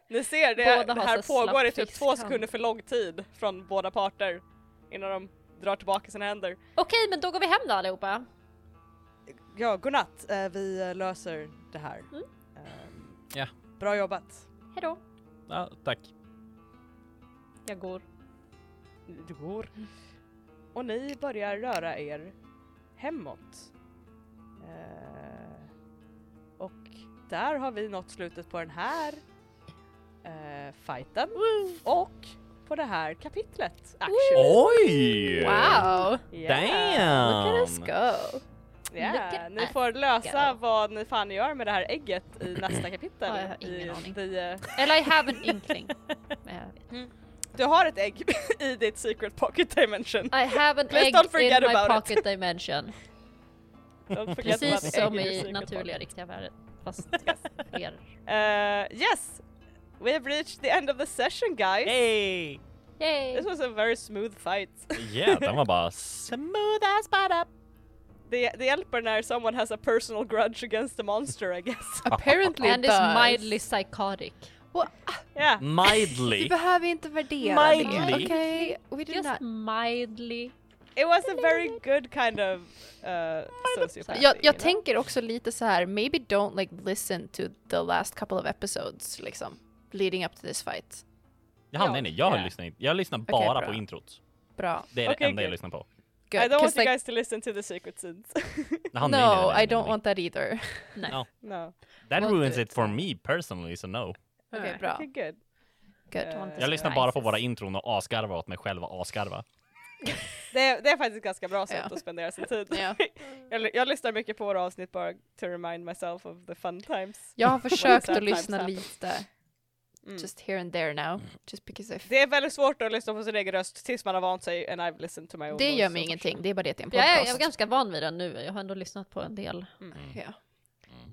Speaker 1: Ni ser det,
Speaker 2: Båda
Speaker 1: det
Speaker 2: har
Speaker 1: här
Speaker 2: så slapp
Speaker 1: pågår i typ två
Speaker 2: fiskhand.
Speaker 1: sekunder för lång tid från båda parter innan de drar tillbaka sina händer.
Speaker 2: Okej, men då går vi hem då allihopa.
Speaker 1: Ja, godnatt. Eh, vi eh, löser det här.
Speaker 2: Mm.
Speaker 1: Ehm,
Speaker 4: Ja.
Speaker 1: Bra jobbat.
Speaker 2: Hejdå.
Speaker 4: Ja, tack.
Speaker 2: Jag går.
Speaker 1: Det går. Och ni börjar röra er hemåt. Eh, och där har vi nått slutet på den här eh, fighten och på det här kapitlet. Actually.
Speaker 4: Oj!
Speaker 3: Wow!
Speaker 1: Yeah.
Speaker 4: Damn!
Speaker 3: Look at us go!
Speaker 2: Look
Speaker 1: Yeah.
Speaker 2: at
Speaker 1: Ni
Speaker 2: us
Speaker 1: får lösa
Speaker 2: go.
Speaker 1: vad ni fan gör med det här ägget i nästa kapitel.
Speaker 2: Ja, jag har ingen
Speaker 1: i, eh,
Speaker 2: aning.
Speaker 1: the,
Speaker 2: Eller I have an inkling. (laughs) Eh, Men jag vet.
Speaker 1: du har ett ägg (laughs) i ditt secret pocket dimension.
Speaker 2: I have an
Speaker 1: Please
Speaker 2: egg
Speaker 1: don't forget
Speaker 2: in my
Speaker 1: about (laughs)
Speaker 2: pocket dimension.
Speaker 1: Don't forget about
Speaker 2: Precis
Speaker 1: the
Speaker 2: som
Speaker 1: egg your
Speaker 2: i
Speaker 1: secret
Speaker 2: naturliga
Speaker 1: pocket.
Speaker 2: riktiga världen.
Speaker 1: (laughs)
Speaker 2: Fast fler.
Speaker 1: Uh, yes, we have reached the end of the session, guys.
Speaker 4: Hey!
Speaker 2: Yay!
Speaker 1: This was a very smooth fight.
Speaker 4: Yeah, den var
Speaker 3: (laughs)
Speaker 4: bara (laughs) smooth as butter.
Speaker 1: the the Elpernar someone has a personal grudge against the monster, I
Speaker 4: (laughs)
Speaker 1: guess.
Speaker 3: Apparently
Speaker 2: And
Speaker 3: it
Speaker 2: is
Speaker 3: does.
Speaker 2: mildly psychotic.
Speaker 3: Well,
Speaker 1: yeah.
Speaker 3: Vi
Speaker 4: Mildly.
Speaker 3: behöver inte värdera det.
Speaker 4: Mildly.
Speaker 3: Okej, we did
Speaker 2: Just
Speaker 3: not.
Speaker 2: mildly.
Speaker 1: It was a very good kind of uh sociopath.
Speaker 3: Jag, jag tänker också lite så här, maybe don't like listen to the last couple of episodes liksom. Leading up to this fight.
Speaker 4: Jaha, nej nej, jag har
Speaker 1: Ja.
Speaker 4: lyssnat in- Jag lyssnar
Speaker 3: Okej,
Speaker 4: bara
Speaker 3: bra.
Speaker 4: på introt.
Speaker 3: Bra.
Speaker 4: Det är det
Speaker 1: Okej,
Speaker 4: enda jag
Speaker 1: good.
Speaker 4: lyssnar på.
Speaker 3: Good.
Speaker 1: I don't want
Speaker 3: 'Cause,
Speaker 1: you
Speaker 3: like,
Speaker 1: guys to listen to the secret scenes.
Speaker 4: Jaha, nej, nej, nej,
Speaker 3: No,
Speaker 4: nej,
Speaker 3: I don't
Speaker 4: nej.
Speaker 3: want that either.
Speaker 1: (laughs) no.
Speaker 4: That
Speaker 3: Won't do
Speaker 4: ruins
Speaker 3: it.
Speaker 4: it for me personally, so no.
Speaker 3: Okej,
Speaker 2: Alright.
Speaker 1: (laughs)
Speaker 3: bra.
Speaker 1: Okay, good.
Speaker 3: Good.
Speaker 1: Eh,
Speaker 2: want to
Speaker 4: Jag
Speaker 2: Surprises.
Speaker 4: lyssnar bara på våra intron och asgarvar åt mig själv och asgarva.
Speaker 1: det, är, det är faktiskt ganska bra sätt
Speaker 3: Ja.
Speaker 1: att spendera sin
Speaker 3: (laughs)
Speaker 1: tid.
Speaker 3: Ja.
Speaker 1: (laughs) jag, ly- jag lyssnar mycket på våra avsnitt bara to remind myself of the fun times.
Speaker 3: Jag har försökt att
Speaker 1: Sometimes
Speaker 3: lyssna
Speaker 1: happens.
Speaker 3: lite.
Speaker 1: Mm.
Speaker 3: Just here and there now. Just because I f-
Speaker 1: Det är väldigt svårt att lyssna på sin egen röst tills man har vant sig and I've listened to my own
Speaker 3: Det
Speaker 1: voice
Speaker 3: gör
Speaker 1: so
Speaker 3: mig
Speaker 1: much.
Speaker 3: ingenting, det är bara det att det är en
Speaker 2: Jag är, jag är
Speaker 3: podcast.
Speaker 2: ganska van vid den nu. Jag har ändå lyssnat på en del
Speaker 1: Mm.
Speaker 3: Ja.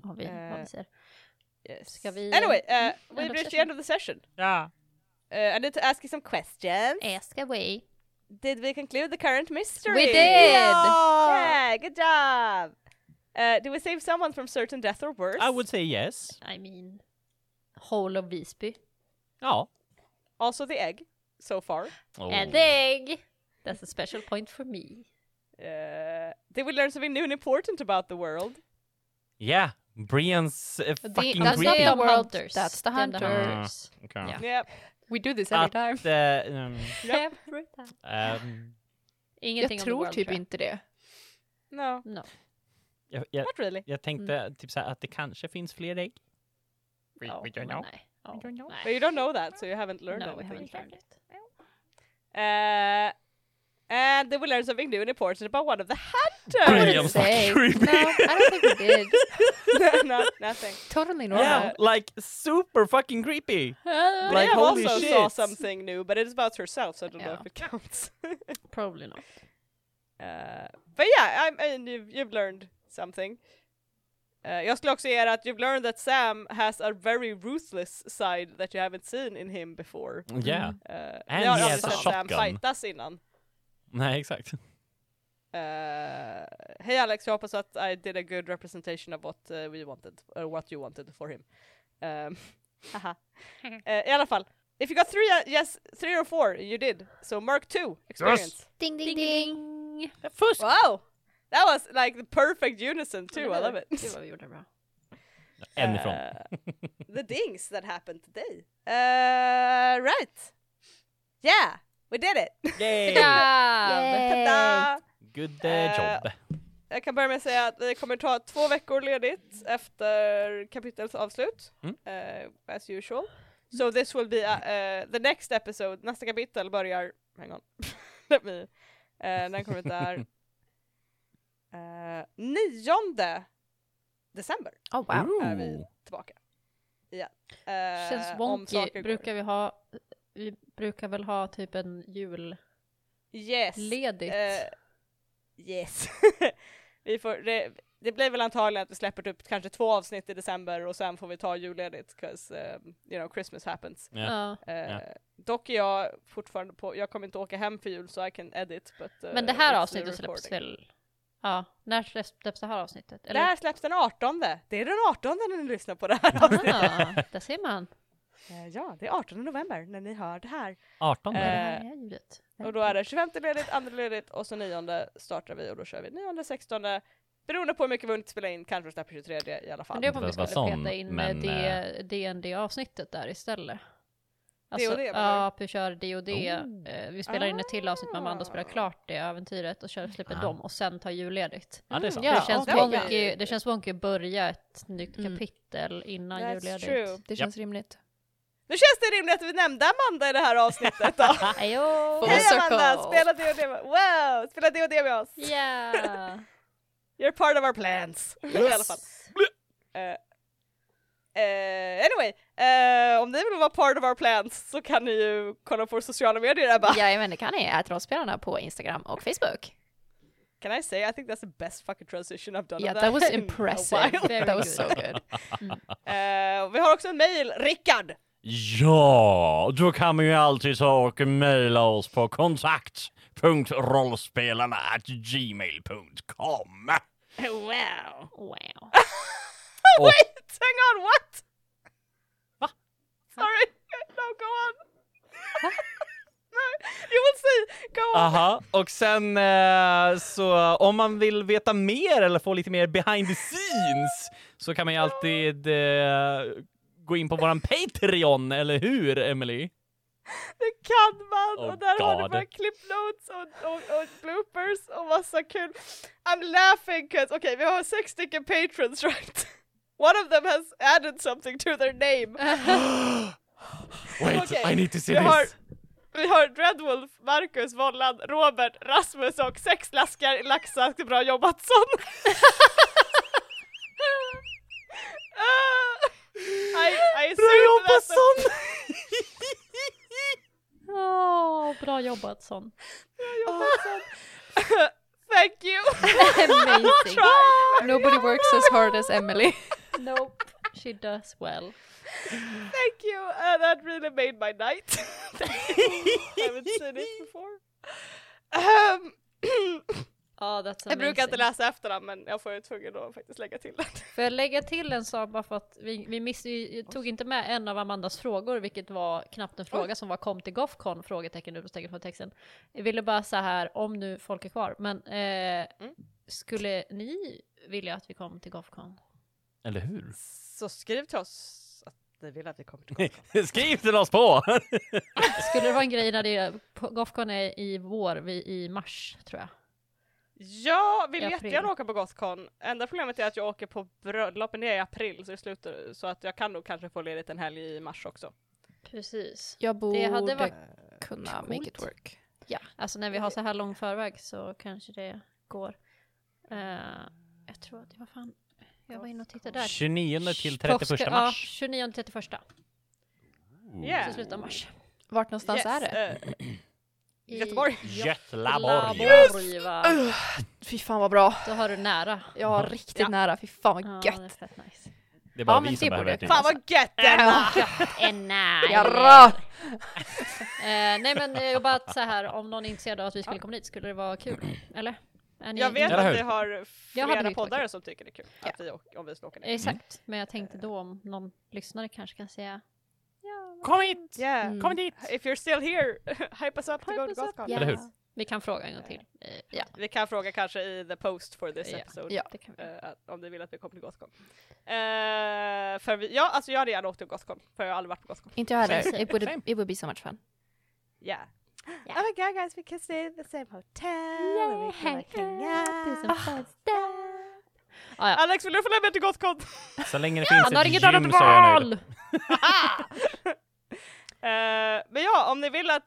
Speaker 2: av vi, vad
Speaker 1: Eh,
Speaker 2: vi ser.
Speaker 1: Yes.
Speaker 2: Ska vi-
Speaker 1: Anyway, uh,
Speaker 2: Mm,
Speaker 1: we've
Speaker 2: end
Speaker 1: reached
Speaker 2: of
Speaker 1: the
Speaker 2: session.
Speaker 1: end of the session.
Speaker 4: Ja.
Speaker 1: Uh, I need to ask you some questions.
Speaker 2: Ask away.
Speaker 1: Did we conclude the current mystery?
Speaker 3: We did!
Speaker 1: Yeah, good job. Uh, do we save someone from certain death or worse?
Speaker 4: I would say yes.
Speaker 2: I mean, whole of Visby.
Speaker 4: Ja.
Speaker 1: Also the egg, so far.
Speaker 4: Oh.
Speaker 2: And egg! That's a special point for me.
Speaker 1: Uh, did we learn something new and important about the world?
Speaker 4: Yeah, Brians eh,
Speaker 3: The-
Speaker 4: fucking
Speaker 3: that's
Speaker 4: creepy.
Speaker 3: not
Speaker 2: the
Speaker 3: the world,
Speaker 2: hunters.
Speaker 3: that's the
Speaker 2: Them the
Speaker 3: hunters.
Speaker 2: hunters.
Speaker 4: Okej.
Speaker 2: Yeah.
Speaker 1: Yep.
Speaker 3: We do this
Speaker 4: Att,
Speaker 3: every time.
Speaker 4: eh, mm,
Speaker 1: Yep.
Speaker 2: Every time.
Speaker 4: ehm,
Speaker 2: Ingenting
Speaker 3: Jag
Speaker 2: om the
Speaker 3: tror
Speaker 2: world,
Speaker 3: typ
Speaker 2: jag.
Speaker 3: inte det.
Speaker 1: No,
Speaker 2: No.
Speaker 4: jag, jag,
Speaker 1: not really.
Speaker 4: jag tänkte
Speaker 3: Mm.
Speaker 4: typ så här att det kanske finns fler ägg.
Speaker 3: Oh,
Speaker 2: Ja,
Speaker 4: we don't
Speaker 2: men
Speaker 4: know.
Speaker 2: Oh, Nej. Ja,
Speaker 4: We don't know.
Speaker 1: But you
Speaker 2: nej.
Speaker 1: don't know that, so you haven't learned
Speaker 2: No, we
Speaker 1: anything.
Speaker 2: haven't learned it.
Speaker 1: Uh, and did we learn something new and important about one of the
Speaker 3: I
Speaker 1: hunters?
Speaker 4: William's
Speaker 3: wouldn't
Speaker 4: fucking
Speaker 3: say. No,
Speaker 4: creepy.
Speaker 3: I don't think we (laughs) did.
Speaker 1: (laughs) no, no, nothing.
Speaker 3: Totally normal.
Speaker 4: Yeah, like super fucking creepy. Like,
Speaker 1: Liam
Speaker 4: holy
Speaker 1: also
Speaker 4: shit.
Speaker 1: saw something new, but it is about herself, so I don't know
Speaker 3: Yeah.
Speaker 1: if it counts.
Speaker 2: (laughs)
Speaker 1: (laughs)
Speaker 2: Probably not.
Speaker 1: Uh, but yeah, I mean, you've, you've learned something. Uh, Eh, jag skulle också ge er att you've learned that Sam has a very ruthless side that you haven't seen in him before.
Speaker 3: Mm.
Speaker 6: Yeah.
Speaker 1: Eh, ni
Speaker 6: And
Speaker 1: har
Speaker 6: he
Speaker 1: aldrig
Speaker 6: has a
Speaker 1: sett Sam
Speaker 6: shotgun.
Speaker 1: fightas innan.
Speaker 6: Nej, exakt.
Speaker 1: Eh, Hej Alex, jag hoppas att I did a good representation of what eh, we wanted, or what you wanted for him. Um, (laughs) haha. Eh, I alla fall, if you got three, uh, yes, three or four, you did. So mark two, experience.
Speaker 2: Ding ding ding!
Speaker 6: Fusk!
Speaker 1: Wow! That was like the perfect unison too, I love it.
Speaker 2: Gud (laughs) vad vi gjorde bra.
Speaker 6: En ifrån.
Speaker 1: Eh, the dings that happened today. Uh, right. Yeah, we did it! Eh, Ah.
Speaker 2: Yeah.
Speaker 1: Ta-da!
Speaker 6: Good
Speaker 1: Eh,
Speaker 6: eh, job.
Speaker 1: Jag kan börja med att säga att vi kommer ta två veckor ledigt efter kapitlets avslut.
Speaker 6: Mm.
Speaker 1: eh, as usual. So this will be uh, eh, the next episode, nästa kapitel börjar, hang on, (laughs) let me, uh, den kommer ut
Speaker 2: (laughs)
Speaker 1: där uh, 9 december
Speaker 3: Oh wow.
Speaker 1: är vi tillbaka. igen. Eh,
Speaker 2: Känns
Speaker 1: om
Speaker 2: wonky.
Speaker 1: saker går-
Speaker 2: Brukar vi ha, vi brukar väl ha typ en julledigt?
Speaker 1: Yes. Eh, yes. (laughs) vi får, det, det blir väl antagligen att vi släpper typ kanske två avsnitt i december och sen får vi ta julledigt 'cause um, you know Christmas happens.
Speaker 6: Ja.
Speaker 2: Ja.
Speaker 1: Eh, Dock är jag fortfarande på, jag kommer inte åka hem för jul så I can edit. But, eh,
Speaker 2: Men det
Speaker 1: it's
Speaker 2: här
Speaker 1: the
Speaker 2: avsnittet släpps
Speaker 1: recording.
Speaker 2: väl? Ja, när släpps släpps det här avsnittet?
Speaker 1: Det här släpps den 18. Det är den 18 när ni lyssnar på det här (laughs)
Speaker 2: (laughs)
Speaker 1: avsnittet.
Speaker 2: Ah, där ser man.
Speaker 1: Eh, ja, det är 18 november när ni hör det här.
Speaker 6: 18
Speaker 2: Det
Speaker 1: eh,
Speaker 2: här är ljudet.
Speaker 1: Och då är det 25 ledigt, andra ledigt och så nionde startar vi och då kör vi nionde, sextonde. Beroende på hur mycket vi hunnit spela in, kanske vi släpper 23 i alla fall.
Speaker 2: Men det var om vi
Speaker 6: Det var
Speaker 2: skulle
Speaker 6: sån,
Speaker 2: peta in
Speaker 6: men,
Speaker 2: det DND-avsnittet där istället. Alltså,
Speaker 1: D&D, menar
Speaker 2: ja, att vi kör D&D. Eh, Vi spelar in ett till avsnitt med Amanda och spelar klart det äventyret och kör släpper
Speaker 6: Ah.
Speaker 2: dem och sen tar julledigt.
Speaker 6: Ja, det är sant.
Speaker 2: det, känns
Speaker 1: okej.
Speaker 2: wonky, det känns wonky att börja ett nytt
Speaker 3: Mm.
Speaker 2: kapitel innan
Speaker 1: That's
Speaker 2: julledigt.
Speaker 1: true.
Speaker 3: Det känns rimligt.
Speaker 1: Nu känns det rimligt att vi nämnde Amanda i det här avsnittet då.
Speaker 2: Ajo!
Speaker 3: Full
Speaker 1: Hej
Speaker 3: circle.
Speaker 1: Amanda, spela D&D med Wow, spela D&D med oss.
Speaker 3: (laughs)
Speaker 2: Yeah!
Speaker 1: You're part of our plans. (laughs) I alla fall. Eh, eh, anyway, eh, om ni vill vara part of our plans så kan ni ju kolla på våra sociala medier Ebba.
Speaker 3: Jajamän, det kan ni. Ät rollspelarna på Instagram och Facebook.
Speaker 1: Can I say I think that's the best fucking transition I've done
Speaker 3: Yeah,
Speaker 1: of that
Speaker 3: that was
Speaker 1: (laughs) in a
Speaker 3: impressive.
Speaker 1: while.
Speaker 2: Very
Speaker 3: That was so
Speaker 2: good.
Speaker 3: good.
Speaker 1: Eh, och vi har också en mail, Rickard.
Speaker 6: Ja, då kan man ju alltid ta och mejla oss på kontakt.rollspelarna.gmail.com.
Speaker 1: Wow.
Speaker 2: Wow.
Speaker 1: Oh, (laughs) wait, hang on, what? (laughs) Sorry, no, go on. (laughs) no, you will see, go on.
Speaker 6: Aha, och sen eh, så om man vill veta mer eller få lite mer behind the scenes så kan man ju alltid eh, gå in på våran Patreon, eller hur Emily?
Speaker 1: Det kan man!
Speaker 6: Oh
Speaker 1: och där har du
Speaker 6: God.
Speaker 1: bara clip notes och, och, och bloopers och massa kul. I'm laughing 'cause, okej vi har sex stycken patrons (laughs) right? One of them has added something to their name.
Speaker 6: Wait,
Speaker 1: Okej,
Speaker 6: I need to see
Speaker 1: Vi har,
Speaker 6: this!
Speaker 1: vi har Dreadwolf, Marcus, Vollan, Robert, Rasmus och sex laskar i Laxask. Bra jobbat son!
Speaker 3: (laughs)
Speaker 1: Ah, I, I
Speaker 6: Bra
Speaker 1: assume
Speaker 6: jobbat
Speaker 1: that the-
Speaker 4: (laughs)
Speaker 6: son!
Speaker 2: Åh, bra jobbat son.
Speaker 1: (laughs) Thank you!
Speaker 3: Amazing.
Speaker 1: (laughs) Try.
Speaker 3: Nobody works as hard as Emily.
Speaker 2: Nope, she does well.
Speaker 1: Thank you! Uh, that really made my night. (laughs) I haven't seen it before. Ehm,
Speaker 2: Ja, that's
Speaker 1: (clears throat)
Speaker 2: amazing.
Speaker 1: jag brukar inte läsa efter den men jag får ju tvungen att faktiskt lägga till den.
Speaker 2: Får jag lägga till en sak bara för att vi, vi, miss, vi tog inte med en av Amandas frågor, vilket var knappt en fråga som var kom till Gothcon? Frågetecken, utropstecken på texten. Jag ville bara så här, om nu folk är kvar, men eh, skulle ni vilja att vi kom till Gothcon?
Speaker 6: Eller hur?
Speaker 1: Så skriv till oss att ni vill att vi kommer till
Speaker 6: Skriv till oss på!
Speaker 2: Skulle det vara en grej när det är, på- Gothcon är i vår, vi i mars tror jag.
Speaker 1: Jag vill
Speaker 2: I april.
Speaker 1: jättegärna åka på Gothcon. Enda problemet är att jag åker på bröllopen i april så det slutar så att jag kan nog kanske få ledigt en helg i mars också.
Speaker 2: Precis.
Speaker 3: (laughs) Jag borde
Speaker 2: Det hade varit
Speaker 3: kunna make it
Speaker 2: coolt.
Speaker 3: work.
Speaker 2: Ja, alltså när vi har så här lång förväg så kanske det går. Eh, jag tror att, vad fan, jag var inne och tittade där.
Speaker 6: 29 till
Speaker 2: Påska-
Speaker 6: 31 mars.
Speaker 2: Ja, 29 till 31.
Speaker 1: Yeah.
Speaker 2: Så slutar mars.
Speaker 3: Vart någonstans är det?
Speaker 1: eh,
Speaker 2: I
Speaker 1: Göteborg.
Speaker 4: Götlaborg.
Speaker 2: Göteborg, va?
Speaker 3: Fy fan vad bra.
Speaker 2: Då har du nära.
Speaker 3: Jag var riktigt nära, fy fan vad
Speaker 2: Ja, det är
Speaker 3: gött.
Speaker 2: fett nice.
Speaker 4: Det är bara
Speaker 3: Ja, men
Speaker 4: vi som
Speaker 3: det
Speaker 4: behöver
Speaker 3: borde-
Speaker 4: ett nytt.
Speaker 1: Fan vad gött Emma!
Speaker 2: Enna!
Speaker 3: Jarra!
Speaker 2: Eh, nej men eh, jag bara att så här, om någon är intresserad av att vi skulle komma dit, skulle det vara kul? Eller? Är ni
Speaker 1: Jag vet
Speaker 4: Eller
Speaker 1: att
Speaker 4: hur?
Speaker 1: vi har flera
Speaker 2: hade tyckt det var
Speaker 1: poddare
Speaker 2: kul.
Speaker 1: som tycker det är kul
Speaker 3: Ja.
Speaker 1: att vi åker, om vi ska åka ner.
Speaker 2: Exakt, men jag tänkte då om någon lyssnare kanske kan säga
Speaker 4: Kom hit!
Speaker 1: Yeah.
Speaker 3: Mm.
Speaker 4: Kom dit!
Speaker 1: If you're still here, (laughs) hype us up to
Speaker 2: Hype
Speaker 1: go to
Speaker 2: us up,
Speaker 1: Gothcon.
Speaker 2: ja.
Speaker 4: Eller hur?
Speaker 2: Vi kan fråga en gång till. Eh, ja,
Speaker 1: Vi kan fråga kanske i the post for this
Speaker 2: Ja.
Speaker 1: episode.
Speaker 3: Ja.
Speaker 2: det kan vi.
Speaker 1: eh, att- om ni vill att vi kommer till Gothcon. Eh, för vi, ja, alltså jag hade gärna åkt till Gothcon, för jag har aldrig varit på Gothcon.
Speaker 3: Inte jag heller.
Speaker 2: Same.
Speaker 3: It would, it would be so much fun.
Speaker 1: Yeah.
Speaker 5: Oh my god guys, we can stay in the same hotel. and we can like hang out.
Speaker 1: Eh, Alex, vill du följa med till Gothcon?
Speaker 4: Så länge det
Speaker 2: Han har
Speaker 4: finns
Speaker 2: inget
Speaker 4: ett gym
Speaker 2: annat
Speaker 4: så är jag
Speaker 2: val!
Speaker 4: nöjd.
Speaker 1: Eh, men ja, om ni vill att...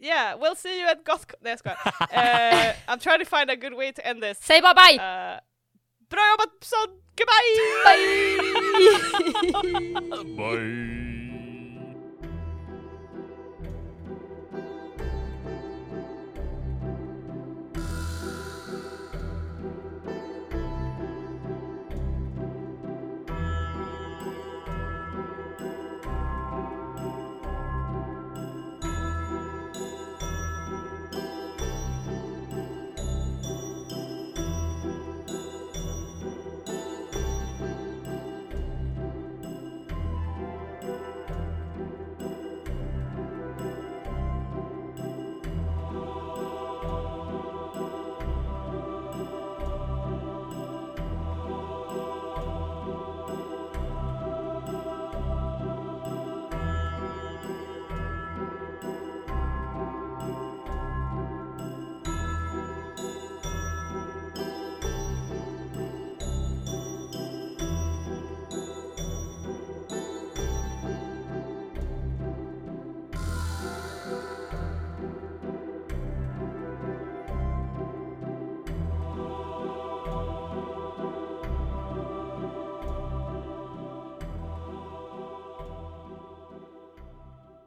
Speaker 1: Yeah, we'll see you at Gothcon. Nej jag skojar.
Speaker 5: (laughs)
Speaker 1: Eh, I'm trying to find a good way to end this.
Speaker 2: Säg bara bye!
Speaker 1: Eh, bra jobbat Son! Goodbye!
Speaker 4: Bye.